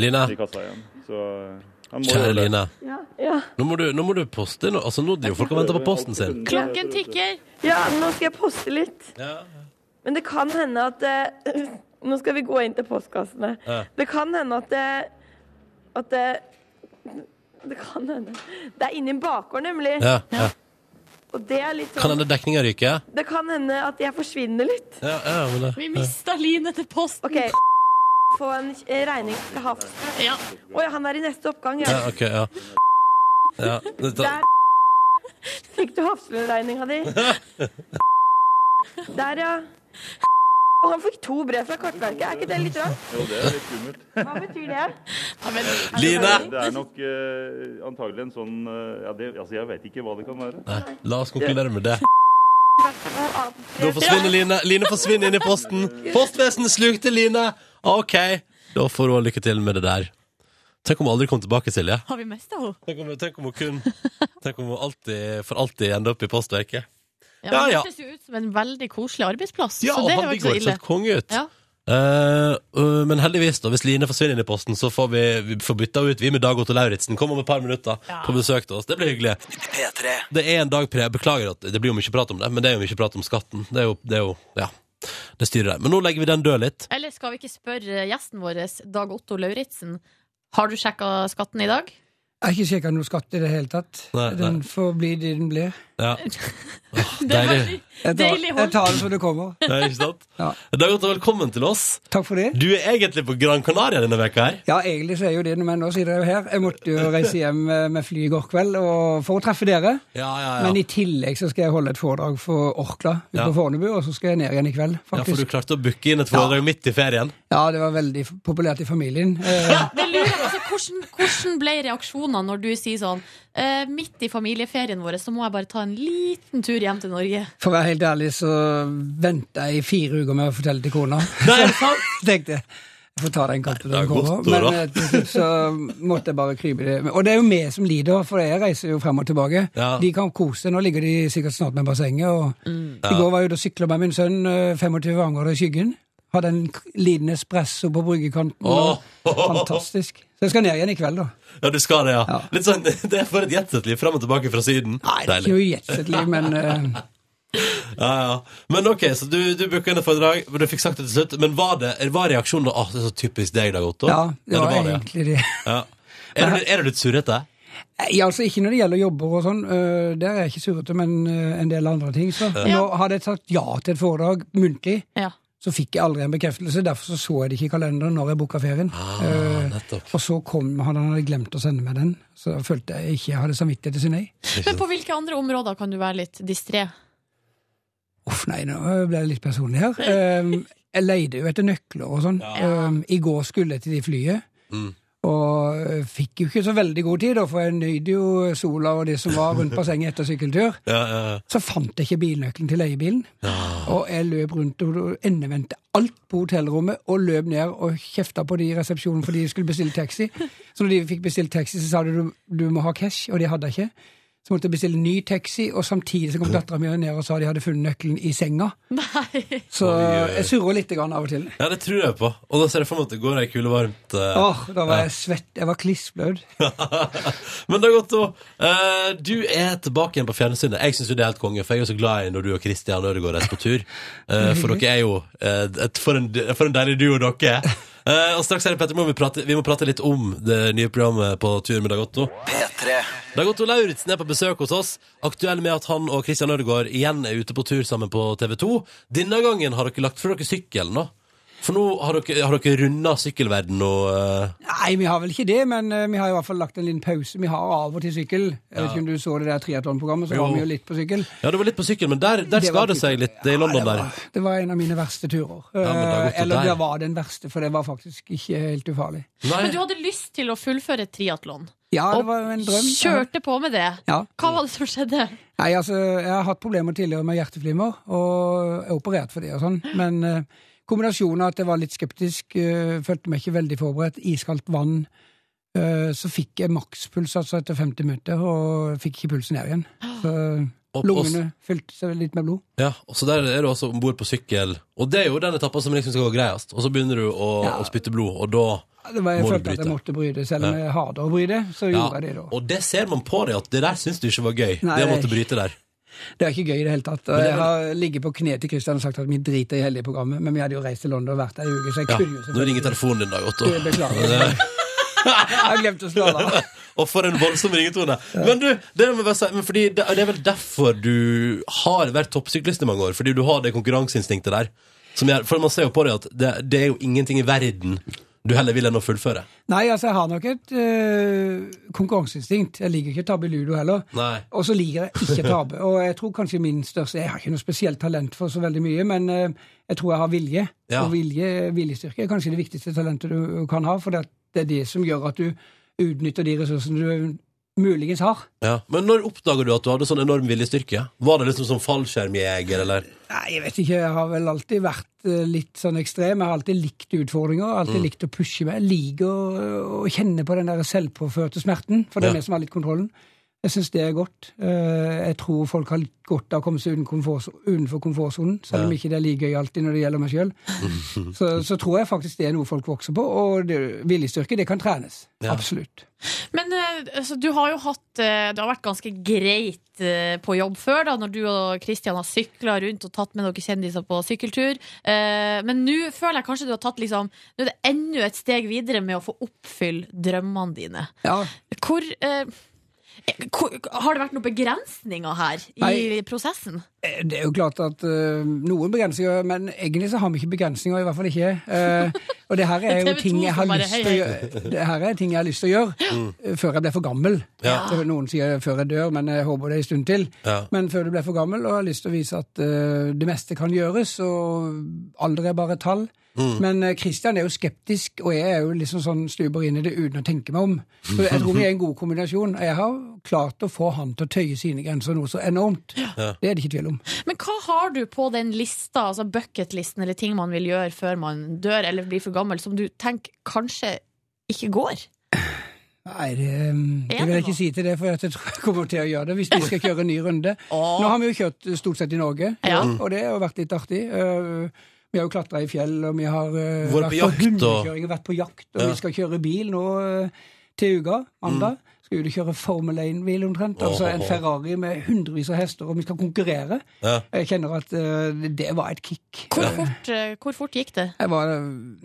Speaker 2: Line.
Speaker 9: i kassa igjen. Så eh, han må
Speaker 2: Kjære
Speaker 9: gjøre det.
Speaker 2: Line.
Speaker 4: Ja.
Speaker 2: Nå må du, nå må du poste. Nå, altså, nå driver folk og venter på posten sin.
Speaker 3: Klokken tikker.
Speaker 4: ja, nå skal jeg poste litt. Men det kan hende at eh, Nå skal vi gå inn til postkassene.
Speaker 2: Ja.
Speaker 4: Det kan hende at eh, At det Det kan hende. Det er inni en bakgård, nemlig.
Speaker 2: Ja, ja.
Speaker 4: Og det er litt
Speaker 2: Kan
Speaker 4: sånn
Speaker 2: hende dekninga ryker.
Speaker 4: Det kan hende at jeg forsvinner litt.
Speaker 2: Ja, ja, men det.
Speaker 3: Vi mista Line til posten.
Speaker 4: OK. Få en eh, regning fra Havs.
Speaker 3: Ja.
Speaker 4: Å ja, han er i neste oppgang, ja.
Speaker 2: Ja, ok, ja. ja. dette-
Speaker 4: Der fikk du Hafslund-regninga di. Der, ja. Og han fikk to brev fra Kartverket. Er ikke det litt rart?
Speaker 9: Jo, det er litt skummelt.
Speaker 4: Hva betyr det?
Speaker 3: Ja, men,
Speaker 2: Line!
Speaker 9: Det er nok eh, antagelig en sånn eh, ja, det, Altså, jeg vet ikke hva det kan være.
Speaker 2: Nei, la oss konkludere med det.
Speaker 4: Og annet
Speaker 2: Da forsvinner Line. Line forsvinner inn i posten. Postvesenet slukte Line. OK. Da får hun ha lykke til med det der. Tenk om hun aldri kom tilbake, Silje.
Speaker 3: har vi mista henne?
Speaker 2: Tenk om, tenk om hun kun Tenk om hun alltid, for alltid ender opp i postverket.
Speaker 3: Ja,
Speaker 2: Ja,
Speaker 3: men
Speaker 2: ja.
Speaker 3: Det høres jo ut som en veldig koselig arbeidsplass.
Speaker 2: Ja,
Speaker 3: så
Speaker 2: og
Speaker 3: det
Speaker 2: han
Speaker 3: er jo
Speaker 2: Viggo
Speaker 3: ikke så
Speaker 2: høres
Speaker 3: ille.
Speaker 2: helt konge ut.
Speaker 3: Ja.
Speaker 2: Eh, øh, men heldigvis, da hvis Line forsvinner inn i posten, så får vi, vi får bytta ut vi med Dag Otto Lauritzen. Kom om et par minutter
Speaker 3: Ja.
Speaker 2: på besøk til oss. Det blir hyggelig. Det er en dag pre. Beklager at det blir jo mye prat om det, men det er jo mye prat om skatten. Det er jo, det er jo Ja. Det styrer der. Men nå legger vi den død litt.
Speaker 3: Eller skal vi ikke spørre gjesten vår, Dag Otto Lauritzen, har du sjekka skatten i dag?
Speaker 8: Jeg har ikke sjekka noe skatt i det hele tatt.
Speaker 2: Nei, nei.
Speaker 8: Den får bli det den blir.
Speaker 2: Ja. Åh,
Speaker 3: Det er
Speaker 2: deilig.
Speaker 3: veldig-
Speaker 8: Jeg tar,
Speaker 3: Deilig
Speaker 8: jeg
Speaker 3: hold.
Speaker 8: tar det som det kommer.
Speaker 2: Ja, ikke sant?
Speaker 8: Ja.
Speaker 2: Dag Otto, velkommen til oss.
Speaker 8: Takk for det.
Speaker 2: Du er egentlig på Gran Canaria denne veka her.
Speaker 8: Ja, egentlig så er jo det men nå sitter jeg jo her. Jeg måtte jo reise hjem eh, med fly i går kveld og, for å treffe dere.
Speaker 2: Ja, ja, ja.
Speaker 8: Men i tillegg så skal jeg holde et foredrag for Orkla ute
Speaker 2: Ja.
Speaker 8: på Fornebu, og så skal jeg ned igjen i kveld,
Speaker 2: ja, for du
Speaker 8: faktisk.
Speaker 2: klarte å booke inn et foredrag midt i ferien.
Speaker 8: Ja, det var veldig f- populært i familien. Eh,
Speaker 3: Det lurer jeg på. Altså, hvordan, hvordan ble reaksjonene når du sier sånn eh, Midt i familieferien vår så må jeg bare ta en liten tur hjem til Norge.
Speaker 8: For å være helt ærlig så venta jeg i fire uker med å fortelle til kona.
Speaker 2: Nei, er det sant?
Speaker 8: Tenkte jeg. Jeg får ta den kampen
Speaker 2: Nei,
Speaker 8: når
Speaker 2: det
Speaker 8: den
Speaker 2: er
Speaker 8: kommer.
Speaker 2: godt,
Speaker 8: Men
Speaker 2: Dora.
Speaker 8: eh, til slutt så måtte jeg bare krype i det. Og det er jo vi som lider, for jeg reiser jo frem og tilbake.
Speaker 2: Ja.
Speaker 8: De kan kose seg. Nå ligger de sikkert snart med bassenget. Og
Speaker 2: Mm.
Speaker 8: I går var jeg ute og sykla med min sønn, eh, 25 vanger i skyggen. Hadde en k- liten espresso på bryggekanten. og
Speaker 2: Åh.
Speaker 8: Fantastisk. Så jeg skal ned igjen i kveld, da.
Speaker 2: Ja, du skal det, ja.
Speaker 8: Ja.
Speaker 2: Litt sånn, Det er for et jetsettliv fram og tilbake fra Syden.
Speaker 8: Nei, det er
Speaker 2: Deilig.
Speaker 8: ikke noe jetsettliv, men eh,
Speaker 2: Ja, ja. Men ok, så du, du booka inn et foredrag, men du fikk sagt det til slutt. Men var, det, var reaksjonen Åh, det er så typisk deg, Dag Otto?
Speaker 8: ja, det var
Speaker 2: det,
Speaker 8: egentlig det.
Speaker 2: ja. Er, du, er du litt surrete?
Speaker 8: Nei, altså Ikke når det gjelder jobber og sånn. øh, Der er jeg ikke surrete, men øh, en del andre ting. Så nå hadde jeg sagt ja til et foredrag muntlig,
Speaker 3: Ja.
Speaker 8: så fikk jeg aldri en bekreftelse. Derfor så, så jeg det ikke i kalenderen når jeg booka ferien. Eh,
Speaker 2: nettopp.
Speaker 8: og så kom han, han hadde glemt å sende meg den. Så jeg følte jeg ikke jeg hadde samvittighet til å si nei.
Speaker 3: Men på hvilke andre områder kan du være litt distré?
Speaker 8: Uff, nei, nå ble det litt personlig her. Eh, jeg leide jo etter nøkler og sånn. Eh, I går skulle jeg til de flyet. Og eh, fikk jo ikke så veldig god tid, da, for jeg nøyd jo sola og det som var rundt bassenget etter sykkeltur.
Speaker 2: Ja, ja, ja.
Speaker 8: Så fant jeg ikke bilnøkkelen til leiebilen. Og jeg løp rundt og endevendte alt på hotellrommet og løp ned og kjefta på de i resepsjonen fordi de skulle bestille taxi. Så når de fikk bestilt taxi, så sa de du, du må ha cash, og de hadde jeg ikke. Så måtte jeg bestille ny taxi, og samtidig så kom dattera mi ned og sa de hadde funnet nøkkelen i senga.
Speaker 3: Nei.
Speaker 8: Så eh,
Speaker 2: Oi, oi.
Speaker 8: jeg surrer litt grann av og til.
Speaker 2: Ja, det tror jeg på. Og da ser jeg for meg at det går ei kule varmt. eh.
Speaker 8: Åh, Da var jeg svett. Jeg var klissblød.
Speaker 2: Men det er godt, da. Eh, du er tilbake igjen på fjernsynet. Jeg syns jo det er helt konge, for jeg er så glad i når du og Christian Ødegaard reiser på tur. Eh, for dere er jo eh, et, for, en, for en deilig duo dere er. Eh, og straks er det Petter Moe, vi, prater- vi må prate litt om det nye programmet på tur med Dag Otto. Dag Otto Lauritzen er på besøk hos oss, aktuell med at han og Christian Ødegaard igjen er ute på tur sammen på TV 2. Denne gangen har dere lagt fra dere sykkelen, da. For nå har dere, har dere runda sykkelverden og eh,
Speaker 8: Nei, vi har vel ikke det, men eh, vi har i hvert fall lagt en liten pause. Vi har av og til sykkel. Jeg vet ikke om du så det der triatlonprogrammet, så
Speaker 2: Jo.
Speaker 8: var vi jo litt på sykkel.
Speaker 2: Ja, det var litt på sykkel, men der, der
Speaker 8: Det
Speaker 2: skar
Speaker 8: var
Speaker 2: det seg litt. Det er i London der.
Speaker 8: Det var en av mine verste turer.
Speaker 2: men det har gått
Speaker 8: Eh, Eller
Speaker 2: der.
Speaker 8: det var den verste, for det var faktisk ikke helt ufarlig.
Speaker 2: Nei.
Speaker 3: Men du hadde lyst til å fullføre triatlon.
Speaker 8: Ja,
Speaker 3: Og
Speaker 8: det var en drøm.
Speaker 3: Kjørte på med det.
Speaker 8: Ja.
Speaker 3: Hva var det som skjedde?
Speaker 8: Nei, altså, jeg har hatt problemer tidligere med hjerteflimmer, og jeg er operert for det og sånn, men eh, kombinasjonen av at jeg var litt skeptisk, eh, følte meg ikke veldig forberedt, iskaldt vann, eh, så fikk jeg makspuls altså etter 50 minutter, og fikk ikke pulsen ned igjen. Så
Speaker 2: Og-
Speaker 8: lungene fylte seg litt med blod.
Speaker 2: Ja, og så der er du også om bord på sykkel. Og det er jo den etappen som liksom skal gå greiest. Og så begynner du å,
Speaker 8: Ja.
Speaker 2: å spytte blod, og da
Speaker 8: Det var, jeg
Speaker 2: Må
Speaker 8: følte
Speaker 2: du
Speaker 8: at
Speaker 2: bryte?
Speaker 8: jeg måtte bry det, selv om jeg hater å bry det, så
Speaker 2: ja.
Speaker 8: gjorde jeg det da.
Speaker 2: Og det ser man på deg, at det der syns du ikke var gøy.
Speaker 8: Nei,
Speaker 2: det å
Speaker 8: det
Speaker 2: måtte
Speaker 8: er
Speaker 2: bryte der.
Speaker 8: Det er ikke gøy i det hele tatt. Og
Speaker 2: Men det er
Speaker 8: jeg har ligget på kne til Kristian og sagt at vi driter i hele det programmet, men vi hadde jo reist til London og vært der i uke, så jeg
Speaker 2: Ja.
Speaker 8: kunne jo
Speaker 2: Nå ringer telefonen din, Dag Otto.
Speaker 8: Det beklager jeg. Jeg har glemt å slå av.
Speaker 2: og for en voldsom ringetone. Men du, det må jeg bare si, men fordi det, det er vel derfor du har vært toppsyklist i mange år. Fordi du har det konkurranseinstinktet der. Som gjør, for man ser jo på deg at det, det er jo ingenting i verden du heller vil enn å fullføre.
Speaker 8: Nei, altså, jeg har nok et øh, konkurranseinstinkt. Jeg liker ikke å tape i ludo heller.
Speaker 2: Nei.
Speaker 8: Og så liker jeg ikke å tape. Og jeg tror kanskje min største Jeg har ikke noe spesielt talent for så veldig mye, men øh, jeg tror jeg har vilje.
Speaker 2: Ja.
Speaker 8: Og vilje, viljestyrke er kanskje det viktigste talentet du kan ha, for det, det er det som gjør at du utnytter de ressursene du muligens har.
Speaker 2: Ja. Men når oppdaga du at du hadde sånn enorm viljestyrke? Var det liksom som fallskjermjeger, eller?
Speaker 8: Nei, jeg vet ikke. Jeg har vel alltid vært eh, litt sånn ekstrem. Jeg har alltid likt utfordringer, alltid
Speaker 2: Mm.
Speaker 8: likt å pushe meg. Jeg liker å, å kjenne på den der selvpåførte smerten, for det
Speaker 2: Ja.
Speaker 8: er det som har litt kontrollen. Jeg syns det er godt. Eh, Jeg tror folk har litt godt av å komme seg uten komfort- utenfor komfortsonen, selv om ikke det er like gøy alltid når det gjelder meg sjøl.
Speaker 2: Mm.
Speaker 8: Så, så tror jeg faktisk det er noe folk vokser på, og det- viljestyrke, det kan trenes.
Speaker 2: Ja.
Speaker 8: Absolutt.
Speaker 3: Men eh, altså, du har jo hatt eh, Det har vært ganske greit eh, på jobb før, da, når du og Kristian har sykla rundt og tatt med dere kjendiser på sykkeltur. Eh, Men nå føler jeg kanskje du har tatt liksom Nå er det enda et steg videre med å få oppfylle drømmene dine.
Speaker 8: Ja,
Speaker 3: Hvor, eh, hvor Har det vært noen begrensninger her i
Speaker 8: Nei.
Speaker 3: prosessen?
Speaker 8: Eh, Det er jo klart at eh, noen begrensninger, men egentlig så har vi ikke begrensninger, i hvert fall ikke. Eh, og det her er jo
Speaker 3: TV2
Speaker 8: ting jeg har
Speaker 3: som bare,
Speaker 8: lyst
Speaker 3: hei,
Speaker 8: til å gjøre, det her er ting jeg har lyst til å gjøre
Speaker 2: Mm.
Speaker 8: eh, før jeg blir for gammel.
Speaker 2: Ja.
Speaker 8: Så Noen sier før jeg dør, men jeg håper det er en stund til.
Speaker 2: Ja.
Speaker 8: Men før du blir for gammel, og jeg har lyst til å vise at eh, det meste kan gjøres, og alder er bare et tall. Men eh, Christian er jo skeptisk, og jeg er jo liksom sånn stuber inn i det uten å tenke meg om. Så jeg tror vi er en god kombinasjon. Jeg har klart å få han til å tøye sine grenser noe så enormt. Det er det ikke tvil om.
Speaker 3: Men hva har du på den lista, altså bucketlisten, eller ting man vil gjøre før man dør eller blir for gammel, som du tenker kanskje ikke går?
Speaker 8: Nei, det, mm, det vil jeg ikke si til det, for at jeg tror jeg kommer til å gjøre det hvis vi skal kjøre en ny runde.
Speaker 3: Åh.
Speaker 8: Nå har vi jo kjørt eh, stort sett i Norge,
Speaker 3: Ja.
Speaker 8: og det har jo vært litt artig. Eh, Vi har jo klatra i fjell, og vi har eh,
Speaker 2: Vært på
Speaker 8: vært,
Speaker 2: jakt,
Speaker 8: på
Speaker 2: og-
Speaker 8: hundekjøring og vært på jakt, og
Speaker 2: Ja. Mm.
Speaker 8: vi skal kjøre bil nå eh, til uka, mandag. Skal ut og kjøre Formel 1-bil omtrent, altså en
Speaker 2: Åh.
Speaker 8: Ferrari med hundrevis av hester, og vi skal konkurrere.
Speaker 2: Ja.
Speaker 8: Jeg kjenner at eh, det var et kick.
Speaker 3: Hvor fort, eh, hvor fort gikk det?
Speaker 8: Jeg var,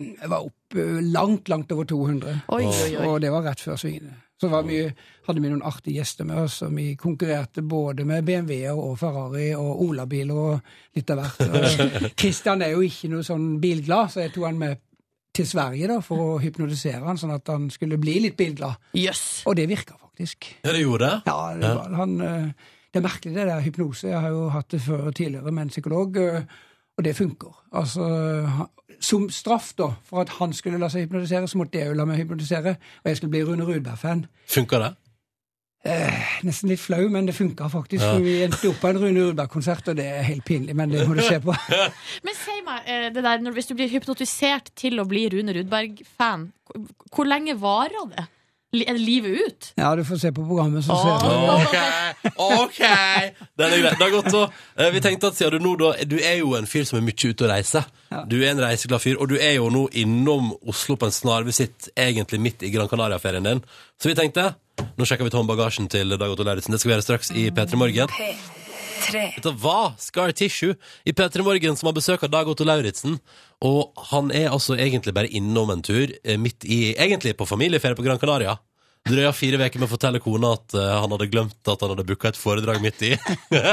Speaker 8: jeg var opp eh, langt, langt over 200.
Speaker 3: Oi, oi, oi.
Speaker 8: Og det var rett før svingene. Så var vi, hadde vi noen artige gjester med oss, og vi konkurrerte både med BMW-er og Ferrari og Olabiler og litt av hvert. Og Christian er jo ikke noe sånn bilglad, så jeg tok han med til Sverige da, for å hypnotisere han, sånn at han skulle bli litt bilglad.
Speaker 3: Jøss.
Speaker 8: Og det virka faktisk.
Speaker 2: Ja, det gjorde det.
Speaker 8: Ja, det, var, han, eh, det er merkelig det der hypnose. Jeg har jo hatt det før og tidligere med en psykolog, eh, og det funker. Altså, han- som straff da, for at han skulle la seg hypnotisere, så måtte jeg jo la meg hypnotisere, og jeg skulle bli Rune Rudberg-fan. Eh,
Speaker 2: Funka det?
Speaker 8: Nesten litt flau, men det funka faktisk.
Speaker 2: Ja.
Speaker 8: for Vi endte opp på en Rune Rudberg-konsert, og det er helt pinlig, men det må du se på.
Speaker 3: Men si meg, eh, det der, når, hvis du blir hypnotisert til å bli Rune Rudberg-fan, hvor- hvor lenge varer det? Li- Er det livet ut?
Speaker 8: Ja, du får se på programmet, så ser du.
Speaker 2: Ok, ok Den er grei. Det er godt så eh, Vi tenkte at siden du nå da Du er jo en fyr som er mye ute og reiser
Speaker 8: Ja.
Speaker 2: Du er en reiseglad fyr Og du er jo nå innom Oslo på en snarvisitt Egentlig midt i Gran Canaria-ferien din Så vi tenkte Nå sjekker vi tom bagasjen til Dag Otto Lauritsen Det skal vi gjøre straks i P3 Morgen Dette var Scar Tissue i P3 Morgen som har besøk av Dag Otto Lauritsen. Og han er altså egentlig bare innom en tur eh, midt i Egentlig på familieferie på Gran Canaria. Drøya fire uker med å fortelle kona at eh, han hadde glemt at han hadde booka et foredrag midt i.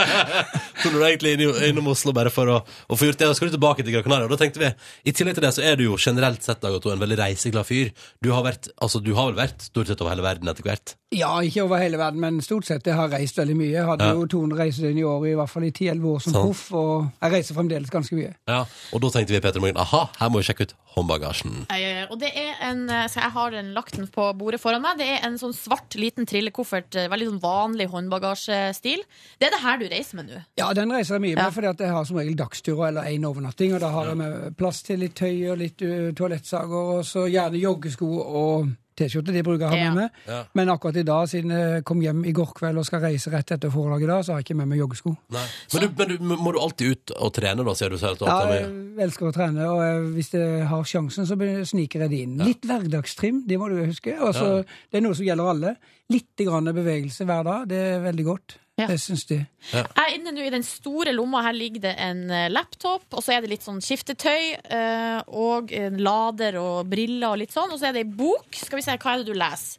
Speaker 2: så nå er du egentlig innom, innom Oslo bare for å, å få gjort det. Og så skal du tilbake til Gran Canaria. Og da tenkte vi, i tillegg til det så er du jo generelt sett Dag Otto, en veldig reiseglad fyr. Du har, vært, altså, du har vel vært stort sett over hele verden etter hvert.
Speaker 8: Ja, ikke over hele verden, men stort sett. Jeg har reist veldig mye. Jeg hadde
Speaker 2: Ja. Sånn.
Speaker 8: jo 200 reisedøgn i året i hvert fall i 10-11 år som
Speaker 2: Sant.
Speaker 8: proff, og jeg reiser fremdeles ganske mye.
Speaker 2: Ja. Og da tenkte vi Peter Morgen, aha, her må vi sjekke ut håndbagasjen.
Speaker 3: Eh, Og det er en, eh, så jeg har den lagt den på bordet foran meg. Det er en sånn svart liten trillekoffert. eh, Veldig sånn vanlig håndbagasjestil. Det er det her du reiser med nå.
Speaker 8: Ja, den reiser jeg mye med,
Speaker 3: Ja.
Speaker 8: fordi at jeg har som regel dagsturer eller én overnatting, og da har jeg med plass til litt tøy og litt uh, toalettsager, og så gjerne joggesko og T-skjorte, det bruker jeg å ha med meg.
Speaker 2: Ja.
Speaker 8: Men akkurat i dag, siden jeg kom hjem i går kveld og skal reise rett etter forlaget i dag, så har jeg ikke med meg joggesko.
Speaker 2: Men, du, men du, må du alltid ut og trene, da, sier du selv? at du
Speaker 8: Ja,
Speaker 2: alltid er
Speaker 8: jeg
Speaker 2: med?
Speaker 8: elsker å trene, og jeg, hvis jeg har sjansen, så be- sniker jeg det inn. Litt hverdagstrim, det må du huske. og så- Det er noe som gjelder alle. Litt grann bevegelse hver dag, det er veldig godt.
Speaker 3: Ja.
Speaker 8: Jeg syns det.
Speaker 3: Jeg er inne nå i den store lomma. Her ligger det en eh, laptop, og så er det litt sånn skiftetøy, eh, og en lader og briller og litt sånn. Og så er det ei bok. Skal vi se, hva er det du leser?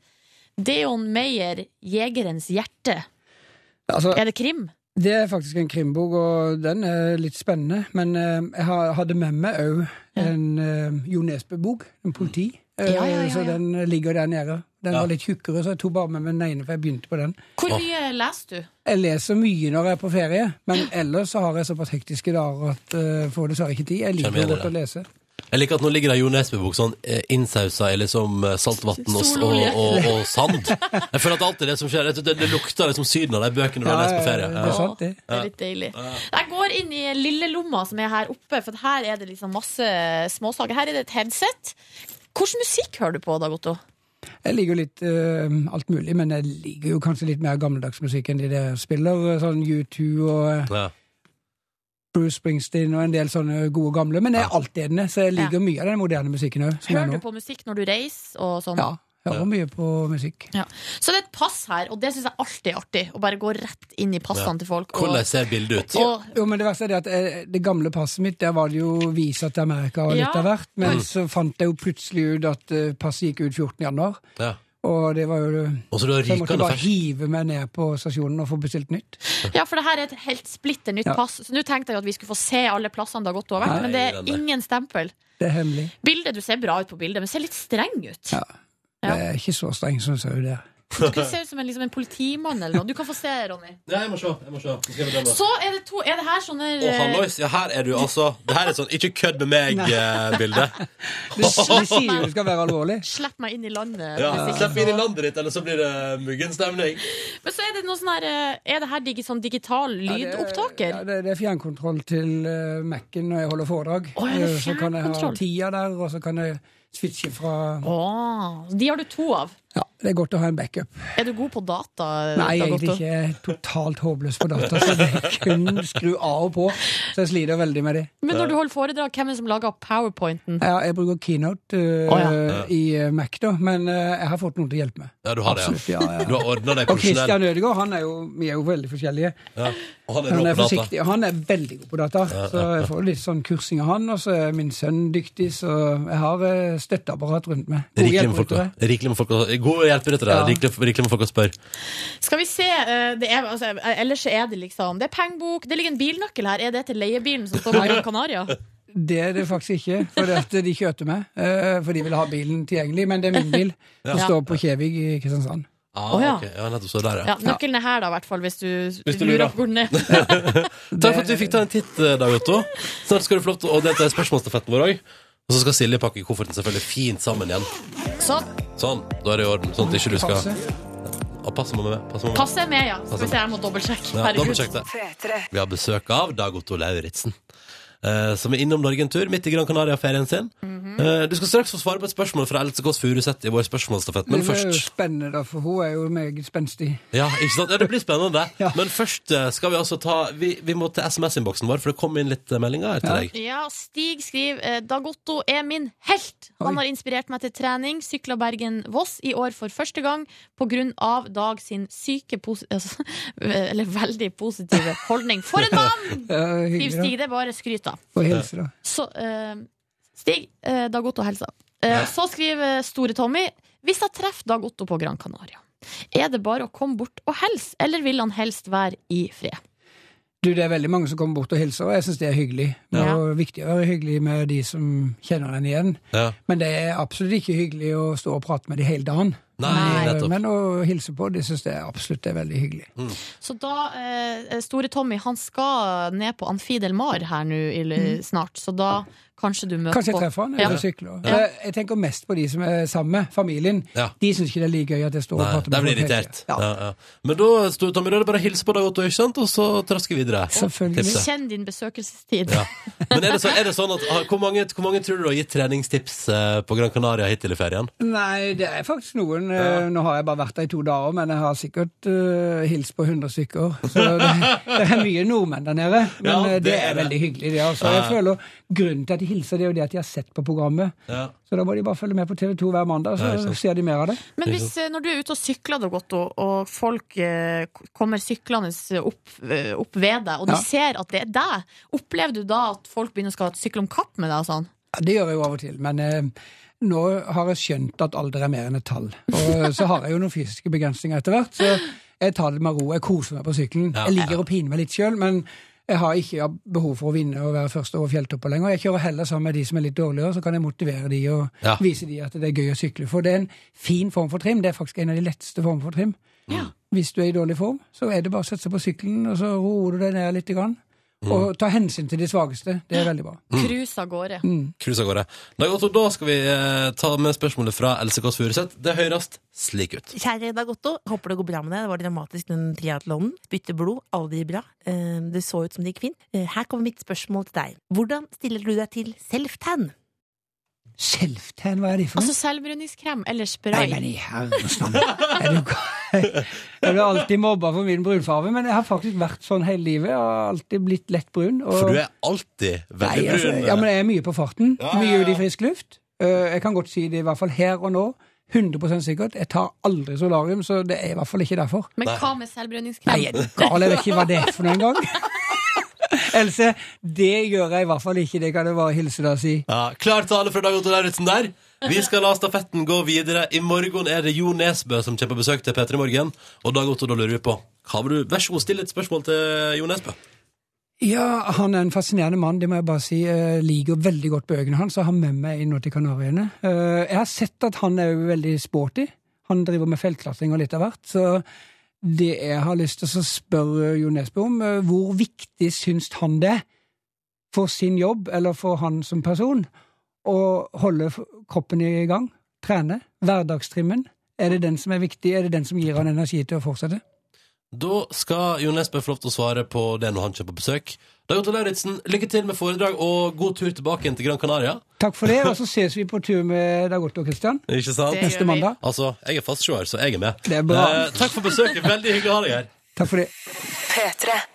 Speaker 3: Deon Meyer, 'Jegerens hjerte'.
Speaker 8: Altså,
Speaker 3: Er det krim?
Speaker 8: Det er faktisk en krimbok, og den er litt spennende. Men eh, jeg har- hadde med meg òg en eh, Jo Nesbø-bok, en politi. Eh,
Speaker 3: Ja, ja, ja,
Speaker 8: Så
Speaker 3: ja.
Speaker 8: den ligger der nede. Den
Speaker 2: Ja.
Speaker 8: var litt tjukkere, så jeg tok bare med meg den ene, for jeg begynte på den.
Speaker 3: Hvor
Speaker 2: Åh.
Speaker 3: mye leser du?
Speaker 8: Jeg leser mye når jeg er på ferie, men ellers så har jeg såpass hektiske dager at eh, får dessverre ikke tid. Jeg
Speaker 2: Hvem er
Speaker 8: liker
Speaker 2: det
Speaker 8: godt å
Speaker 2: da?
Speaker 8: lese.
Speaker 2: Jeg liker at nå ligger det en Jo Nesbø-bok sånn eh, innsausa i liksom eh, saltvann og, og,
Speaker 3: Sololje.
Speaker 2: og, og sand. Jeg føler at det alltid er det som skjer. Jeg synes Det, det lukter liksom Syden av de bøkene du har lest på ferie.
Speaker 8: Det er
Speaker 2: Ja.
Speaker 8: sant, det.
Speaker 3: Det er litt deilig. Jeg går inn i lillelomma som er her oppe, for her er det liksom masse småsaker. Her er det et headset. Hvordan musikk hører du på, Dag Otto?
Speaker 8: Jeg liker jo litt eh, alt mulig, men jeg liker jo kanskje litt mer gammeldags musikk enn de der spiller. Sånn U2 og eh,
Speaker 2: Ja.
Speaker 8: Bruce Springsteen og en del sånne gode gamle, men jeg er altedende, så jeg liker mye av den moderne musikken òg.
Speaker 3: Hører du på musikk når du reiser og sånn?
Speaker 8: Ja, hører mye på musikk.
Speaker 3: Ja. Så det er et pass her, og det syns jeg alltid er artig. Å bare gå rett inn i passene
Speaker 2: Ja.
Speaker 3: til folk. Og,
Speaker 2: Hvordan ser bildet ut?
Speaker 3: og,
Speaker 8: Jo, men Det verste er det at eh, det gamle passet mitt, der var det jo visa til Amerika og litt
Speaker 3: Ja. Mm.
Speaker 8: av hvert. Men så fant jeg jo plutselig ut at eh, passet gikk ut 14. januar,
Speaker 2: Ja.
Speaker 8: og det var jo
Speaker 2: Og så du har
Speaker 8: Så jeg måtte
Speaker 2: rykende
Speaker 8: bare
Speaker 2: fersk.
Speaker 8: hive meg ned på stasjonen og få bestilt nytt.
Speaker 3: ja, for det her er et helt splitter nytt
Speaker 8: Ja.
Speaker 3: pass. Så nå tenkte jeg jo at vi skulle få se alle plassene Dag Otto har
Speaker 2: Nei,
Speaker 3: vært, men det
Speaker 2: den
Speaker 3: er
Speaker 2: der.
Speaker 3: ingen stempel.
Speaker 8: Det er hemmelig.
Speaker 3: Bildet, Du ser bra ut på bildet, men ser litt streng ut.
Speaker 8: Ja.
Speaker 3: Ja.
Speaker 8: Jeg er ikke så streng som jeg sa jo der.
Speaker 3: Du ser ut som en, liksom en politimann eller noe. Du kan få se, Ronny.
Speaker 2: Ja, jeg må se. Jeg må se. Nå skal jeg bedømme.
Speaker 3: Så er det to Er det her sånne eh,
Speaker 2: Å, hallois. Ja, her er du altså. Det her er sånn ikke kødd med eh, meg-bilde.
Speaker 8: De, de sier jo det skal være alvorlig.
Speaker 3: Slipp meg inn i landet.
Speaker 2: Ja.
Speaker 3: musikk.
Speaker 2: Slipp inn i landet ditt, eller så blir det muggen stemning.
Speaker 3: Men så er det noe sånn her eh, Er det her digi, sånn digital
Speaker 8: Ja, det er-
Speaker 3: lydopptaker?
Speaker 8: Ja, det, det er fjernkontroll til eh, Mac-en når jeg holder foredrag.
Speaker 3: Å, ja, det er
Speaker 8: Eh, så kan jeg ha
Speaker 3: fjernkontroll.
Speaker 8: tida der, og så kan jeg switche fra
Speaker 3: Åh, de har du to av. Eh,
Speaker 8: Ja, det er godt å ha en backup.
Speaker 3: Er du god på data?
Speaker 8: Nei,
Speaker 3: Dag
Speaker 8: egentlig
Speaker 3: Otto?
Speaker 8: ikke. Jeg er totalt håpløs på data, så det er kun skru av og på. Så jeg sliter veldig med det.
Speaker 3: Men når du holder foredrag, hvem er det som lager powerpointen?
Speaker 8: Ja, jeg bruker keynote eh,
Speaker 3: Å, ja.
Speaker 8: i eh, Mac, da, men eh, jeg har fått noen til å hjelpe meg.
Speaker 2: Ja, du har det,
Speaker 8: Absolutt,
Speaker 2: ja.
Speaker 8: ja, ja.
Speaker 2: Du har ordna deg
Speaker 8: Og
Speaker 2: profesjonell.
Speaker 8: Christian Ødegaard, han er jo, vi er jo veldig forskjellige.
Speaker 2: Ja. Og han
Speaker 8: Han
Speaker 2: er rå
Speaker 8: er
Speaker 2: på data.
Speaker 8: forsiktig, og han er veldig god på data. Så jeg får litt sånn kursing av han, og så er min sønn dyktig, så jeg har eh, støtteapparat rundt meg. Gode
Speaker 2: Rikelig med folk,
Speaker 8: hjelpere.
Speaker 2: rikelig med folk å- God hjelper etter deg.
Speaker 8: Ja.
Speaker 2: Rikelig, rikelig med folk å spørre.
Speaker 3: Skal vi se eh, det er, altså, eh, Ellers er det liksom Det er pengebok, det ligger en bilnøkkel her. Er det til leiebilen som står på Gran Canaria?
Speaker 8: Det er det faktisk ikke, for det at de kjørte meg. eh, For de ville ha bilen tilgjengelig, men det er min bil. Som
Speaker 3: Ja.
Speaker 8: står på Kjevig i Kristiansand.
Speaker 2: Ah,
Speaker 3: Å, ja.
Speaker 2: ok. ja, nettopp så der, ja.
Speaker 3: Ja, nøkkelen er her, da, i hvert fall, hvis du,
Speaker 2: Hvis du lurer.
Speaker 3: lurer på hvor den er.
Speaker 2: Takk for at vi fikk ta en titt, eh, Dag Otto. Snart skal du få lov til å delta i spørsmålsstafetten vår òg. Og så skal Silje pakke kofferten selvfølgelig fint sammen igjen.
Speaker 3: Sånn.
Speaker 2: Sånn, da er det i orden. Sånn at ikke du skal ah, Pass mamma med. Pass mamma med.
Speaker 3: Passer med, Altså, ja. Skal vi se, jeg må dobbeltsjekke.
Speaker 2: Ja,
Speaker 3: Herregud.
Speaker 2: dobbeltsjekk det. Vi har besøk av Dag Otto Lauritzen. eh, som er innom Norge en tur midt i Gran Canaria-ferien sin. Eh, du skal straks få svare på et spørsmål fra Else Kåss Furuseth i vår spørsmålsstafett, men
Speaker 8: det er jo
Speaker 2: først
Speaker 8: spennende, da, for hun er jo meget spenstig.
Speaker 2: ja, ikke sant? ja, Det blir spennende.
Speaker 8: Ja.
Speaker 2: Men først eh, skal vi altså ta Vi, vi må til SMS-innboksen vår, for det kom inn litt eh, meldinger her til
Speaker 8: Ja.
Speaker 2: deg.
Speaker 3: Ja, Stig skriver eh, Dagotto er min helt. Han
Speaker 8: Oi.
Speaker 3: har inspirert meg til trening. Sykla Bergen-Voss i år for første gang pga. Dag sin syke posi altså, Eller veldig positive holdning. For en
Speaker 2: Mm.
Speaker 3: mann!
Speaker 8: Ja,
Speaker 3: Skriver
Speaker 8: hyggelig
Speaker 3: Stig. Det er bare skryt, da.
Speaker 8: da. Og hilse, da.
Speaker 3: Så, eh, Stig, eh, Dag Otto helsa. Eh, Så skriver Store Tommy Hvis jeg treffer Dag Otto på Gran Canaria, er det bare å komme bort og helse, eller vil han helst være i fred?
Speaker 8: Du, det er veldig mange som kommer bort og hilser, og jeg syns det er hyggelig. Det er
Speaker 3: Ja.
Speaker 8: jo viktig å være hyggelig med de som kjenner en igjen.
Speaker 2: Ja.
Speaker 8: Men det er absolutt ikke hyggelig å stå og prate med de hele dagen.
Speaker 2: Nei,
Speaker 8: Men- eh,
Speaker 2: nettopp. Mm.
Speaker 8: Men å hilse på, de syns jeg absolutt er veldig hyggelig.
Speaker 3: Så da, eh, Store Tommy, han skal ned på Amfi del Mar her nå i l- snart, så da kanskje du
Speaker 8: Mm.
Speaker 3: møter
Speaker 8: Kanskje jeg
Speaker 3: på
Speaker 8: treffer han, eller
Speaker 3: Ja.
Speaker 8: sykler. Eh,
Speaker 3: Ja.
Speaker 8: Jeg- Jeg tenker mest på de som er sammen med familien.
Speaker 2: Ja.
Speaker 8: De syns ikke det er like gøy at jeg står og
Speaker 2: Nei,
Speaker 8: prater med
Speaker 2: der blir
Speaker 8: folk
Speaker 2: jeg
Speaker 8: hele
Speaker 2: irritert.
Speaker 8: tiden.
Speaker 2: Ja.
Speaker 8: Ja.
Speaker 2: Ja, Men da Stor Tommy, da er det bare å hilse på deg, Otto, ikke sant? og så trasker vi videre.
Speaker 8: Selvfølgelig.
Speaker 2: Tipset.
Speaker 3: Kjenn din besøkelsestid.
Speaker 2: Ja. Men er det, så, er det sånn at ah, hvor mange, hvor mange tror du har gitt treningstips eh, på Gran Canaria hittil i ferien?
Speaker 8: Nei, det er faktisk noen. eh, Nå har jeg bare vært der i to dager, men jeg har sikkert eh, hilst på 100 stykker. Så det, det er mye nordmenn der nede. Men
Speaker 2: Ja,
Speaker 8: eh, det,
Speaker 2: det er
Speaker 8: er
Speaker 2: det.
Speaker 8: veldig hyggelig, det. Altså. Jeg føler Grunnen til at de hilser, det er jo det at de har sett på programmet.
Speaker 2: Ja.
Speaker 8: Så da må de bare følge med på TV 2 hver mandag, så
Speaker 2: Ja, ikke sant.
Speaker 8: ser de mer av det.
Speaker 3: Men hvis, eh, når du er ute og sykler, Dag Otto, og folk eh, k- kommer syklende opp, eh, opp ved deg, og du
Speaker 8: Ja.
Speaker 3: ser at det er deg, opplever du da at folk begynner å skal sykle om kapp med deg og sånn?
Speaker 8: Ja, det gjør jeg jo av og til, men eh, nå har jeg skjønt at alder er mer enn et tall. Og eh, så har jeg jo noen fysiske begrensninger etter hvert, så jeg tar det med ro. Jeg koser meg på sykkelen.
Speaker 2: Ja.
Speaker 8: Jeg ligger og piner meg litt sjøl, men jeg har ikke behov for å vinne og være først over fjelltopper lenger. Jeg kjører heller sammen med de som er litt dårligere, så kan jeg motivere de og
Speaker 2: Ja.
Speaker 8: vise de at det er gøy å sykle. For det er en fin form for trim. Det er faktisk en av de letteste former for trim.
Speaker 2: Mm.
Speaker 8: Hvis du er i dårlig form, så er det bare å sette seg på sykkelen, og så roer du deg ned litt. Grann.
Speaker 2: Mm.
Speaker 8: Og ta hensyn til de svakeste. Det er veldig bra. Mm.
Speaker 3: Cruise av gårde.
Speaker 2: Cruise av gårde. Da, Otto, da skal vi eh, ta med spørsmålet fra Else Kåss Furuseth. Det høres slik ut.
Speaker 10: Kjære Dag Otto, håper det går bra med deg. Det var dramatisk den triatlonen. Bytte blod, aldri bra. Eh, Det så ut som det gikk fint. Eh, Her kommer mitt spørsmål til deg. Hvordan stiller du deg til self-tan?
Speaker 8: Self-tan, hva er det for noe?
Speaker 3: Altså selvbruningskrem eller
Speaker 8: Nei,
Speaker 3: spray.
Speaker 8: men i herrens navn. Er du gal? Jeg blir alltid mobba for min brunfarge, men jeg har faktisk vært sånn hele livet. Jeg har alltid blitt lett brun. og-
Speaker 2: For du er alltid veldig
Speaker 8: Nei, altså,
Speaker 2: brun. eh.
Speaker 8: ja, men jeg er mye på farten.
Speaker 2: Ja, ja, ja.
Speaker 8: Mye ute i frisk luft. Eh, Jeg kan godt si det i hvert fall her og nå. 100 sikkert. Jeg tar aldri solarium, så det er i hvert fall ikke derfor.
Speaker 3: Men hva
Speaker 8: Nei,
Speaker 3: med
Speaker 8: er
Speaker 3: selvbruningskrem?
Speaker 8: du gal? Jeg vet ikke hva det er for noe engang. Else, det gjør jeg i hvert fall ikke. Det kan du bare hilse deg og si.
Speaker 2: Ja, klar tale fra Dag Otto Lauritzen der. Vi skal la stafetten gå videre. I morgen er det Jo Nesbø som kommer på besøk til P3 Morgen. Og Dag Otto, da lurer vi på hva vil du Vær så god, still et spørsmål til Jo Nesbø.
Speaker 8: Ja, han er en fascinerende mann, det må jeg bare si. Jeg liker veldig godt bøkene hans, og har med meg inn nå til Kanariøyene. Eh, Jeg har sett at han er jo veldig sporty. Han driver med feltklatring og litt av hvert. Så det jeg har lyst til å spørre Jo Nesbø om, eh, hvor viktig syns han det er for sin jobb, eller for han som person, å holde f- kroppen i gang? Trene? Hverdagstrimmen? Er det den som er viktig? Er det den som gir han energi til å fortsette?
Speaker 2: Da skal Jo Nesbø få lov til å svare på det når han kommer på besøk. Dag Otto Lauritzen, lykke til med foredrag og god tur tilbake igjen til Gran Canaria.
Speaker 8: Takk for det, og så ses vi på tur med Dag Otto og Christian.
Speaker 2: Ikke sant?
Speaker 3: Det
Speaker 8: Neste
Speaker 3: gjør vi.
Speaker 8: mandag.
Speaker 2: Altså, jeg er fastsjåer, så jeg er med.
Speaker 8: Det er bra.
Speaker 2: Eh, takk for besøket. Veldig hyggelig å ha deg her.
Speaker 8: Takk for det.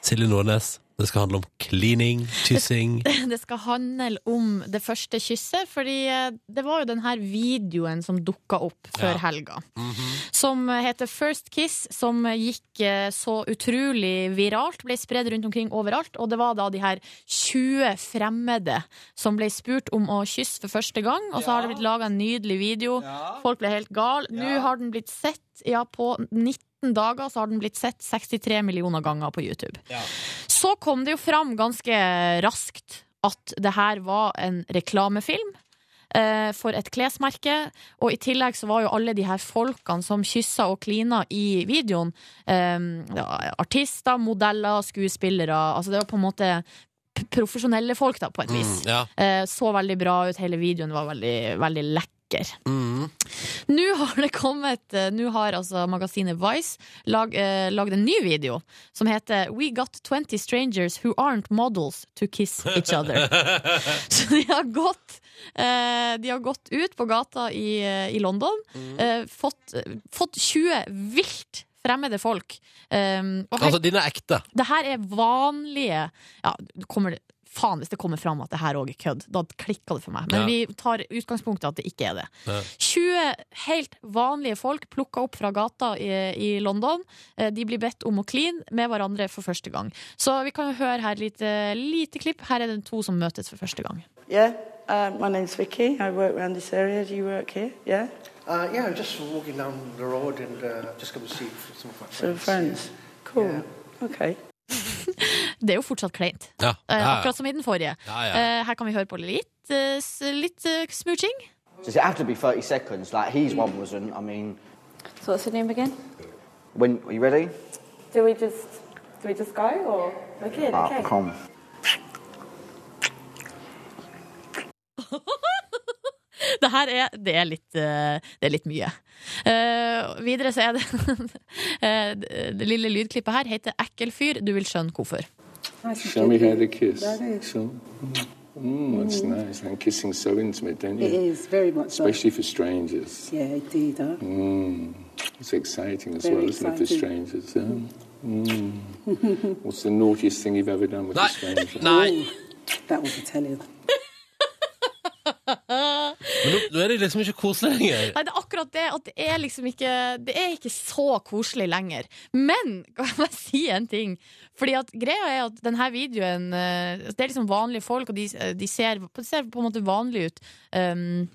Speaker 2: Silje Nordnes, det skal handle om cleaning, kyssing
Speaker 3: Det skal handle om det første kysset, fordi eh, det var jo den her videoen som dukka opp før
Speaker 2: Ja.
Speaker 3: helga. Som heter First Kiss, som gikk eh, så utrolig viralt, ble spredd rundt omkring overalt. Og det var da de her 20 fremmede som ble spurt om å kysse for første gang, og så har det blitt laga en nydelig video. Folk ble helt gal. Nå har den blitt sett, ja, på 19 dager så har den blitt sett 63 millioner ganger på YouTube. Så kom det jo fram ganske raskt at det her var en reklamefilm eh, for et klesmerke. Og i tillegg så var jo alle de her folkene som kyssa og klina i videoen, eh, ja, artister, modeller, skuespillere Altså det var på en måte p- profesjonelle folk, da, på et vis.
Speaker 2: Ja,
Speaker 3: Eh, så veldig bra ut, hele videoen var veldig, veldig lekker. uker. Nå har det kommet eh, Nå har altså magasinet Vice lag, eh, lagd en ny video som heter We got 20 strangers who aren't models to kiss each other. Så de har gått eh, De har gått ut på gata i, eh, i London,
Speaker 2: Mm.
Speaker 3: eh, fått, fått 20 vilt fremmede folk. Eh, og her,
Speaker 2: Altså, dine er ekte.
Speaker 3: det her er vanlige ja, det kommer, Faen hvis det kommer fram at det her òg er kødd. Da klikker det for meg. Men
Speaker 2: Ja.
Speaker 3: vi tar utgangspunktet at det ikke er det.
Speaker 2: Ja.
Speaker 3: 20 helt vanlige folk plukka opp fra gata i, i London. Eh, De blir bedt om å kline med hverandre for første gang. Så vi kan jo høre her et lite, lite klipp. Her er det to som møtes for første gang.
Speaker 11: Yeah, uh, my name's Vicky. I work around this area. Do you work here? Yeah?
Speaker 12: Uh, yeah, I was just walking down the road and uh, just come to see some of my friends.
Speaker 11: Some friends. Cool. Okay.
Speaker 3: Det er jo fortsatt kleint.
Speaker 2: Ja.
Speaker 12: Ja,
Speaker 3: Eh,
Speaker 12: ja.
Speaker 3: Akkurat som i den forrige.
Speaker 12: Ja, ja.
Speaker 3: Eh, Her kan vi høre på litt, eh, s- litt eh, smooching.
Speaker 13: Does it have to be 30 seconds? Like, he's one wasn't. I mean,
Speaker 14: So what's your name again?
Speaker 13: when are you ready?
Speaker 14: Do we just do we just go or okay?
Speaker 13: Ah, come.
Speaker 3: Det her er, det er, litt, eh, det er litt mye. Eh, videre så er det eh, Det det lille lydklippet her heter 'Ekkel fyr, du vil skjønne hvorfor'.
Speaker 15: Show me how to kiss.
Speaker 3: Daddy.
Speaker 15: So, mm, that's nice. And kissing's so intimate, don't
Speaker 8: Eh,
Speaker 15: you?
Speaker 16: It is very much so.
Speaker 15: Especially for strangers.
Speaker 16: Yeah, indeed. Huh?
Speaker 15: Mm. It's exciting as
Speaker 16: Very
Speaker 15: well, isn't it, for
Speaker 16: exciting.
Speaker 15: strangers? Huh? Mm. What's the naughtiest thing you've ever done with a stranger?
Speaker 16: Nine. That was Italian.
Speaker 2: Men nå, nå er det liksom ikke koselig lenger.
Speaker 3: Nei, det er akkurat det at det er liksom ikke Det er ikke så koselig lenger. Men kan jeg bare si en ting? Fordi at greia er at denne videoen eh, Det er liksom vanlige folk, og de, de, ser, de ser på en måte vanlige ut. Um,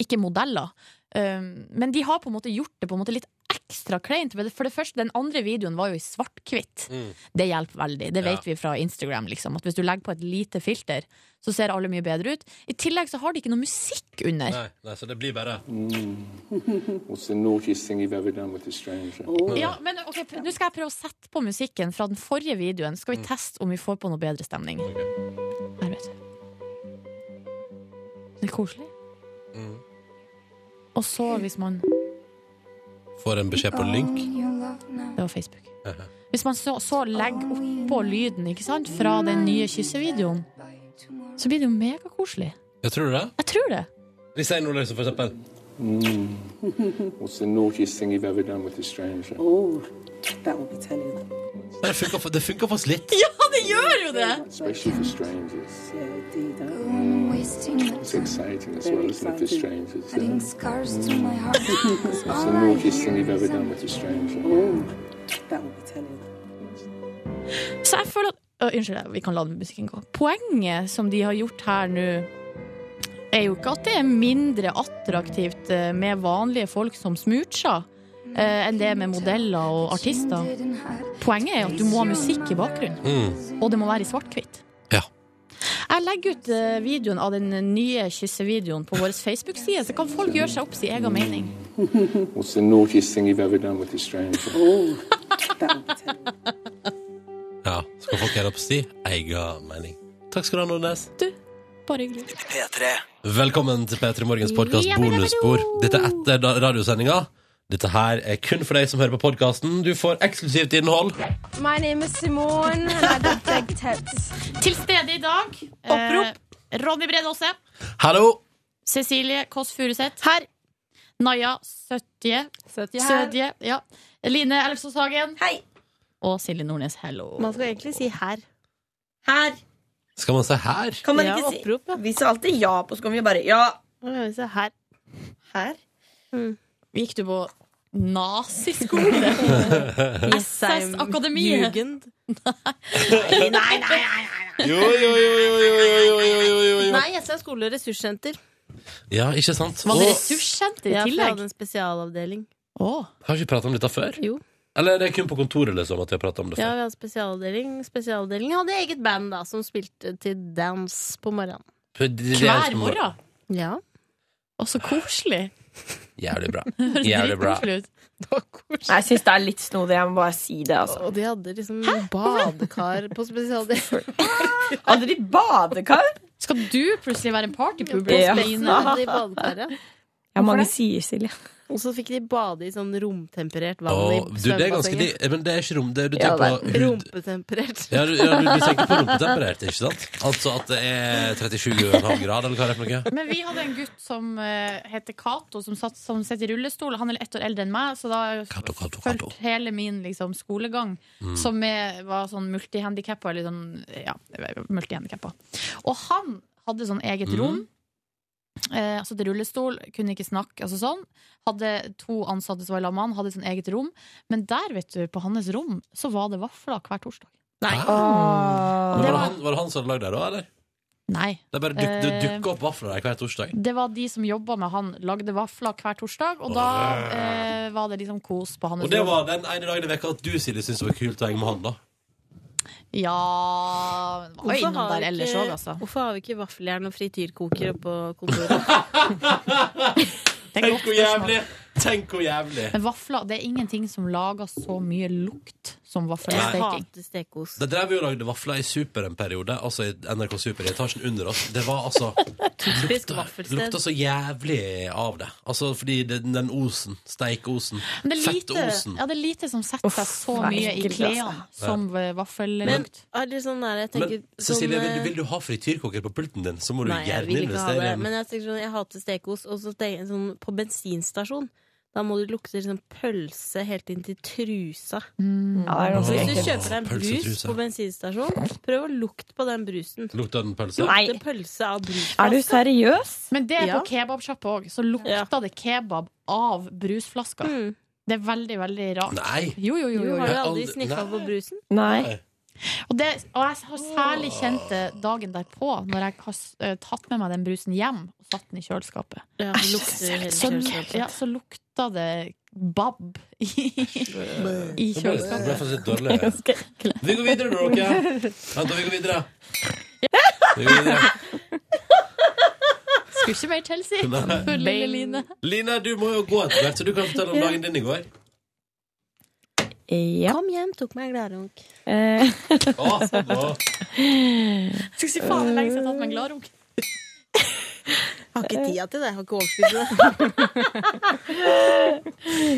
Speaker 3: ikke modeller. Um, men de har på en måte gjort det på en måte litt ekstra kleint. For det- For det første, den andre videoen var jo i svart-hvitt.
Speaker 5: Mm.
Speaker 2: Mm.
Speaker 3: Det hjelper veldig. Det
Speaker 17: Ja.
Speaker 3: vet vi fra Instagram. Liksom, at Hvis du legger på et lite filter, så ser alle mye bedre ut. I tillegg så har de ikke noe musikk under.
Speaker 2: Nei, nei, så det blir bare
Speaker 15: Mm. What's the naughtiest thing you've ever done with a stranger?
Speaker 3: Ja, men ok, p- Nå skal jeg prøve å sette på musikken fra den forrige videoen. Skal vi teste om vi får på noe bedre stemning? Her, vet du. Det er koselig.
Speaker 2: Mm.
Speaker 3: Og så, hvis man
Speaker 2: Får en beskjed på link.
Speaker 3: Det var Facebook. Hvis man så, så legger oppå lyden ikke sant, fra den nye kyssevideoen, så blir det jo megakoselig.
Speaker 2: Jeg tror det.
Speaker 3: Jeg tror det.
Speaker 2: Vi sier noe, liksom, for eksempel.
Speaker 15: Mm. What's the naughtiest thing you've ever done with a stranger?
Speaker 16: Oh, that would be Italian.
Speaker 2: Det funker, for- det funker for oss litt.
Speaker 3: Ja, det gjør jo det!
Speaker 15: Especially for strangers.
Speaker 16: Yeah, indeed. Huh?
Speaker 15: It's exciting as well, isn't it, for strangers? huh?
Speaker 16: scars to my heart. That's
Speaker 15: What's the naughtiest thing you've ever done with a stranger?
Speaker 16: Oh, That would be Italian.
Speaker 3: Så jeg føler at Ø, Unnskyld, vi kan la den musikken gå. Poenget som de har gjort her nå, er jo ikke at det er mindre attraktivt eh, med vanlige folk som smoocher, eh, enn det med modeller og artister. Poenget er at du må ha musikk i bakgrunnen, og det må være i svart-hvitt.
Speaker 2: Ja.
Speaker 3: Jeg legger ut eh, videoen av den nye kyssevideoen på vår Facebook-side, så kan folk gjøre seg opp sin egen mening.
Speaker 15: What's the naughtiest thing you've ever done with a stranger?
Speaker 2: Ja, så kan folk gjøre opp si egen mening. Takk skal du ha, Nordnes.
Speaker 3: Bare hyggelig.
Speaker 2: Velkommen til P3 Morgens podkast
Speaker 3: Ja, men det var det.
Speaker 2: Bonusbord. Dette er etter da- radiosendinga. Dette her er kun for deg som hører på podkasten. Du får eksklusivt innhold.
Speaker 18: My name is Simone, and I got big tits.
Speaker 3: Til stede i dag
Speaker 18: Opprop.
Speaker 3: Eh, Ronny Brede Aase.
Speaker 2: Hallo!
Speaker 3: Cecilie Kåss Furuseth. Her. Naja Søtje. Søtje,
Speaker 18: her.
Speaker 3: ja. Line Elfsås Hagen. Hei. Og Silje Nordnes, hello.
Speaker 18: Man skal egentlig si her.
Speaker 17: Her.
Speaker 2: Skal man se her?
Speaker 17: Kan man
Speaker 18: Ja,
Speaker 17: ikke si Vi sa alltid ja på skolen. Vi bare ja.
Speaker 18: Se her.
Speaker 17: Her.
Speaker 3: Gikk du på naziskole?
Speaker 17: I'm
Speaker 3: SS Akademiet.
Speaker 17: Jugend.
Speaker 3: Nei,
Speaker 17: nei, nei.
Speaker 2: Jo, jo, jo, jo, jo, jo, jo, jo, jo, jo.
Speaker 17: Nei, jeg sa skole- og ressurssenter.
Speaker 2: Ja, ikke sant?
Speaker 17: Var det
Speaker 2: Og-
Speaker 17: ressurssenter
Speaker 3: i
Speaker 17: ja, for
Speaker 3: tillegg?
Speaker 17: Jeg hadde en spesialavdeling.
Speaker 2: Har ikke vi prata om dette før?
Speaker 17: Jo.
Speaker 2: Eller det er kun på kontoret liksom at vi har prata om det
Speaker 17: Ja,
Speaker 2: før?
Speaker 17: vi hadde spesialavdeling. Spesialavdelingen hadde eget band da, som spilte til dans på morgenen.
Speaker 2: For det- det er som-
Speaker 17: Ja.
Speaker 3: Og så koselig.
Speaker 2: Jævlig bra. Jævlig bra.
Speaker 18: Jeg syns det er litt snodig. Jeg må bare si det, altså.
Speaker 17: Og de hadde liksom badekar på spesialavdelingen.
Speaker 18: Hadde de badekar?
Speaker 3: Skal du plutselig være en partypooper?
Speaker 18: Ja.
Speaker 17: Spesialavdelingen hadde de badekaret.
Speaker 4: Ja, mange
Speaker 5: Hvorfor det?
Speaker 4: sier Silje.
Speaker 5: Og så fikk de bade i sånn romtemperert vann
Speaker 2: Åh,
Speaker 5: i
Speaker 2: du, det er ganske li...
Speaker 5: svømmebassenget.
Speaker 2: Men det er ikke rom... Det, er- du
Speaker 5: Ja,
Speaker 2: tenker
Speaker 5: det
Speaker 2: på
Speaker 5: er
Speaker 2: hud...
Speaker 5: Rumpetemperert.
Speaker 2: Ja, du, ja, du, du tenker på rumpetemperert, ikke sant? Altså at det er 37,5 grader, eller hva er det for noe?
Speaker 3: Men vi hadde en gutt som eh, heter Cato, som, satt- som sitter i rullestol. Han er ett år eldre enn meg, så da fulgte hele min liksom, skolegang,
Speaker 5: Mm.
Speaker 3: som er, var sånn multihandikappa, eller sånn ja, multihandikappa. Og han hadde sånn eget
Speaker 5: Mm.
Speaker 3: rom. Eh, altså til rullestol, kunne ikke snakke, altså sånn. Hadde to ansatte som var sammen med han, hadde sånn eget rom. Men der, vet du, på hans rom, så var det vafler hver torsdag.
Speaker 2: Nei.
Speaker 3: Og
Speaker 2: Var,
Speaker 3: det
Speaker 2: det
Speaker 3: var,
Speaker 2: han, var det han som hadde lagd det, da? eller?
Speaker 3: nei.
Speaker 2: Ah. Det bare duk, det
Speaker 3: Eh,
Speaker 2: dukker opp vafler der hver torsdag?
Speaker 3: Det var de som jobba med han, lagde vafler hver torsdag, og da eh, var det liksom kos på hans
Speaker 2: Og det
Speaker 3: rom.
Speaker 2: var den ene dagen i veka at du, Silje, syntes det var kult å henge med han, da?
Speaker 3: Ja Var jo innom der ellers òg, altså.
Speaker 5: Hvorfor har vi ikke vaffeljern og frityrkoker på kontoret?
Speaker 2: Tenk hvor jævlig! Tenk hvor jævlig!
Speaker 3: Men vafler, det er ingenting som lager så mye lukt som
Speaker 2: Jeg
Speaker 3: vaffelsteking.
Speaker 5: hater stekos.
Speaker 2: Da drev vi og lagde vafler i Super en periode, altså i NRK Super i etasjen under oss. Det var altså
Speaker 5: Typisk
Speaker 2: Det lukta så jævlig av det. Altså fordi den, den osen, steikeosen,
Speaker 3: Men det er, lite,
Speaker 2: fettosen
Speaker 3: ja, det er lite som setter seg så
Speaker 5: det er
Speaker 3: mye i
Speaker 5: ekkelt,
Speaker 3: klærne
Speaker 5: altså.
Speaker 3: som eh,
Speaker 5: Men
Speaker 3: vaffellukt.
Speaker 5: er det sånn der, jeg tenker
Speaker 2: Men Cecilie,
Speaker 5: sånn,
Speaker 2: vil, du-
Speaker 5: eh,
Speaker 2: vil du ha frityrkoker på pulten din, så må du
Speaker 5: Nei, jeg
Speaker 2: gjerne
Speaker 5: vil ikke ha
Speaker 2: investere i
Speaker 5: det.
Speaker 2: en
Speaker 5: Men jeg tenker sånn, jeg hater stekos. Og så tenker jeg sånn, på bensinstasjon, da må du lukte liksom pølse helt inn til trusa.
Speaker 4: Mm.
Speaker 5: Mm.
Speaker 4: Ja, det er ganske
Speaker 5: Så hvis
Speaker 4: ekkelt.
Speaker 5: du kjøper deg en
Speaker 2: Pølse i
Speaker 5: brus
Speaker 2: trusa.
Speaker 5: på bensinstasjon, prøv å lukte på den brusen.
Speaker 2: Lukta den pølse?
Speaker 5: Lukte pølse av brus.
Speaker 4: seriøs?
Speaker 3: Men det er
Speaker 5: Ja.
Speaker 3: på kebabsjappa òg. Så lukta det kebab av brusflaska. Det er veldig, veldig rart.
Speaker 2: Nei.
Speaker 3: Jo, jo, jo, jo, jo.
Speaker 5: Mm. Har du aldri sniffa på brusen?
Speaker 4: Nei.
Speaker 3: Og, det, og jeg har særlig kjent det dagen derpå, når jeg har s- eh, tatt med meg den brusen hjem og satt den i kjøleskapet.
Speaker 5: Ja, det lukter hele
Speaker 3: så,
Speaker 5: kjøleskapet.
Speaker 3: ja, så lukta det bab i, i
Speaker 2: Det ble- det ble
Speaker 3: kjøleskapet.
Speaker 2: faktisk litt dårlig. Vi går videre, dere. Vent, da, vi går videre. Vi går videre.
Speaker 3: Skulle ikke mer til, si.
Speaker 2: Nei.
Speaker 3: For Lille Line.
Speaker 2: Line, du må jo gå etter hvert, så du kan fortelle om dagen din i går.
Speaker 4: Ja.
Speaker 5: Kom hjem, tok meg en gladrunk.
Speaker 4: Eh,
Speaker 3: Skal si faen hvor lenge siden jeg har tatt meg en gladrunk.
Speaker 5: Har ikke tida til det. Har ikke overskudd til det.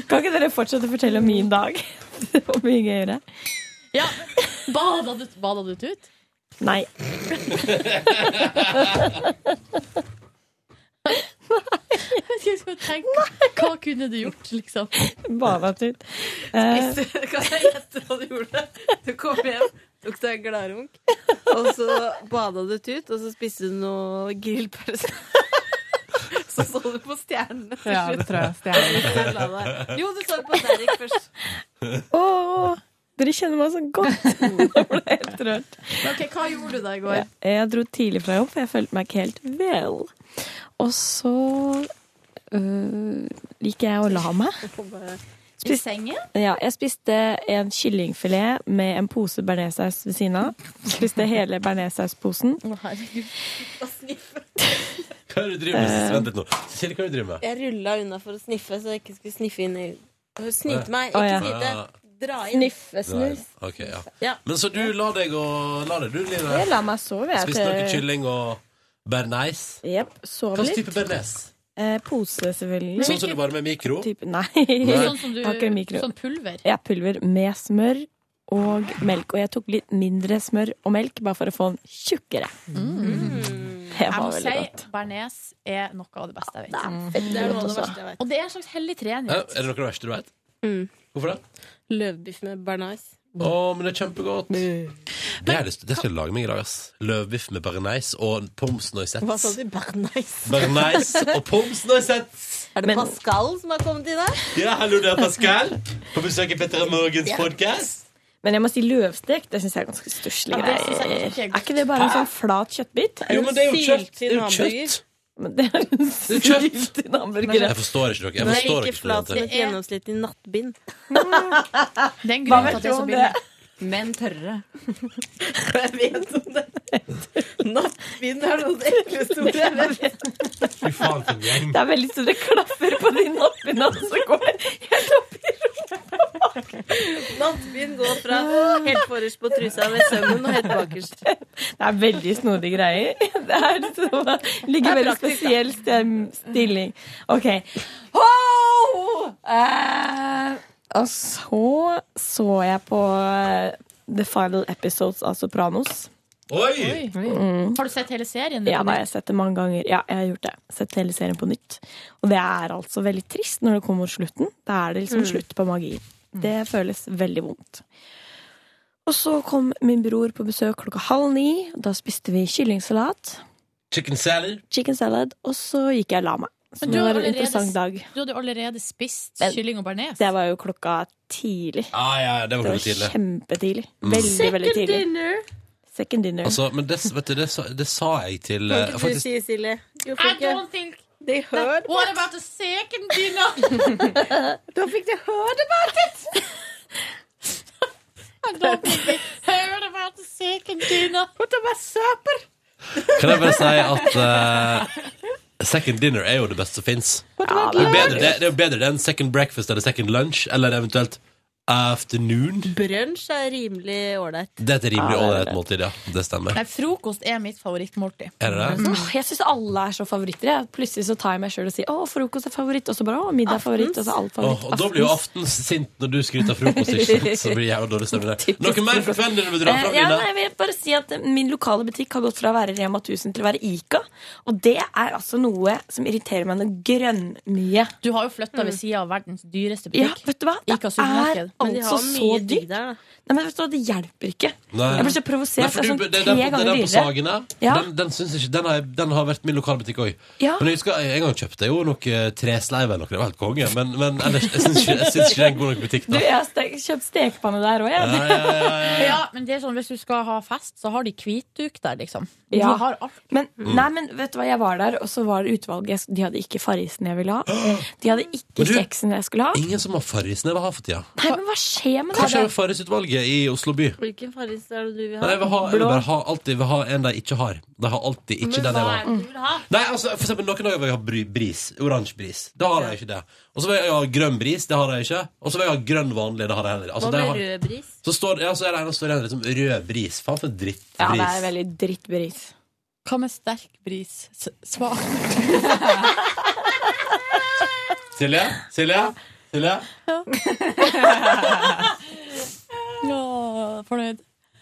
Speaker 4: kan ikke dere fortsette å fortelle om min dag? Det var mye gøyere.
Speaker 3: Ja. Bada du, bada du tut?
Speaker 4: Nei.
Speaker 3: Jeg vet ikke, jeg skal tenke. Hva kunne du gjort, liksom?
Speaker 4: Bada tut. Eh,
Speaker 5: Kan jeg gjette hva du gjorde? Du kom hjem, tok deg en gladrunk, og så bada du tut, og så spiste du noe grillpølse. Så så du på stjernene. til
Speaker 17: Ja, det
Speaker 5: slutt.
Speaker 17: tror jeg, stjernene.
Speaker 5: Så la deg. Jo, du så på Derek først.
Speaker 4: Åh, dere kjenner meg så godt. Nå ble jeg helt rørt.
Speaker 3: Ok, Hva gjorde du da i går?
Speaker 4: Jeg dro tidlig fra jobb, for jeg følte meg ikke helt vel. Og så øh, gikk jeg og la meg.
Speaker 3: I sengen?
Speaker 4: Ja, jeg spiste en kyllingfilet med en pose bearnéssaus ved siden av. Spiste hele bearnéssausposen.
Speaker 2: Hva er det du driver med? Vent litt nå. Cecilie, hva er det du driver med?
Speaker 5: Eh. Jeg rulla unna for å sniffe, så jeg ikke skulle sniffe inn i Snyte meg,
Speaker 2: Å, ja.
Speaker 5: ikke snyte. Dra inn.
Speaker 2: Nei, Ah, ok, ja.
Speaker 5: Ja.
Speaker 2: Men så du la deg og la deg, du, Line?
Speaker 4: Jeg la meg sove, jeg.
Speaker 2: Spiste dere kylling og bearnés?
Speaker 4: Jepp. Sov
Speaker 2: Hva slags
Speaker 4: litt.
Speaker 2: type bearnés?
Speaker 4: Eh, pose, selvfølgelig.
Speaker 2: Sånn som du bare med mikro?
Speaker 4: Type, nei.
Speaker 2: Sånn
Speaker 3: som du-
Speaker 4: Jeg har ikke mikro.
Speaker 3: sånn pulver?
Speaker 4: Ja, pulver med smør og melk. Og jeg tok litt mindre smør og melk, bare for å få den tjukkere. Det
Speaker 3: Jeg
Speaker 4: var
Speaker 3: må
Speaker 4: veldig
Speaker 3: si
Speaker 4: godt. Ah,
Speaker 3: bearnés er noe av det beste jeg vet. Mm.
Speaker 4: Det er veldig
Speaker 5: noe av det godt også. verste jeg vet.
Speaker 3: Og det er en slags hellig
Speaker 2: Ja,
Speaker 3: trening.
Speaker 2: Eh, er det noe av det verste du vet?
Speaker 5: Mm.
Speaker 2: Hvorfor det?
Speaker 5: Løvbiff med bearnés.
Speaker 2: Å, men det er kjempegodt. Det, har jeg lyst, til- det skal jeg lage meg i dag, ass. Løvbiff med bearnés og pommes
Speaker 5: Hva sa
Speaker 2: noisettes.
Speaker 5: du? Bearnés?
Speaker 2: Bearnés og pommes noisettes!
Speaker 5: Er det Pascal som har kommet i dag?
Speaker 2: Ja, hallo, det er Pascal. På besøk i Petter og Morgens podcast.
Speaker 4: Men jeg må si løvstekt. Det syns jeg er ganske stusslige
Speaker 2: Ja, det synes jeg
Speaker 4: greier.
Speaker 2: ikke er
Speaker 4: Er ikke det bare en sånn flat kjøttbit?
Speaker 2: Jo, men det er jo kjøtt. Det er jo kjøtt.
Speaker 4: Men det er en syltynn hamburger.
Speaker 2: Jeg forstår ikke dere. Jeg
Speaker 5: Nei,
Speaker 2: forstår
Speaker 5: ikke
Speaker 2: ikke
Speaker 5: flat som
Speaker 2: studenter.
Speaker 5: et gjennomsnittlig nattbind.
Speaker 3: Det er en
Speaker 5: Hva
Speaker 3: grunn
Speaker 5: vet
Speaker 3: til
Speaker 5: du
Speaker 3: at det er så
Speaker 5: om
Speaker 3: billig.
Speaker 5: det?
Speaker 17: Men tørre.
Speaker 5: Jeg vet om det. Nattbind er noe av det ekleste ordet jeg vet.
Speaker 2: Fy faen, for en gjeng.
Speaker 4: Det er veldig så det klaffer på de nappene, og så går det helt opp i
Speaker 5: Nattbind går fra helt forrest på trusa ved sømmen og helt bakerst.
Speaker 4: Det er veldig snodige greier. Det er så, ligger i veldig spesiell stem- stilling. OK. Ho! Eh, og så så jeg på eh, The Final Episodes av Sopranos.
Speaker 2: Oi!
Speaker 4: Mm.
Speaker 3: Har du sett hele serien?
Speaker 4: Ja, da, jeg har sett det mange ganger. Ja, jeg har gjort det. Sett hele serien på nytt. Og det er altså veldig trist når det kommer mot slutten. Da er det liksom
Speaker 19: Mm.
Speaker 4: slutt på magien. Det føles veldig vondt. Og så kom min bror på besøk klokka halv ni. Da spiste vi kyllingsalat,
Speaker 2: Chicken salad.
Speaker 4: chicken salad, og så gikk jeg og la meg. Så
Speaker 3: Men
Speaker 4: det
Speaker 3: har
Speaker 4: var en
Speaker 3: allerede-
Speaker 4: interessant dag.
Speaker 3: Du hadde jo allerede spist
Speaker 4: Men-
Speaker 3: kylling og bearnés.
Speaker 4: Det var jo klokka tidlig.
Speaker 2: Ah, ja, ja,
Speaker 4: Det
Speaker 2: det var
Speaker 4: var
Speaker 2: veldig tidlig.
Speaker 4: kjempetidlig.
Speaker 2: Mm.
Speaker 4: Veldig,
Speaker 2: Second
Speaker 4: veldig tidlig. Second dinner.
Speaker 2: Altså, men det, vet du, det, sa, det sa jeg til
Speaker 5: Kan
Speaker 2: eh,
Speaker 5: ikke du
Speaker 2: faktisk,
Speaker 5: si, Silje? Jo,
Speaker 3: I don't think
Speaker 5: They heard
Speaker 3: What about the second dinner?
Speaker 5: Da fikk de heard about it!
Speaker 3: I don't think they heard about the second dinner. What about supper?
Speaker 2: Kan jeg bare si at eh, second dinner er jo det beste som fins. det, er bedre det- det er jo bedre det enn second breakfast eller second lunch eller eventuelt afternoon.
Speaker 5: Brunsj er rimelig ålreit.
Speaker 2: Det er et rimelig ålreit måltid, ja. Det stemmer.
Speaker 3: Nei, frokost er mitt favorittmåltid.
Speaker 2: Er det
Speaker 3: Mm.
Speaker 2: det?
Speaker 4: Åh, jeg syns alle er så favoritter. Jeg. Plutselig så tar jeg meg sjøl og sier 'Å, frokost er favoritt', og så bare 'Å, middag er favoritt', og så er alt favoritt.
Speaker 2: Åh, og da blir jo Aften sint når du skryter av frokost, ikke sant? Så blir jeg jo dårlig stemning der. Noe mer for kvelden dere vil dra
Speaker 4: Eh,
Speaker 2: fram,
Speaker 4: ja,
Speaker 2: Line?
Speaker 4: nei, jeg vil bare si at eh, Min lokale butikk har gått fra å være Rema 1000 til å være Ica. Og det er altså noe som irriterer meg noe grønnmye. Mm.
Speaker 3: Du har jo flytta ved sida av verdens dyreste
Speaker 4: Ja,
Speaker 3: butikk.
Speaker 4: vet du hva? Det
Speaker 3: Ica
Speaker 4: er
Speaker 3: supermarked. Men de har
Speaker 4: altså så
Speaker 3: mye digg
Speaker 4: dyrt. Nei, men vet du hva, Det hjelper ikke.
Speaker 2: Nei.
Speaker 4: Jeg blir så provosert.
Speaker 2: Nei, for
Speaker 4: Det er sånn
Speaker 2: du- det-
Speaker 4: tre
Speaker 2: det er på-
Speaker 4: ganger
Speaker 2: Det er på
Speaker 4: dyrere.
Speaker 2: Sagene.
Speaker 4: Ja.
Speaker 2: Den, den, syns ikke, den, har, jeg- den har vært min lokalbutikk òg.
Speaker 4: Ja.
Speaker 2: Men jeg husker en gang kjøpte jeg jo noe tresleiv eller noe. Det var helt konge. Men, men ellers, jeg syns ikke, jeg syns ikke det er en god nok butikk,
Speaker 4: Du,
Speaker 2: da.
Speaker 4: jeg har ste- kjøpt stekepanne der òg, jeg.
Speaker 2: Ja, ja, ja, ja, ja.
Speaker 3: Ja, men det er sånn, Hvis du skal ha fest, så har de hvitduk der, liksom. De
Speaker 4: Ja.
Speaker 3: har alt. Mm.
Speaker 4: Men, nei, men vet du hva, jeg var der, og så var det utvalget. Jeg- De hadde ikke farrisen jeg ville ha. De hadde
Speaker 2: Men
Speaker 4: ikke
Speaker 2: du-
Speaker 4: kjeksen jeg skulle ha.
Speaker 2: Ingen som har farrisnever har for tida.
Speaker 4: Nei, men hva skjer med
Speaker 2: Hva skjer med
Speaker 4: det?
Speaker 2: farrisutvalget i Oslo by?
Speaker 5: Hvilken farris er det du vil ha?
Speaker 2: Nei, jeg vil, ha, jeg vil bare ha alltid vil ha en de ikke har. De har alltid ikke den jeg vil ha.
Speaker 5: vil ha?
Speaker 2: Nei, altså, for eksempel noen dager vil jeg ha bry- bris. Oransje bris. Da har jeg ikke det. Og så vil jeg ha grønn bris. Det har jeg ikke. Og så vil jeg ha grønn vanlig. Det har jeg heller. Altså,
Speaker 5: Hva
Speaker 2: det
Speaker 5: med
Speaker 2: har...
Speaker 5: rød bris?
Speaker 2: Så står, ja, så er det en som står igjen liksom rød bris. Faen for dritt bris.
Speaker 4: Ja, det er veldig dritt bris.
Speaker 3: Hva med sterk bris? S- Svak?
Speaker 2: Silje? Silje? Silje?
Speaker 3: Ja, fornøyd.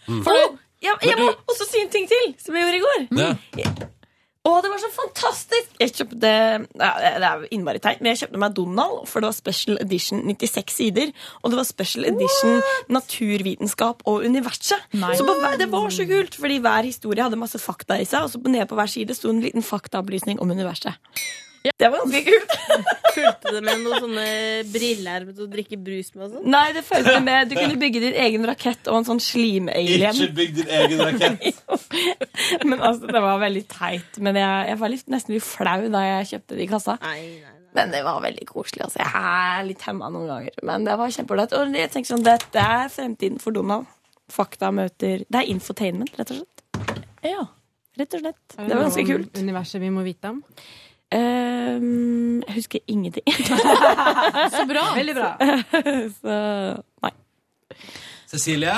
Speaker 2: Mm.
Speaker 4: Fornøyd. Ja,
Speaker 2: Men
Speaker 4: jeg må
Speaker 2: du-
Speaker 4: også si en ting til, som jeg gjorde i går.
Speaker 2: Ja.
Speaker 4: Å, det var så fantastisk! Jeg kjøpte, ja, Det er innmari teit, men jeg kjøpte meg Donald, for det var special edition 96 sider. Og det var special edition naturvitenskap og universet. Så på, hver- Det var så kult, fordi hver historie hadde masse fakta i seg, og så på- nede på hver side sto en liten faktaopplysning om universet. Det var ganske kult.
Speaker 5: Fulgte det med noen sånne briller til å drikke brus med og sånn?
Speaker 4: Nei, det følte med Du kunne bygge din egen rakett og en sånn
Speaker 2: Ikke
Speaker 4: slim-alien.
Speaker 2: bygg din egen rakett.
Speaker 4: Men altså, Det var veldig teit. Men jeg, jeg var litt, nesten litt flau da jeg kjøpte det i kassa. Men det var veldig koselig. Altså. Jeg er litt hemma noen ganger. Men det var kjempeålreit. Og jeg tenker sånn, dette er fremtiden for Donald. Fakta møter Det er infotainment, rett og slett. Ja, rett og slett. Det var ganske kult.
Speaker 17: Universet vi må vite om.
Speaker 4: Ehm, jeg husker ingenting.
Speaker 17: Så bra. Veldig bra.
Speaker 4: Så nei.
Speaker 2: Cecilie,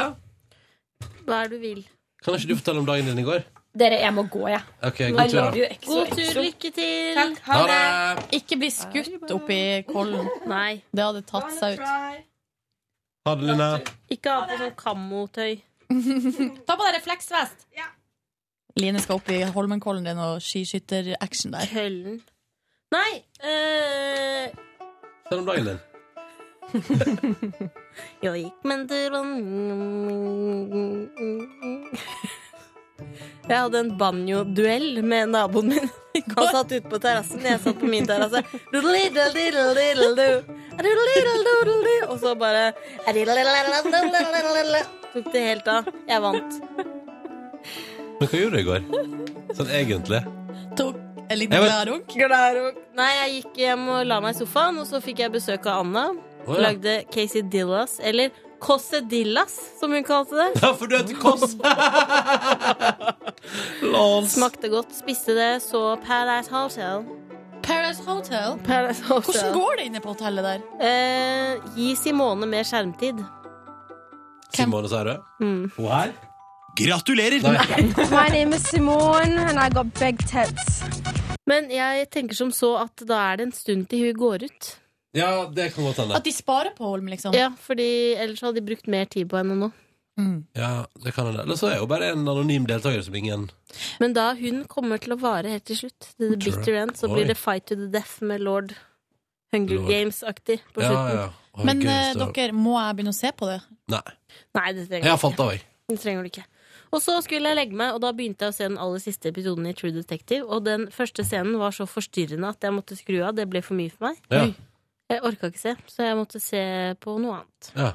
Speaker 5: Hva er det du vil?
Speaker 2: kan ikke du fortelle om dagen din i går?
Speaker 4: Dere, jeg må gå, jeg.
Speaker 2: Ok, god tur. da.
Speaker 5: God tur, lykke til!
Speaker 2: Ha det!
Speaker 3: Ikke bli skutt oppi kollen.
Speaker 5: Nei.
Speaker 3: Det hadde tatt seg ut.
Speaker 2: Ha det, Line.
Speaker 5: Ikke ha på sånn kammotøy.
Speaker 3: Ta på deg refleksvest! Line skal opp i Holmenkollen din og skiskytteraction der.
Speaker 5: Køllen. Nei! eh,
Speaker 2: Fortell om dagen din.
Speaker 5: jeg gikk med en tur og Jeg hadde en banjoduell med naboen min. Han satt ute på terrassen, jeg satt på min terrasse. Doodle-diddle-diddle-diddle-do. Doodle-diddle-doodle-do. Og så bare Tok det helt av. Jeg vant.
Speaker 2: Men hva gjorde du i går? Sånn egentlig.
Speaker 3: Tok en
Speaker 2: Jeg
Speaker 3: liten
Speaker 2: vet-
Speaker 3: gladrunk.
Speaker 5: Nei, jeg gikk hjem og la meg i sofaen, og så fikk jeg besøk av Anna.
Speaker 2: Å,
Speaker 5: Hun
Speaker 2: ja.
Speaker 5: Lagde Casey Dillas, eller Kosse Dillas, som hun kalte det.
Speaker 2: Ja, for du heter Kåss. Lol.
Speaker 5: Smakte godt, spiste det, så Paradise Hotel.
Speaker 3: Paradise Hotel.
Speaker 5: Paradise Hotel.
Speaker 3: Hvordan går det inne på hotellet der?
Speaker 5: Eh, gi Simone mer skjermtid.
Speaker 2: Simone, sa du?
Speaker 5: Mm.
Speaker 2: Hun her? Gratulerer!
Speaker 20: My name is Simone, and I got big tits.
Speaker 5: Men jeg tenker som så at da er det en stund til hun går ut.
Speaker 2: Ja, det kan godt hende.
Speaker 5: de sparer på Holm, liksom? Ja, fordi ellers hadde de brukt mer tid på henne nå.
Speaker 2: Ja, det kan hende. Eller så er jeg jo bare en anonym deltaker som ingen
Speaker 5: Men da hun kommer til å vare helt til slutt, til the
Speaker 2: Tror jeg.
Speaker 5: bitter end, så
Speaker 2: Oi.
Speaker 5: blir det fight to the death med lord Hunger
Speaker 2: Lord.
Speaker 5: Games-aktig på
Speaker 2: Ja,
Speaker 5: slutten.
Speaker 2: ja. Oi, Men, gud, eh, så- dere,
Speaker 5: må jeg begynne å se på det?
Speaker 2: Nei.
Speaker 5: Nei, det trenger
Speaker 2: Jeg har
Speaker 5: du ikke.
Speaker 2: falt av, jeg.
Speaker 5: Det trenger du ikke. Og så skulle jeg legge meg, og da begynte jeg å se den aller siste episoden i True Detective. Og den første scenen var så forstyrrende at jeg måtte skru av. Det ble for mye for meg.
Speaker 2: Ja.
Speaker 5: Jeg orka ikke se, så jeg måtte se på noe annet.
Speaker 2: Ja.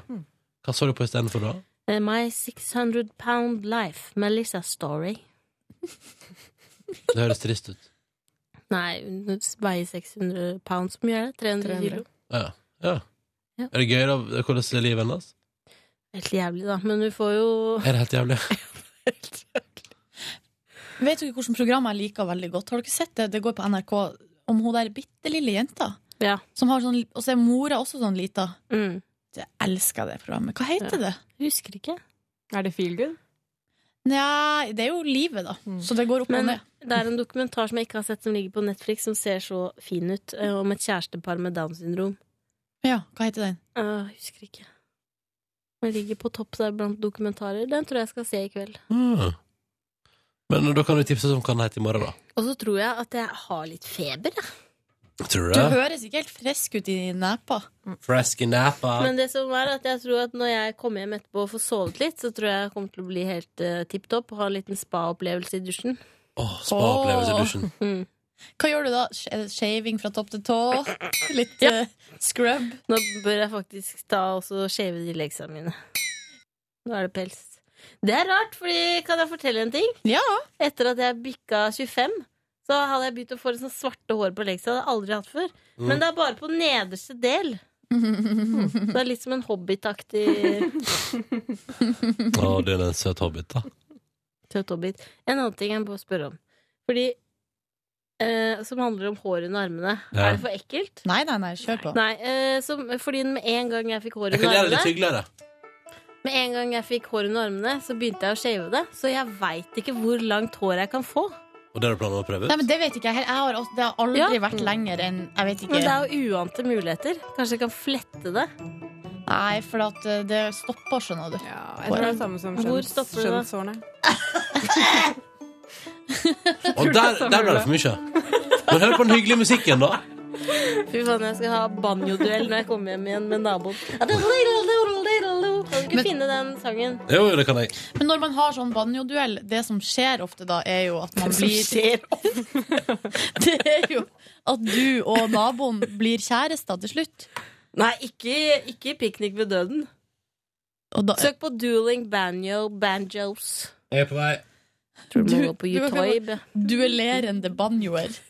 Speaker 2: Hva så du på istedenfor da?
Speaker 5: Eh, My 600 Pound Life, Melissa Story.
Speaker 2: Det høres trist ut.
Speaker 5: Nei, hun veier 600 pound, så mye er det? 300,
Speaker 2: 300.
Speaker 5: kilo?
Speaker 2: Ja. ja.
Speaker 5: Ja.
Speaker 2: Er det gøy, da? Hvordan er livet hennes?
Speaker 5: Helt jævlig, da. Men hun får jo
Speaker 2: Er det helt jævlig?
Speaker 20: Vet du ikke hvilket program jeg liker veldig godt? Har du ikke sett det? Det går på NRK om hun der bitte lille jenta.
Speaker 3: Som har sånn, og så er mora også sånn lita.
Speaker 5: Mm.
Speaker 20: Jeg elsker det programmet. Hva heter det?
Speaker 5: Husker ikke.
Speaker 3: Er det Feel Good? Nei, Ah, det er jo livet, da. Så det går opp og
Speaker 5: Men
Speaker 3: ned.
Speaker 5: det er en dokumentar som jeg ikke har sett, som ligger på Netflix, som ser så fin ut, eh, om et kjærestepar med Downs syndrom.
Speaker 3: Ja, hva heter den?
Speaker 5: Eh, husker ikke. Den ligger på topp der blant dokumentarer. Den tror jeg skal se i kveld.
Speaker 2: Mm. Men da kan du tipse oss om hva den heter i morgen, da.
Speaker 5: Og så tror jeg at jeg har litt feber, jeg.
Speaker 2: Tror
Speaker 3: Du
Speaker 2: du det?
Speaker 3: høres ikke helt frisk ut i nepa.
Speaker 5: Mm.
Speaker 2: Fresky Napa.
Speaker 5: Men det som er at jeg tror at når jeg kommer hjem etterpå og får sovet litt, så tror jeg jeg kommer til å bli helt uh, tipp topp og ha en liten spa-opplevelse i dusjen.
Speaker 2: Åh, Spa-opplevelse i dusjen.
Speaker 5: Mm.
Speaker 3: Hmm. Hva gjør du da? Sh- er det Shaving fra topp til tå? Litt eh, scrub?
Speaker 5: Nå bør jeg faktisk ta og så shave de leggsa mine. Nå er det pels. Det er rart, fordi kan jeg fortelle en ting? Etter at jeg bikka 25, så hadde jeg begynt å få litt sånn svarte hår på leggsa. Det hadde jeg aldri hatt før.
Speaker 2: Mm.
Speaker 5: Men det er bare på nederste del. Så det er litt som en hobbitaktig
Speaker 2: Å, du er en søt hobbit, da.
Speaker 5: Tøt hobbit. En annen ting jeg må spørre om. Fordi eh, Som handler om hår under armene.
Speaker 2: Ja.
Speaker 5: Er det for ekkelt?
Speaker 3: Nei, nei, nei, kjør på.
Speaker 5: Nei, eh, som, fordi med en gang jeg fikk hår
Speaker 2: Jeg kan
Speaker 5: under
Speaker 2: gjøre det
Speaker 5: armene
Speaker 2: litt hyggeligere.
Speaker 5: Med en gang jeg fikk hår under armene, så begynte jeg å shave det. Så jeg veit ikke hvor langt hår jeg kan få.
Speaker 2: Og det har du planer om å prøve ut?
Speaker 3: Nei, men Det vet ikke jeg heller. Jeg har, også- det har aldri
Speaker 5: Ja.
Speaker 3: vært lenger enn jeg vet ikke.
Speaker 5: Men det er jo uante muligheter. Kanskje jeg kan flette det?
Speaker 3: Nei, for at eh, det stopper, skjønner du.
Speaker 5: jeg tror det er det samme som Hvor skjønns- stopper det da?
Speaker 3: skjønnshårene.
Speaker 2: Og der, der ble det for mye. Men hør på den hyggelige musikken, da.
Speaker 5: Fy faen, jeg skal ha banjoduell når jeg kommer hjem igjen med naboen. Kan du ikke finne den sangen?
Speaker 2: Jo, jo, det kan jeg.
Speaker 3: Men når man har sånn banjoduell, det som skjer ofte da, er jo at man
Speaker 5: Det som
Speaker 3: blir Det er jo at du og naboen blir kjærester til slutt.
Speaker 5: Nei, ikke, ikke Piknik ved døden. Søk på Dueling Banjo Banjos.
Speaker 2: Jeg er på vei.
Speaker 5: Tror du må gå på
Speaker 3: Du- du kan gå-
Speaker 5: YouTube.
Speaker 3: Duellerende banjoer.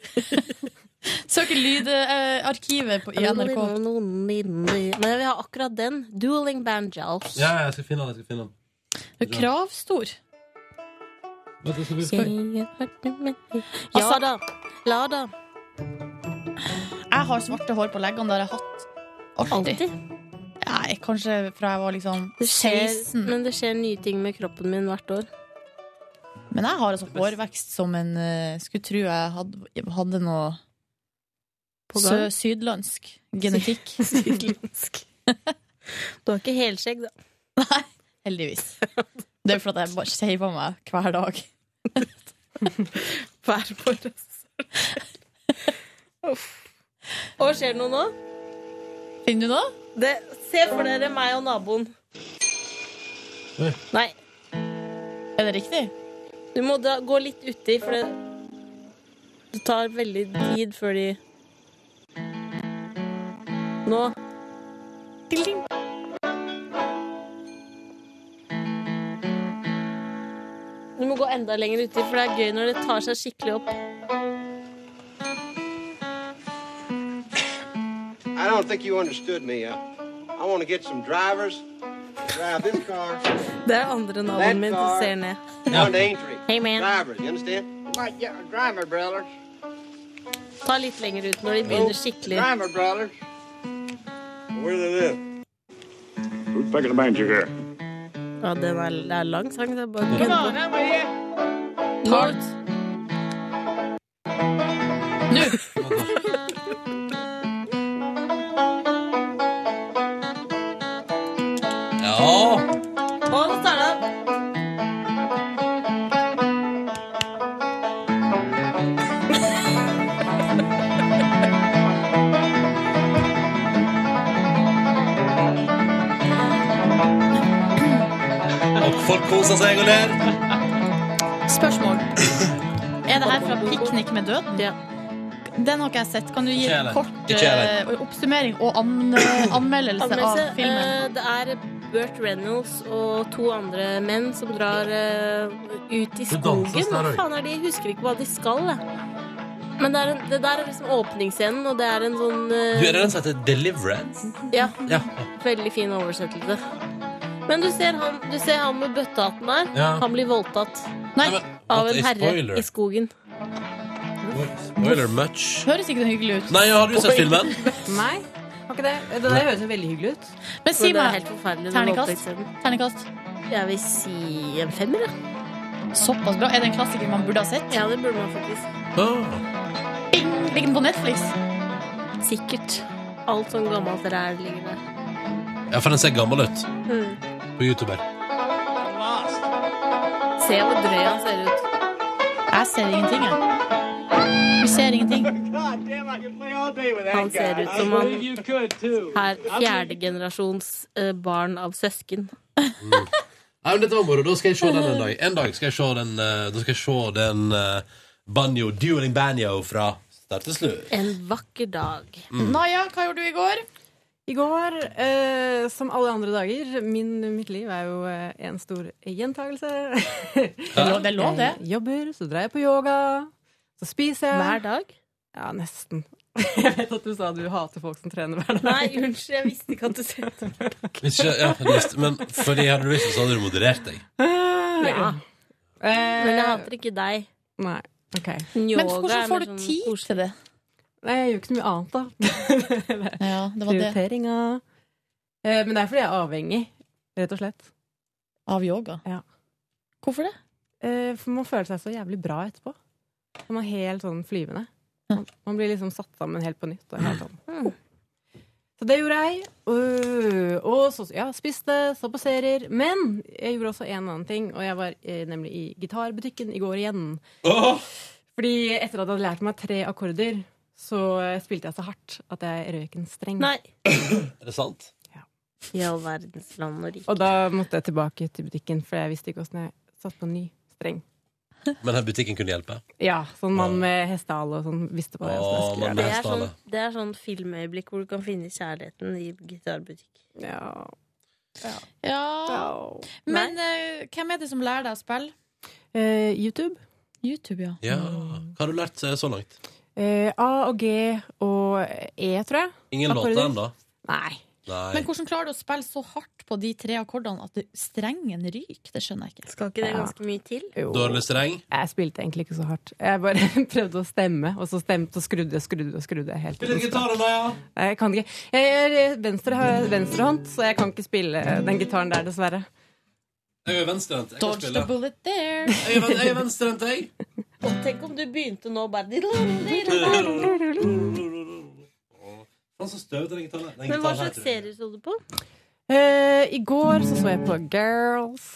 Speaker 3: Søk i lydarkivet i NRK.
Speaker 5: Men jeg vil ha akkurat den. Dueling Banjos.
Speaker 2: Ja, jeg skal finne den. Jeg skal finne den.
Speaker 3: Kravstor.
Speaker 2: Vent, jeg skal bli ferdig.
Speaker 3: Altså-
Speaker 5: Ja da. La da.
Speaker 3: Jeg har svarte hår på leggene. Det har jeg hatt alltid. Nei, kanskje fra jeg var liksom
Speaker 5: Det skjer,
Speaker 3: 16.
Speaker 5: men det skjer nye ting med kroppen min hvert år.
Speaker 3: Men jeg har altså hårvekst som en eh, Skulle tro jeg hadde, hadde noe
Speaker 5: På
Speaker 3: sø,
Speaker 5: gang?
Speaker 3: sydlandsk genetikk.
Speaker 5: sydlandsk. Du har ikke helskjegg, da.
Speaker 3: Heldigvis. Det er jo fordi jeg bare shaver meg hver dag.
Speaker 5: Hver morgen. Uff. Og skjer det noe nå?
Speaker 3: Finner du noe?
Speaker 5: Det, se for dere meg og naboen. Nei.
Speaker 3: Er det riktig?
Speaker 5: Du må da gå litt uti, for det, det tar veldig tid før de Nå. Ding, ding. Du må gå enda lenger uti, for det er gøy når det tar seg skikkelig opp.
Speaker 21: I don't think you understood me. Uh, I want to get some drivers. Drive this car.
Speaker 5: Det er andre naboen min som ser ned.
Speaker 21: Down to Aintree.
Speaker 5: Hey, man.
Speaker 21: Drivers, you understand? Like, yeah, driver, brother. Oh,
Speaker 5: Ta litt lenger ut når de begynner skikkelig.
Speaker 21: Driver, brother.
Speaker 22: Who's picking the banjo here?
Speaker 5: Ja, den er, det er lang sang. Det er bare Come on, Tart.
Speaker 3: Nå!
Speaker 2: Ja.
Speaker 5: Å, nå starter den.
Speaker 2: Og folk koser seg og ler.
Speaker 20: Spørsmål. Er det her fra 'Piknik med døden'? Den har ikke jeg sett. Kan du gi
Speaker 5: Ikke
Speaker 20: en
Speaker 5: heller.
Speaker 20: kort
Speaker 5: Ikke heller.
Speaker 20: eh, oppsummering og an anmeldelse
Speaker 5: Anmeldelse.
Speaker 20: av filmen?
Speaker 5: eh, Det er Burt Reynolds og to andre menn som drar eh, ut i
Speaker 20: Det danses
Speaker 5: skogen.
Speaker 20: der,
Speaker 5: Hva
Speaker 20: oi.
Speaker 5: faen er de? Jeg husker ikke hva de skal. Jeg. Men det, er en, det der er liksom åpningsscenen, og det er en sånn eh,
Speaker 2: Du, er det den som heter Deliverance?
Speaker 5: Ja.
Speaker 2: Ja.
Speaker 5: Veldig fin oversettelse. Men du ser han, du ser han med bøttehatten der.
Speaker 2: Ja.
Speaker 5: Han blir voldtatt.
Speaker 2: men-
Speaker 5: av
Speaker 2: at
Speaker 5: en
Speaker 2: det er
Speaker 5: herre
Speaker 2: spoiler.
Speaker 5: i skogen.
Speaker 2: Spoiler much.
Speaker 20: Høres ikke det hyggelig ut?
Speaker 2: Nei, har du sett filmen?
Speaker 20: Nei.
Speaker 17: Har ikke det? Det der høres jo veldig hyggelig ut.
Speaker 20: Men si
Speaker 5: det er
Speaker 20: meg,
Speaker 5: helt forferdelig. den
Speaker 20: terningkast.
Speaker 5: voldtektsscenen.
Speaker 20: terningkast.
Speaker 5: Jeg vil si en femmer, da.
Speaker 20: Såpass bra. Er det en klassiker man burde ha sett?
Speaker 5: Ja, det burde man faktisk.
Speaker 20: Bing! Ligger den på Netflix?
Speaker 5: Sikkert. Alt sånn gammelt ræl ligger der.
Speaker 2: Ja, for den ser gammel ut.
Speaker 5: Mm.
Speaker 2: På YouTuber.
Speaker 5: Se hvor drøy han ser ut.
Speaker 20: Jeg ser ingenting, jeg. Du ser ingenting.
Speaker 5: Han ser ut som han er fjerdegenerasjons eh, barn av søsken.
Speaker 2: Nei, men dette var moro. Da skal jeg se den en dag. En dag skal jeg se den, eh, da skal jeg se den eh, banjo, dueling banjo fra start til slutt.
Speaker 5: En vakker dag.
Speaker 2: Mm.
Speaker 17: Naja, hva gjorde du i går? I går, eh, som alle andre dager min, Mitt liv er jo eh, en stor gjentagelse.
Speaker 20: er lov- det er lov, det.
Speaker 17: Jeg jobber, så drar jeg på yoga. Så spiser jeg.
Speaker 5: Hver dag?
Speaker 17: Ja, nesten. Jeg vet at du sa du hater folk som trener hver dag.
Speaker 5: Nei, unnskyld, jeg visste ikke at du sa det.
Speaker 2: Hvis ikke, ja, neste- men fordi hadde du visst det, så hadde du moderert deg.
Speaker 5: Ja. Eh, Men jeg hater ikke deg.
Speaker 17: Nei, ok.
Speaker 5: Men hvordan får du tid
Speaker 20: til det?
Speaker 17: Nei, jeg gjør ikke så mye annet, da.
Speaker 20: ja, det var det.
Speaker 17: Prioriteringa. Eh, Men det er fordi jeg er avhengig, rett og slett.
Speaker 20: Av yoga?
Speaker 17: Ja. Eh,
Speaker 20: Hvorfor det?
Speaker 17: For man føler seg så jævlig bra etterpå. Man er helt sånn flyvende. Man, man blir liksom satt sammen helt på nytt. Og helt sånn. Så det gjorde jeg. Øh, Og så ja, spiste, så på serier. Men jeg gjorde også en annen ting, og jeg var eh, nemlig i gitarbutikken i går igjen.
Speaker 2: Åh!
Speaker 17: Fordi etter at jeg hadde lært meg tre akkorder, så eh, spilte jeg så hardt at jeg røyk en streng.
Speaker 5: Nei.
Speaker 2: Er det sant?
Speaker 5: I all verdens land og rike.
Speaker 17: Og da måtte jeg tilbake til butikken, for jeg visste ikke åssen jeg satt på en ny streng.
Speaker 2: Men her butikken kunne hjelpe.
Speaker 17: Ja, sånn mann med hestehale og sånn visste på det.
Speaker 2: Åh,
Speaker 17: hvordan jeg skulle
Speaker 2: mann
Speaker 17: gjøre
Speaker 2: med
Speaker 5: Det er, sånn,
Speaker 2: hestehale.
Speaker 5: det er sånn filmøyeblikk hvor du kan finne kjærligheten i gitarbutikk.
Speaker 17: Ja.
Speaker 20: Ja Men eh, hvem er det som lærer deg å spille?
Speaker 17: Eh, YouTube.
Speaker 20: YouTube, ja.
Speaker 2: Ja. Hva har du lært eh, så langt?
Speaker 17: Eh, A og G og E, tror jeg.
Speaker 2: Ingen låter
Speaker 17: Akkorder.
Speaker 2: ennå?
Speaker 17: Nei.
Speaker 2: Nei.
Speaker 20: Men hvordan klarer du å spille så hardt på de tre akkordene at det- strengen ryker? Det skjønner jeg ikke.
Speaker 5: Skal ikke det ganske mye til?
Speaker 2: Dårlig streng?
Speaker 17: Jeg spilte egentlig ikke så hardt. Jeg bare prøvde å stemme, og så stemte og skrudde og skrudde. og skrudde helt
Speaker 2: Spiller
Speaker 17: uten
Speaker 2: gitar
Speaker 17: start.
Speaker 2: da, ja?
Speaker 17: Nei, jeg kan ikke. Jeg er venstre, venstrehånd, så jeg kan ikke spille eh, den gitaren der, dessverre.
Speaker 2: Jeg er venstrehendt. Jeg kan
Speaker 5: Dodge the
Speaker 2: spille.
Speaker 5: bullet there.
Speaker 2: Jeg er ven- jeg er venstrehendt, jeg.
Speaker 5: Og tenk om du begynte nå bare
Speaker 2: Faen, så støvete den gitaren er. Den
Speaker 5: Men hva
Speaker 2: gitaren her,
Speaker 5: slags
Speaker 2: tror jeg.
Speaker 5: serie så du på?
Speaker 17: Eh, I går så så jeg på Girls.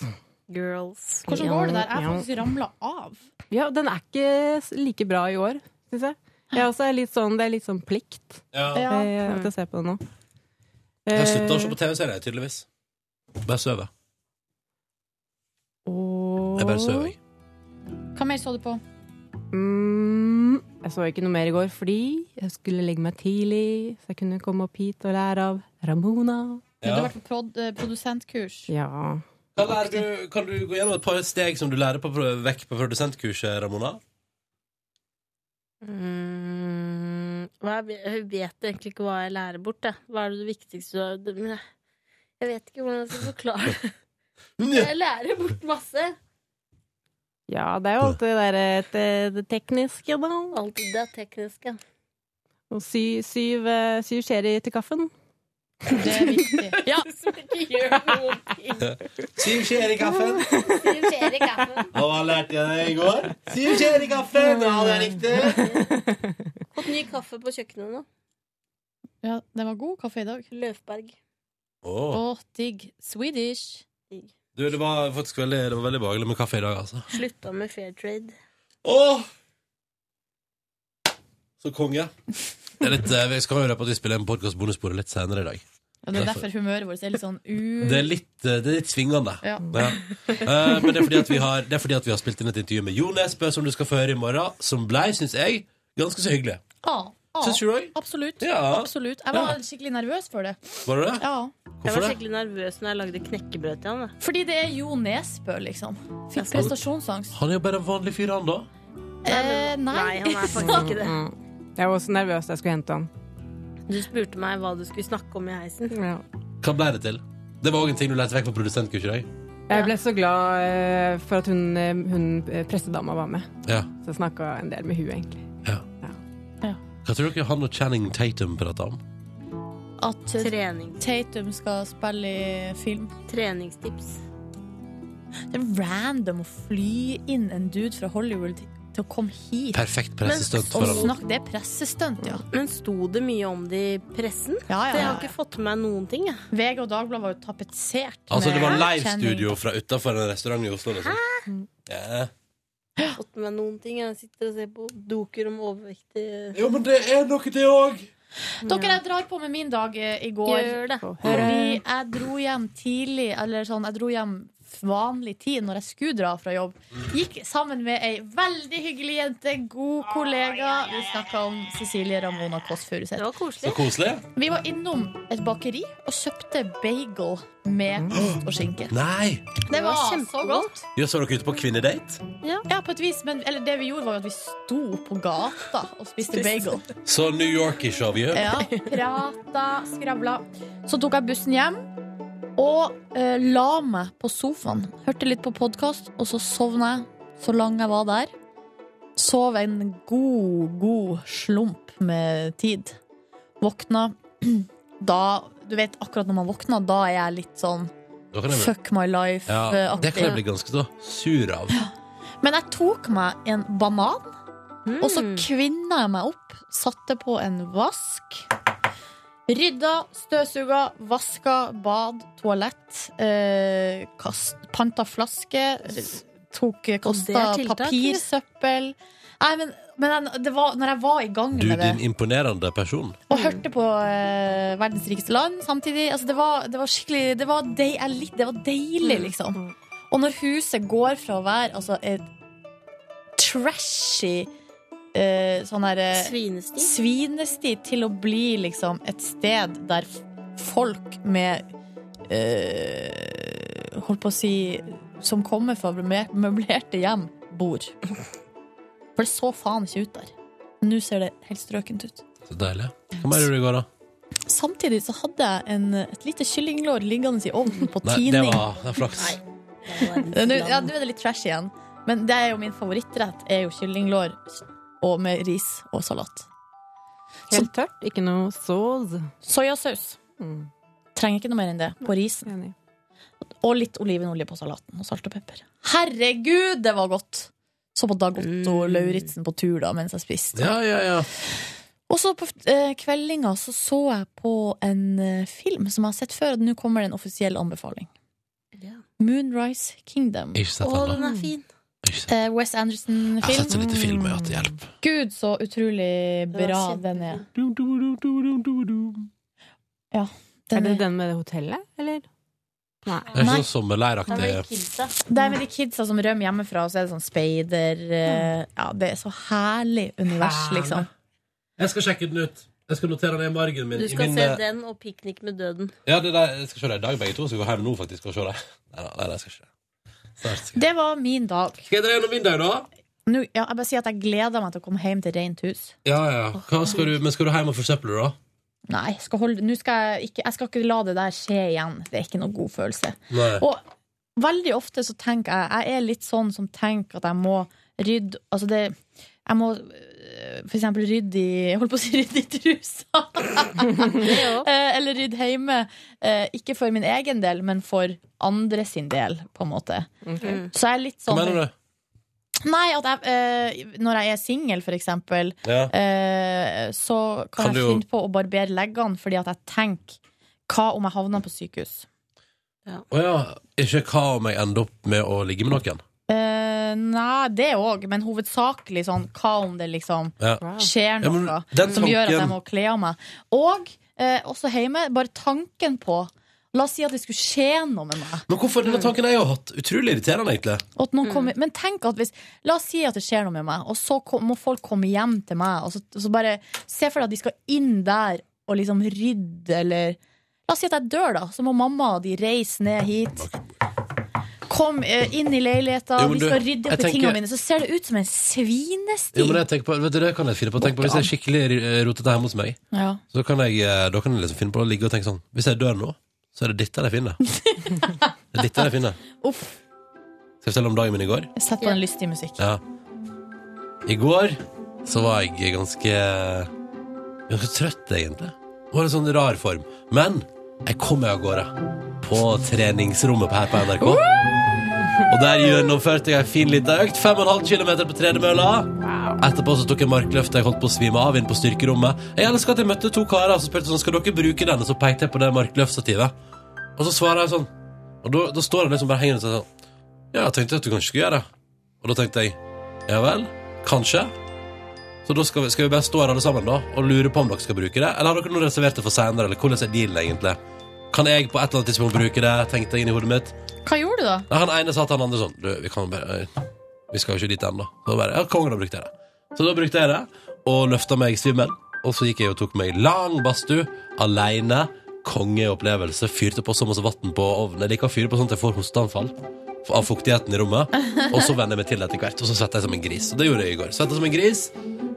Speaker 5: Girls.
Speaker 20: Hvordan går det der? Jeg
Speaker 17: Ja.
Speaker 20: har faktisk ramla av.
Speaker 17: Ja, den er ikke s- like bra i år, syns jeg. jeg også er litt sånn, det er litt sånn plikt
Speaker 2: Ja.
Speaker 17: eh, at jeg ser på det nå.
Speaker 2: Jeg har slutta å
Speaker 3: Eh,
Speaker 2: se på TV-serier, tydeligvis. Bare sover.
Speaker 17: Eh,
Speaker 2: Jeg bare sover, jeg.
Speaker 20: Hva mer så du på?
Speaker 17: Mm, jeg så ikke noe mer i går fordi jeg skulle legge meg tidlig, så jeg kunne komme opp hit og lære av Ramona.
Speaker 20: Du har vært på prod eh, produsentkurs.
Speaker 17: Ja.
Speaker 2: Hva lærer du, kan du gå gjennom et par steg som du lærer på, pro- vekk på produsentkurset, Ramona?
Speaker 5: Mm, hva er, jeg vet egentlig ikke hva jeg lærer bort. Jeg. Hva er det viktigste du har det- men jeg- Jeg vet ikke hvordan jeg skal forklare det. Jeg lærer bort masse.
Speaker 17: ja, det er jo alltid det, der, eh, det, det tekniske, da.
Speaker 5: Alltid det tekniske.
Speaker 17: Og sy, syv, eh, syv skjer i til kaffen.
Speaker 20: Det er viktig.
Speaker 5: Ja. Som ikke gjør noen ting.
Speaker 2: Syv skjeer i kaffen.
Speaker 6: Syv skjeer i kaffen.
Speaker 2: Og hva lærte jeg deg i går? Syv skjeer i kaffen! Ja, det er riktig.
Speaker 5: Fått ny kaffe på kjøkkenet nå.
Speaker 3: Ja, det var god kaffe i dag.
Speaker 5: Løfberg.
Speaker 2: Åh.
Speaker 3: Åh, digg. Swedish.
Speaker 2: Du, det var faktisk veldig, det var veldig behagelig med kaffe i dag, altså.
Speaker 5: Slutta med fair trade.
Speaker 2: Åh! Så konge. Det er litt, eh, vi skal jo røpe at vi spiller en podkast bonussporet litt senere i dag.
Speaker 3: Og det er derfor humøret vårt er litt sånn u...
Speaker 2: Det er litt, eh, det er litt svingende.
Speaker 3: Ja.
Speaker 2: Eh, men det er, fordi at vi har, det er fordi at vi har spilt inn et intervju med Jo Nesbø, som du skal få høre i morgen, som blei, syns jeg, ganske så hyggelig.
Speaker 3: Ja, ja.
Speaker 2: Syns du òg?
Speaker 3: Absolutt.
Speaker 2: Ja.
Speaker 3: Absolutt. Jeg var
Speaker 2: Ja.
Speaker 3: skikkelig nervøs for det.
Speaker 2: Var du det?
Speaker 3: Ja.
Speaker 5: Jeg
Speaker 2: Hvorfor
Speaker 5: var
Speaker 2: det?
Speaker 5: skikkelig nervøs når jeg lagde knekkebrød til han. da.
Speaker 3: Fordi det er Jo Nesbø, liksom. Fikk prestasjonsangst.
Speaker 2: Han er jo bare en vanlig fyr, han, da.
Speaker 3: Eh, nei.
Speaker 5: han er faktisk ikke det.
Speaker 17: Mm.
Speaker 23: Jeg var også nervøs da jeg skulle hente han.
Speaker 5: Du spurte meg hva du skulle snakke om i heisen.
Speaker 2: Hva ble det til? Det var òg en ting du lærte vekk på produsentkurset i dag.
Speaker 23: Jeg ble så glad eh, for at hun, eh, hun eh, pressedama var med.
Speaker 2: Ja.
Speaker 23: Så jeg snakka en del med hun egentlig.
Speaker 2: Hva tror dere han og Channing Tatum prata om?
Speaker 3: At eh, Tatum skal spille i film.
Speaker 5: Treningstips.
Speaker 3: Det er random å fly inn en dude fra Hollywood til å komme hit.
Speaker 2: Perfekt pressestunt
Speaker 5: Men-
Speaker 2: for han.
Speaker 5: og snakk-
Speaker 3: Snakk, det er pressestunt, ja.
Speaker 5: Men sto det mye om det i pressen?
Speaker 3: Ja, ja,
Speaker 5: For jeg
Speaker 3: ja,
Speaker 5: har ikke fått med meg noen ting. Jeg.
Speaker 3: VG og Dagbladet var jo tapetsert.
Speaker 2: Altså, det var
Speaker 3: med
Speaker 2: livestudio fra utafor en restaurant i Oslo. Liksom. Ja.
Speaker 5: Fått med meg noen ting. Jeg sitter og ser på doker om overvektige
Speaker 2: Jo, men det er noe, det òg!
Speaker 3: Dere, jeg drar på med min dag eh, i går.
Speaker 5: Gjør det.
Speaker 3: Fordi jeg dro hjem tidlig, eller sånn, jeg dro hjem vanlig tid når jeg skulle dra fra jobb. Gikk sammen med ei veldig hyggelig jente, god kollega. Vi snakka om Cecilie Ramona Kåss Furuseth.
Speaker 2: Så koselig.
Speaker 3: Vi var innom et bakeri og kjøpte bagel med ost og skinke.
Speaker 2: Nei!
Speaker 3: Det var så godt.
Speaker 2: Ja, så dere ute på kvinnedate?
Speaker 3: Ja. på et vis, men eller det vi gjorde, var jo at vi sto på gata og spiste bagel.
Speaker 2: Så New Yorkish av you.
Speaker 3: Ja, prata, skravla. Så tok jeg bussen hjem og eh, la meg på sofaen. Hørte litt på podkast, og så sovna jeg så lang jeg var der. Sov en god, god slump med tid. Våkna da Du vet akkurat når man våkner, da er jeg litt sånn
Speaker 2: Da kan jeg bli-
Speaker 3: fuck my eh,
Speaker 2: Ja, det kan jeg bli
Speaker 3: life-aktig.
Speaker 2: ganske så sur av.
Speaker 3: Men jeg tok meg en banan,
Speaker 5: Mm.
Speaker 3: og så kvinna jeg meg opp, satte på en vask. Rydda, støvsuga, vaska, bad, toalett. Eh, kast, panta flaske. Tok, kosta
Speaker 5: tiltak, eller?
Speaker 3: papirsøppel. Nei, men, men det var, når jeg var i gang
Speaker 2: Du,
Speaker 3: med det
Speaker 2: din imponerende person.
Speaker 3: og hørte på eh, verdens rikeste land samtidig. Altså, det, var, det var skikkelig det var, dei- jeg lik- det var deilig, liksom. Og når huset går fra å være altså, et trashy eh, sånn her, eh,
Speaker 5: Svinesti.
Speaker 3: svinesti til å bli liksom et sted der f- folk med eh, Holdt på å si Som kommer fra mø- møblerte hjem, bor. For det så faen ikke ut der. Men nå ser det helt strøkent ut.
Speaker 2: Så deilig. Hva mer gjorde du i går, da?
Speaker 3: Samtidig så hadde jeg en, et lite kyllinglår liggende i ovnen på
Speaker 2: Nei,
Speaker 3: tining.
Speaker 2: det var det er flaks.
Speaker 3: Nå ja, nå er det litt trash igjen, men det er jo min favorittrett er jo kyllinglår og med ris og salat.
Speaker 23: Helt tørt, ikke noe Mm. sauce.
Speaker 3: Soyasaus. Trenger ikke noe mer enn det på risen. Og litt olivenolje på salaten og salt og pepper. Herregud, det var godt! Så på Dag Otto
Speaker 2: Mm.
Speaker 3: Lauritzen på tur da, mens jeg spiste.
Speaker 2: Ja, ja, ja.
Speaker 3: Og så på eh, kveldinga så, så jeg på en eh, film som jeg har sett før, og nå kommer det en offisiell anbefaling. Moonrise Kingdom.
Speaker 2: Ikke sett Å, den, da. den er
Speaker 5: fin.
Speaker 3: Eh, Wes Anderson-film.
Speaker 2: Jeg har sett så lite film, jeg har hatt hjelp.
Speaker 3: Gud, så utrolig
Speaker 23: Det var
Speaker 3: bra
Speaker 23: kjempefint.
Speaker 3: den er.
Speaker 23: er det den med det hotellet, eller? Nei.
Speaker 2: Det er ikke sånn sommerleiraktig.
Speaker 3: Det er med de kidsa som rømmer hjemmefra, og så er det sånn speider eh, Ja, det er så herlig univers,
Speaker 2: Herlig.
Speaker 3: liksom.
Speaker 2: Jeg skal sjekke den ut. Jeg skal notere den i margen min. eh,
Speaker 5: Du skal se den og Piknik med døden.
Speaker 2: Ja, det der, jeg skal se det i dag, begge to. Så vi går hjem nå faktisk og se det. Nei, nei, nei, jeg skal ikke det. Snart skal jeg-
Speaker 3: Det var min dag.
Speaker 2: Skal jeg dra gjennom min dag, da?
Speaker 3: Nå, ja, jeg bare sier at jeg gleder meg til å komme hjem til rent hus.
Speaker 2: Ja, ja. Hva skal du, men skal du hjem og forsøple det, da?
Speaker 3: Nei, jeg skal holde, nå skal jeg, ikke, jeg skal ikke la det der skje igjen. Det er ikke noe god følelse.
Speaker 2: Nei.
Speaker 3: Og veldig ofte så tenker jeg Jeg er litt sånn som tenker at jeg må rydde Altså det Jeg må for eksempel rydde i Jeg holdt på å si rydde i trusa. Eh, Eller rydde hjemme. Eh, Ikke for min egen del, men for andre sin del, på en måte.
Speaker 2: Ok.
Speaker 3: Så jeg er litt
Speaker 2: Hva
Speaker 3: sånn
Speaker 2: mener du?
Speaker 3: Nei, at jeg, eh, når jeg er singel, for eksempel,
Speaker 2: Ja.
Speaker 3: eh, så kan,
Speaker 2: Kan du
Speaker 3: jeg
Speaker 2: jo-
Speaker 3: finne på å barbere leggene fordi at jeg tenker Hva om jeg havner på sykehus?
Speaker 2: Å ja, ikke hva om jeg ender opp med å ligge med noen?
Speaker 3: Eh, nei, det òg, men hovedsakelig sånn hva om det liksom
Speaker 2: Ja.
Speaker 3: skjer
Speaker 2: Ja,
Speaker 3: noe
Speaker 2: men den
Speaker 3: som gjør at
Speaker 2: tanken-
Speaker 3: jeg må kle av meg. Og eh, også hjemme, bare tanken på La oss si at det skulle skje noe med meg.
Speaker 2: Men hvorfor denne tanken jeg har hatt? Utrolig irriterende, egentlig.
Speaker 3: Og at noen kommer, men tenk at hvis La oss si at det skjer noe med meg, og så kom, må folk komme hjem til meg. Og så, og så bare Se for deg at de skal inn der og liksom rydde, eller La oss si at jeg dør, da. Så må mamma og de reise ned hit. Kom eh, inn i leiligheta,
Speaker 2: Jo, men
Speaker 3: de
Speaker 2: du,
Speaker 3: skal rydde
Speaker 2: jeg
Speaker 3: opp i
Speaker 2: tenker-
Speaker 3: tingene mine. Så ser det ut som en svinesti.
Speaker 2: Jo, men jeg tenker på, vet du, det kan jeg finne på. Tenk på Hvis jeg er skikkelig eh, rotete hjemme hos meg,
Speaker 3: Ja.
Speaker 2: så kan jeg, eh, da kan jeg liksom finne på å ligge og tenke sånn Hvis jeg dør nå, så er det dette jeg finner. Det er dette jeg finner.
Speaker 3: Uff.
Speaker 2: Skal jeg fortelle om dagen min i går?
Speaker 3: Sett på en lystig musikk.
Speaker 2: Ja. I går så var jeg ganske Ganske trøtt, egentlig. Det var en sånn rar form. Men jeg kom meg av gårde. På treningsrommet her på NRK. Og der gjennomførte jeg en fin liten økt. 5,5 km på tredemølla. Etterpå så tok jeg markløft. Jeg holdt på å svime av inn på styrkerommet. Jeg elsker at jeg møtte to karer som spurte sånn, skal dere bruke denne. Så pekte jeg på det markløftstativet. Og så svarer jeg sånn. Og da, da står han liksom bare hengende sånn. Ja, jeg tenkte at du kanskje skulle gjøre det. Og da tenkte jeg, ja vel, kanskje. Så da skal vi, skal vi bare stå her alle sammen da, og lure på om dere skal bruke det. Eller har dere noe reservert det for senere, eller hvordan er dealen egentlig? Kan jeg på et eller annet tidspunkt bruke det, tenkte jeg inn i hodet mitt.
Speaker 3: Hva gjorde du, da?
Speaker 2: Nei, han ene sa til han andre sånn, du, vi kan bare, eh, vi skal jo ikke dit enda. Så da bare, ja, kongen har brukt det. Så da brukte jeg det, og løftet meg i svimmen. Og så gikk jeg og tok meg i lang bastu, alene, kongeopplevelse, fyrte på så masse vatten på ovnen. Jeg liker å fyre på sånn at jeg får hosteanfall av fuktigheten i rommet. Og så venner jeg meg til etter hvert, og så svetter jeg som en gris. Og det gjorde jeg i går. Svetta som en gris.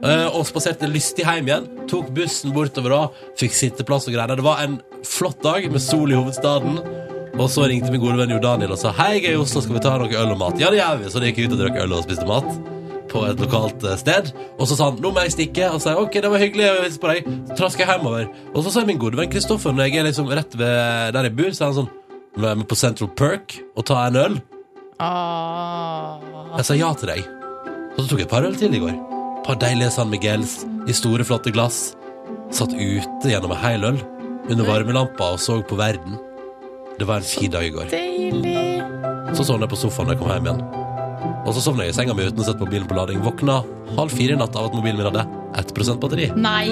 Speaker 2: eh, Og spaserte lystig hjem igjen. Tok bussen bortover da. Fikk sitteplass og greier. Det var en flott dag med sol i hovedstaden. Og så ringte min gode venn Jo Daniel og sa Hei, jeg er i Oslo, skal vi ta noe øl og mat? Ja, det gjør vi. Så da gikk jeg ut og drakk øl og spiste mat på et lokalt eh, sted. Og så sa han nå må jeg stikke. Og så sa jeg ok, det var hyggelig, jeg hilser på deg. Så traska jeg hjemover. Og så sa min gode venn Kristoffer, når jeg er liksom rett ved der jeg bor, så er han sånn Nå er vi på Central Perk og tar en øl. Jeg sa ja til deg. Så tok jeg et par øl til i går. Et par deilige San Miguels i store, flotte glass. Satt ute gjennom en hel øl under varmelampa og så på verden. Det var en fin dag i går.
Speaker 3: Deilig.
Speaker 2: Så sovna jeg på sofaen da jeg kom hjem igjen. Og så sovna jeg i senga mi uten å sette mobilen på lading. Våkna halv fire i natt av at mobilen min hadde 1 batteri.
Speaker 3: Nei.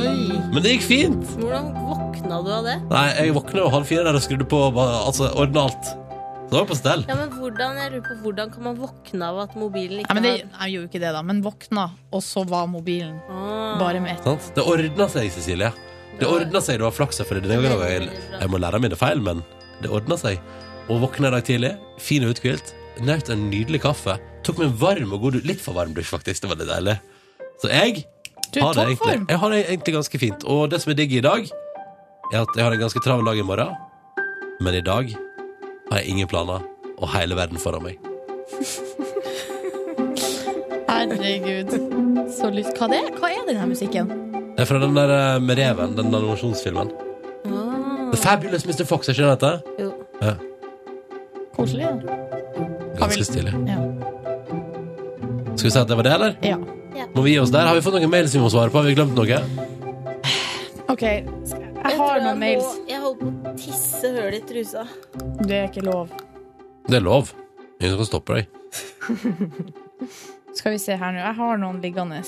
Speaker 2: Men det gikk fint!
Speaker 5: Hvordan våkna du av det?
Speaker 2: Nei, jeg våkna jo halv fire der og skrudde på og bare- altså, ordna alt. Så det var på stell.
Speaker 5: Ja, men hvordan, jeg lurer på, hvordan kan man våkne av at mobilen
Speaker 3: Nei,
Speaker 5: ikke
Speaker 3: men det, jeg gjorde ikke det, da. Men våkna, og så var mobilen bare med ett.
Speaker 2: Sant? Det ordna seg, Cecilie. Det ordna seg. Du har flaks, selvfølgelig. Denne gangen var jeg, jeg må lære av mine feil, men det ordna seg. Og våkna i dag tidlig, fin og uthvilt, nøt en nydelig kaffe. Tok meg en varm og god Litt for varm dusj, faktisk. Det var litt deilig. Så jeg
Speaker 3: Du er
Speaker 2: har, det
Speaker 3: i
Speaker 2: egentlig,
Speaker 3: toppform.
Speaker 2: jeg har det egentlig ganske fint. Og det som er digg i dag, er at jeg har en ganske travel dag i morgen, men i dag har jeg ingen planer, og hele verden foran meg.
Speaker 3: Herregud. Så lyst. Hva, det? Hva er denne musikken?
Speaker 2: Det er fra den der eh, med reven, den animasjonsfilmen.
Speaker 3: Ah.
Speaker 2: The Fabulous Mr. Fox, er ikke det den heter?
Speaker 5: Jo.
Speaker 2: Ja.
Speaker 3: Koselig.
Speaker 2: Ganske stilig.
Speaker 3: Ja.
Speaker 2: Skal vi si at det var det, eller?
Speaker 3: Ja.
Speaker 2: Må vi gi oss der? Har vi fått noen mails vi må svare på? Har vi glemt noe?
Speaker 3: OK, jeg
Speaker 5: tror
Speaker 3: har noen mails.
Speaker 5: Må, jeg holder på å tisse høl i trusa.
Speaker 3: Det er ikke lov.
Speaker 2: Det er lov. Ingen som kan stoppe deg.
Speaker 3: Skal vi se her nå. Jeg har noen liggende.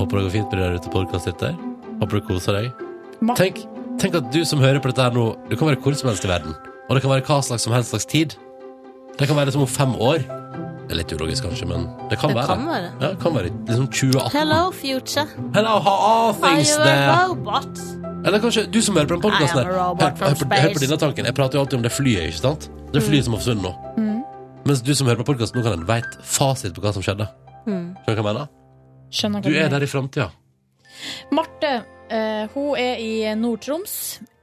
Speaker 2: Håper det går fint med dere ute i podkastet ditt der. Håper du koser deg.
Speaker 3: Ma-
Speaker 2: Tenk, tenk at du som hører på dette her nå, du kan være hvor som helst i verden. Og det kan være hva slags som helst slags tid. Det kan være liksom om fem år. Det er litt ulogisk, kanskje, men det kan
Speaker 5: Det
Speaker 2: være.
Speaker 5: kan være.
Speaker 2: Ja, det kan være liksom 2018.
Speaker 5: Hello, future.
Speaker 2: Hello, how are things
Speaker 5: Are you a
Speaker 2: there?
Speaker 5: robot?
Speaker 2: Eller kanskje du som hører på den podkasten
Speaker 5: I am
Speaker 2: her.
Speaker 5: a robot
Speaker 2: Hør,
Speaker 5: from
Speaker 2: hør, på- hør på
Speaker 5: space. Mm.
Speaker 2: denne tanken. Jeg prater jo alltid om det flyet, ikke sant? Det flyet som har forsvunnet nå. Mens du som hører på podkasten nå, kan en veit fasit på hva som skjedde.
Speaker 3: Mm.
Speaker 2: Skjønner du hva jeg mener?
Speaker 3: Skjønner
Speaker 2: Du
Speaker 3: hva
Speaker 2: er
Speaker 3: mener.
Speaker 2: der i framtida.
Speaker 3: Marte, eh, hun er i Nord-Troms.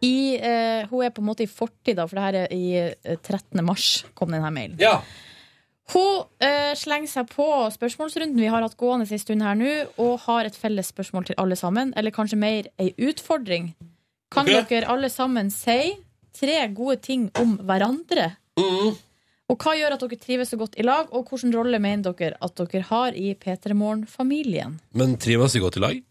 Speaker 3: I, eh, hun er på en måte i fortida, for det her er i eh, 13. mars kom denne mailen. Hun eh, slenger seg på spørsmålsrunden vi har hatt gående en stund her nå, og har et felles spørsmål til alle sammen, eller kanskje mer ei utfordring. Kan
Speaker 6: Ok.
Speaker 3: dere alle sammen si tre gode ting om hverandre?
Speaker 2: Mm.
Speaker 3: Og hva gjør at dere trives så godt i lag, og hvilken rolle mener dere at dere har i P3 Morgen-familien?
Speaker 2: Men trives vi godt i lag?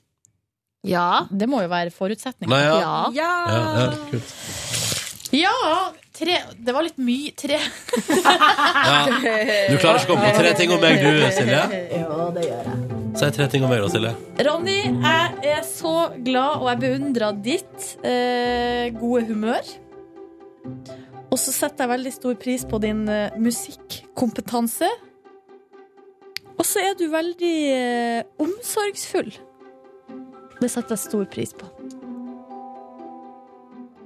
Speaker 3: Ja. Det må jo være forutsetningen.
Speaker 2: Nei, ja.
Speaker 3: ja.
Speaker 2: Ja, ja, kult.
Speaker 3: Ja, tre Det var litt mye tre.
Speaker 2: Ja. Du klarer ikke å komme på tre ting om meg, du, Silje?
Speaker 3: Jo, det gjør jeg.
Speaker 2: Si tre ting om meg, da, Silje.
Speaker 3: Ronny, jeg er så glad, og jeg beundrer ditt eh, gode humør. Og så setter jeg veldig stor pris på din eh, musikkompetanse. Og så er du veldig eh, omsorgsfull. Det setter jeg stor pris på.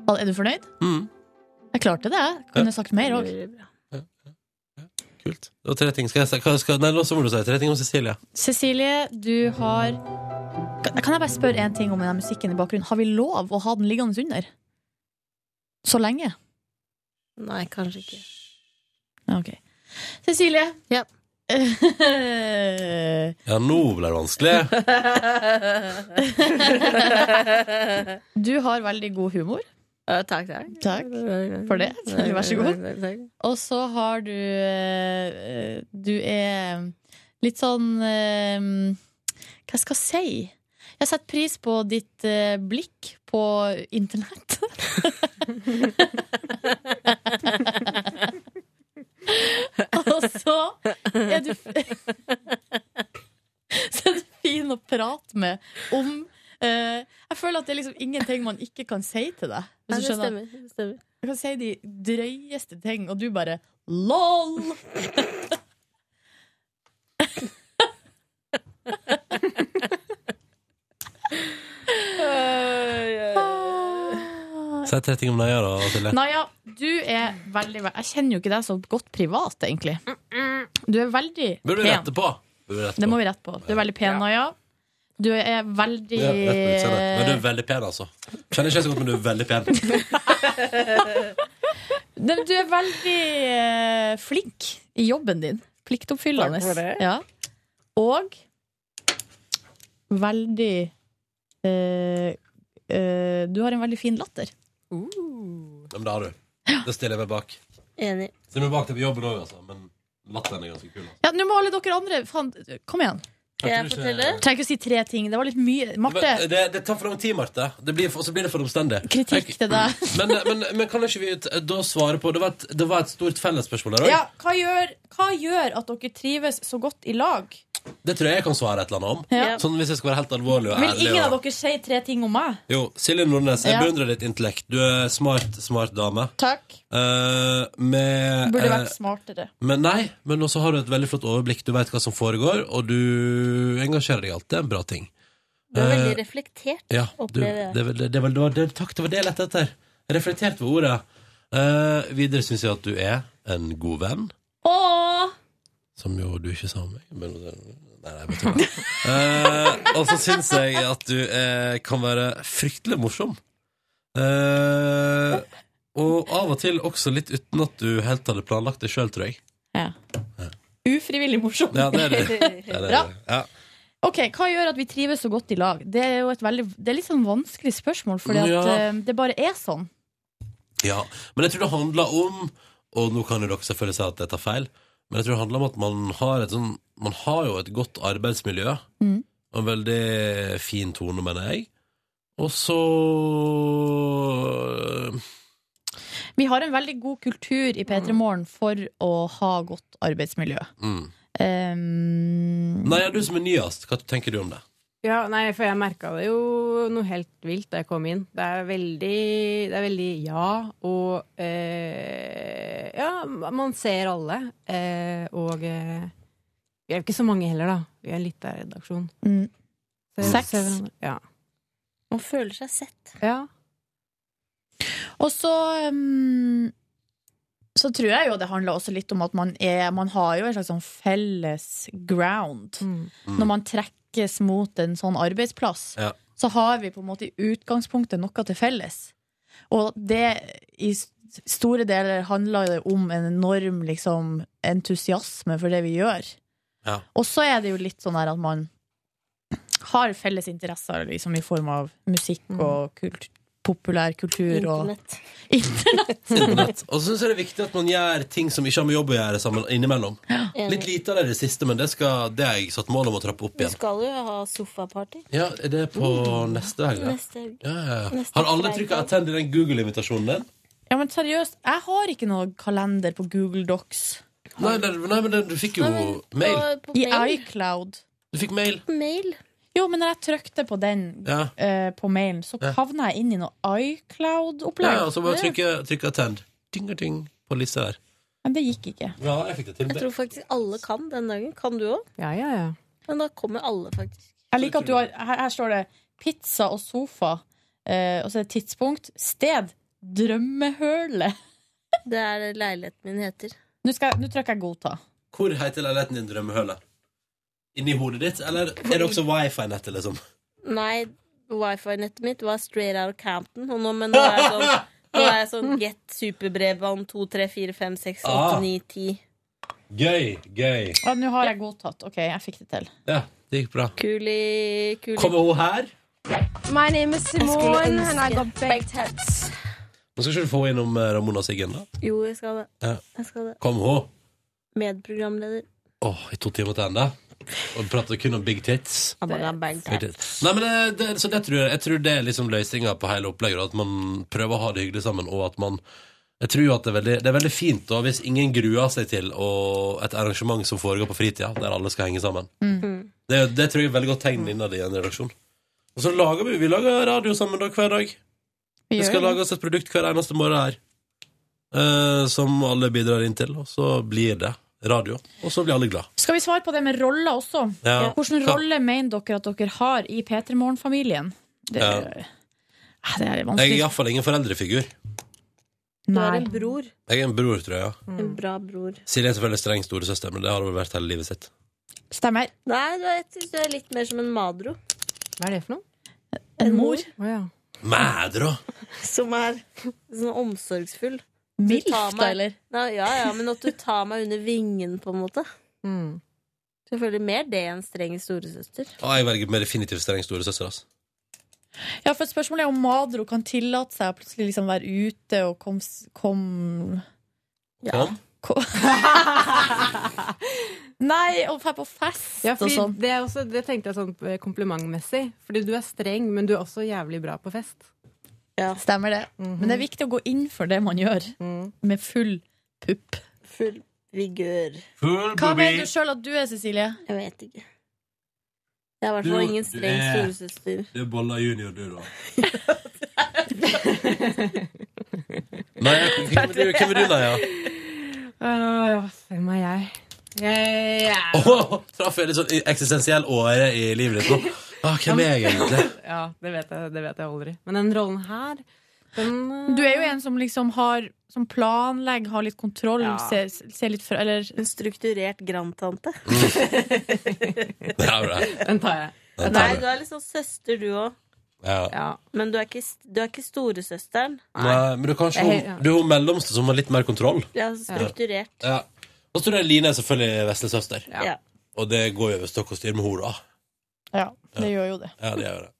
Speaker 3: Hva, Er du fornøyd? Jeg klarte det, jeg. Kunne sagt mer òg.
Speaker 2: Kult. Det var tre ting. Skal jeg si hva skal, Nei, nå så må du si tre ting om Cecilie.
Speaker 20: Cecilie, du har Kan kan jeg bare spørre en ting om den musikken i bakgrunnen? Har vi lov å ha den liggende under? Så lenge?
Speaker 5: Nei, kanskje ikke.
Speaker 20: Ja, ok. Cecilie.
Speaker 5: Ja.
Speaker 2: Ja, nå ble det vanskelig.
Speaker 20: du har veldig god humor.
Speaker 5: takk, takk.
Speaker 20: Takk for det. Vær så god.
Speaker 5: Takk.
Speaker 20: Og så har du eh, Du er litt sånn eh, Hva skal jeg si? Jeg setter pris på ditt eh, blikk på internett. Og så er du Så er du fin å prate med om eh, Jeg føler at det er liksom ingenting man ikke kan si til deg. Hvis du
Speaker 5: Nei, det
Speaker 20: skjønner.
Speaker 5: stemmer. Det stemmer.
Speaker 20: Jeg kan si de drøyeste ting, og du bare LOL!
Speaker 2: Si tre ting om Naja, da, Silje.
Speaker 3: Naja, du er veldig ve- Jeg kjenner jo ikke deg så godt privat, egentlig. Du er veldig
Speaker 2: Burde vi
Speaker 3: pen.
Speaker 2: rette på? Burde vi rette
Speaker 3: Det
Speaker 2: på?
Speaker 3: må vi rette på. Du er veldig pen, Naja. Du er veldig
Speaker 2: Ja, rett på utseendet. Men du er veldig pen, altså. Kjenner ikke så godt, men du er veldig pen.
Speaker 3: Men Du er veldig eh, flink i jobben din. Pliktoppfyllende.
Speaker 20: Takk for det.
Speaker 3: Ja. Og veldig eh, eh, Du har en veldig fin latter.
Speaker 20: Uh.
Speaker 2: Ja, men det har du. Det stiller jeg meg bak.
Speaker 5: Enig.
Speaker 2: Stiller meg bak til på jobben òg, altså. Men latteren er ganske kul. Altså.
Speaker 20: Ja, nå må alle dere andre Faen, kom igjen.
Speaker 2: Kan jeg Jeg tror ikke- fortelle?
Speaker 20: Trenger ikke å si tre ting. Det var litt mye. Marte.
Speaker 2: Men Det, det tar for lang tid, Marte. Det blir, og så blir det for omstendig.
Speaker 20: Kritikk til deg.
Speaker 2: Men, men, men kan ikke vi t- da svare på Det var et, det var et stort fellesspørsmål der òg.
Speaker 20: Ja, hva gjør, hva gjør at dere trives så godt i lag?
Speaker 2: Det tror jeg jeg kan svare et eller annet om.
Speaker 20: Ja.
Speaker 2: Sånn Hvis jeg skal være helt alvorlig og
Speaker 20: Vil
Speaker 2: ærlig.
Speaker 20: ingen
Speaker 2: og-
Speaker 20: av dere si tre ting om meg?
Speaker 2: Jo, Silje Nordnes, jeg
Speaker 20: Ja.
Speaker 2: beundrer ditt intellekt. Du er smart, smart dame.
Speaker 20: Takk.
Speaker 2: Eh, med
Speaker 20: Burde
Speaker 2: eh,
Speaker 20: vært smartere.
Speaker 2: Men nei, men også har du et veldig flott overblikk. Du vet hva som foregår, og du engasjerer deg alltid. Det er en bra ting.
Speaker 5: Du er veldig
Speaker 2: Eh,
Speaker 5: reflektert,
Speaker 2: ja, du,
Speaker 5: opplever
Speaker 2: det,
Speaker 5: jeg.
Speaker 2: var- det, var- det, var- det, takk, det var det jeg lette etter. Reflektert ved ordet. Eh, videre syns jeg at du er en god venn,
Speaker 20: Åh!
Speaker 2: som jo du ikke sa om meg. Men, nei, nei, jeg bare tuller. Eh, og så syns jeg at du eh, kan være fryktelig morsom. Eh, og av og til også litt uten at du helt hadde planlagt det sjøl, tror jeg.
Speaker 20: Ufrivillig morsom.
Speaker 2: Ja, det er det. det, er det.
Speaker 20: Bra.
Speaker 2: Ja.
Speaker 3: Ok, Hva gjør at vi trives så godt i lag? Det er jo et veldig, det er litt sånn vanskelig spørsmål, for
Speaker 2: Ja.
Speaker 3: det bare er sånn.
Speaker 2: Ja, men jeg tror det handler om Og nå kan jo dere selvfølgelig si at jeg tar feil Men jeg tror det handler om at man har et sånn Man har jo et godt arbeidsmiljø
Speaker 20: Mm.
Speaker 2: Og en veldig fin tone, mener jeg Og så øh,
Speaker 3: Vi har en veldig god kultur i P3 Morgen for å ha godt arbeidsmiljø.
Speaker 2: mm.
Speaker 3: Um,
Speaker 2: Nei, ja, du som er nyast, hva tenker du om det?
Speaker 23: Mm. Ja, nei, for jeg merka det jo noe helt vilt da jeg kom inn. Det er veldig, det er veldig ja, og eh, Ja, man ser alle. Eh, og eh, vi er jo ikke så mange heller, da. Vi er en liten redaksjon.
Speaker 20: Mm.
Speaker 23: Så-
Speaker 20: Seks.
Speaker 23: så- Ja.
Speaker 5: Man føler seg sett.
Speaker 23: Ja.
Speaker 20: Og så um, så tror jeg jo det handler også litt om at man er Man har jo en slags sånn felles ground.
Speaker 5: Mm.
Speaker 20: Når man trekkes mot en sånn arbeidsplass,
Speaker 2: Ja.
Speaker 20: så har vi på en måte i utgangspunktet noe til felles. Og det i, s-
Speaker 3: store deler handler det om en enorm liksom, entusiasme for det vi gjør.
Speaker 2: Ja.
Speaker 3: Og så er det jo litt sånn her at man har felles interesser liksom, i form av musikk
Speaker 2: Mm.
Speaker 3: og kult, populær kultur og Internett.
Speaker 2: Og så syns jeg det er viktig at man gjør ting som ikke har med jobb å gjøre, sammen, innimellom.
Speaker 5: Enig.
Speaker 2: Litt lite av det i det siste, men det, skal, det har jeg satt mål om å trappe opp
Speaker 5: Vi
Speaker 2: igjen. Mm.
Speaker 5: skal jo ha sofaparty.
Speaker 2: Ja, Er det på neste helg? da?
Speaker 5: Neste helg.
Speaker 2: Ja, ja, ja.
Speaker 5: Neste
Speaker 2: Har alle
Speaker 5: fredag.
Speaker 2: trykka 'attend' i den Google-invitasjonen din?
Speaker 3: Ja, men seriøst, jeg har ikke noe kalender på Google Docs.
Speaker 2: Nei, nei, nei, men det- du fikk jo mail.
Speaker 3: I iCloud.
Speaker 2: Du fikk mail.
Speaker 3: Jo, men når jeg trykte på den
Speaker 2: Ja.
Speaker 3: eh, på mailen, så
Speaker 2: Ja.
Speaker 3: havna jeg inn i noe
Speaker 2: Ja,
Speaker 3: iCloud-opplegg.
Speaker 2: ja, så bare trykke, trykke 'attend'. Ting og ting på lista der.
Speaker 3: Men det gikk ikke.
Speaker 2: Ja, jeg fikk det til.
Speaker 5: Jeg tror faktisk alle kan den dagen. Kan du òg?
Speaker 17: Ja, ja, ja.
Speaker 5: Men da kommer alle, faktisk.
Speaker 3: Jeg liker at du har Her, her står det pizza og sofa, eh, og så er det tidspunkt. Sted. Drømmehølet.
Speaker 5: Det er det leiligheten min heter.
Speaker 3: Nå, skal jeg- nå trykker jeg godta.
Speaker 2: Hvor heter leiligheten din drømmehølet? Inni hodet ditt, eller er det også wifi-nettet, liksom?
Speaker 5: Nei, wifi-nettet mitt var straight out of Campton, og nå, men nå er jeg sånn, nå er jeg sånn get superbredbånd 2, 3, 4, 5, 6, 8,
Speaker 2: Ah.
Speaker 5: 9, 10.
Speaker 2: Gøy, gøy.
Speaker 3: Ja, nå har jeg godtatt. OK, jeg fikk det til.
Speaker 2: Ja, det gikk bra.
Speaker 5: Kuli, kuli.
Speaker 2: Kommer hun her?
Speaker 6: My name is Simone,
Speaker 5: ønske-
Speaker 6: and I got baked heads.
Speaker 2: Nå skal ikke du få innom eh, Ramona og Siggen, da?
Speaker 5: Jo, jeg skal det.
Speaker 2: Ja.
Speaker 5: Jeg skal det.
Speaker 2: Kom hun?
Speaker 5: Medprogramleder.
Speaker 2: Åh, i to timer til enda Og prater kun om big tits Big
Speaker 5: Abba-dabba-dabba.
Speaker 2: tits. Nei, men det, det, så det tror jeg, jeg tror det er liksom løsninga på hele opplegget. da, At man prøver å ha det hyggelig sammen, og at man Jeg tror jo at det er veldig, det er veldig fint da, hvis ingen gruer seg til å- et arrangement som foregår på fritida, der alle skal henge sammen.
Speaker 5: Mm.
Speaker 2: Det, det tror jeg er veldig godt tegn
Speaker 3: Mm.
Speaker 2: innad i en redaksjon. Og så lager vi vi lager radio sammen da hver dag.
Speaker 3: Vi
Speaker 2: Det
Speaker 3: gjør
Speaker 2: skal
Speaker 3: det.
Speaker 2: lages et produkt hver eneste morgen her. eh, som alle bidrar inn til. Og så blir det radio. Og så blir alle glad.
Speaker 3: Skal vi svare på det med roller også?
Speaker 2: Ja.
Speaker 3: Hvilken
Speaker 2: Hva-
Speaker 3: rolle mener dere at dere har i P3 Morgen-familien? Det,
Speaker 2: Ja.
Speaker 3: Ah, det er
Speaker 2: Jeg er
Speaker 3: vanskelig.
Speaker 2: iallfall ingen foreldrefigur.
Speaker 5: Du har en bror.
Speaker 2: Jeg er en bror, tror jeg. ja.
Speaker 3: Mm.
Speaker 5: En bra bror.
Speaker 2: Silje er selvfølgelig streng storesøster, men det har hun vært hele livet sitt.
Speaker 3: Stemmer.
Speaker 5: Nei, du er, jeg synes du er litt mer som en madro.
Speaker 17: Hva er det for noe?
Speaker 5: En mor.
Speaker 2: Mædra!
Speaker 5: Som er sånn omsorgsfull.
Speaker 3: Milf,
Speaker 5: Du tar meg-
Speaker 3: da, eller?
Speaker 5: Nei, Ja, ja, men at du tar meg under vingen, på en måte.
Speaker 4: Mm.
Speaker 5: Selvfølgelig mer det enn streng storesøster.
Speaker 2: Og jeg velger med definitivt streng storesøster. Altså.
Speaker 3: Ja, for spørsmålet er om Madro kan tillate seg å plutselig liksom være ute og kom, kom...
Speaker 2: Kom.
Speaker 3: Kom. Nei, og være på fest
Speaker 17: Ja,
Speaker 3: og
Speaker 17: fordi
Speaker 3: sånn.
Speaker 17: det, er også, det tenkte jeg sånn eh, komplimentmessig. Fordi du er streng, men du er også jævlig bra på fest.
Speaker 3: Stemmer det.
Speaker 5: Mhm.
Speaker 3: Men det er viktig å gå inn for det man gjør, med full pupp.
Speaker 5: Full vigør.
Speaker 3: Hva mener du sjøl at du er, Cecilie?
Speaker 5: Jeg vet ikke. Jeg er i hvert fall ingen streng storesøster.
Speaker 2: Du er Bolla junior, du, da. Nei, hvem er du, hvem er du da, ja?
Speaker 17: Uh, hvem er jeg? Jeg er
Speaker 2: Åh, traff jeg litt sånn eksistensiell åre i livet ditt nå? Ah, hvem er jeg egentlig?
Speaker 17: Ja, det vet, jeg, det vet jeg aldri. Men den rollen her den,
Speaker 3: Du er jo en som liksom har Som planlegger, har litt kontroll,
Speaker 5: Ja.
Speaker 3: ser, ser litt fra Eller
Speaker 5: En strukturert grandtante.
Speaker 2: Ja, bra.
Speaker 17: Den tar jeg.
Speaker 2: Den tar
Speaker 5: Nei,
Speaker 2: du.
Speaker 5: du er litt sånn søster, du òg.
Speaker 2: Ja.
Speaker 5: Men du er ikke, du er ikke storesøsteren.
Speaker 2: Nei, men du er kanskje
Speaker 5: Jeg-
Speaker 2: hun, du er hun mellomste som har litt mer kontroll.
Speaker 5: Ja, strukturert.
Speaker 2: Ja. Og så tror jeg Line er selvfølgelig veslesøster.
Speaker 5: Ja.
Speaker 2: Og det går jo over stokk og styr med henne, da.
Speaker 3: Ja, det gjør jo det.
Speaker 2: Ja, det gjør det.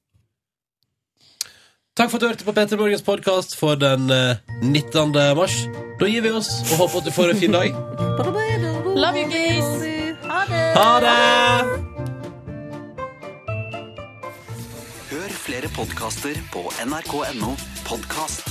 Speaker 2: Takk for at du hørte på Petter Morgens podkast for den eh, 19. mars. Da gir vi oss og håper at du får en fin dag.
Speaker 3: Love you, guys!
Speaker 5: Ha det!
Speaker 2: Ha det!
Speaker 24: Hør flere podkaster på nrk.no podkast.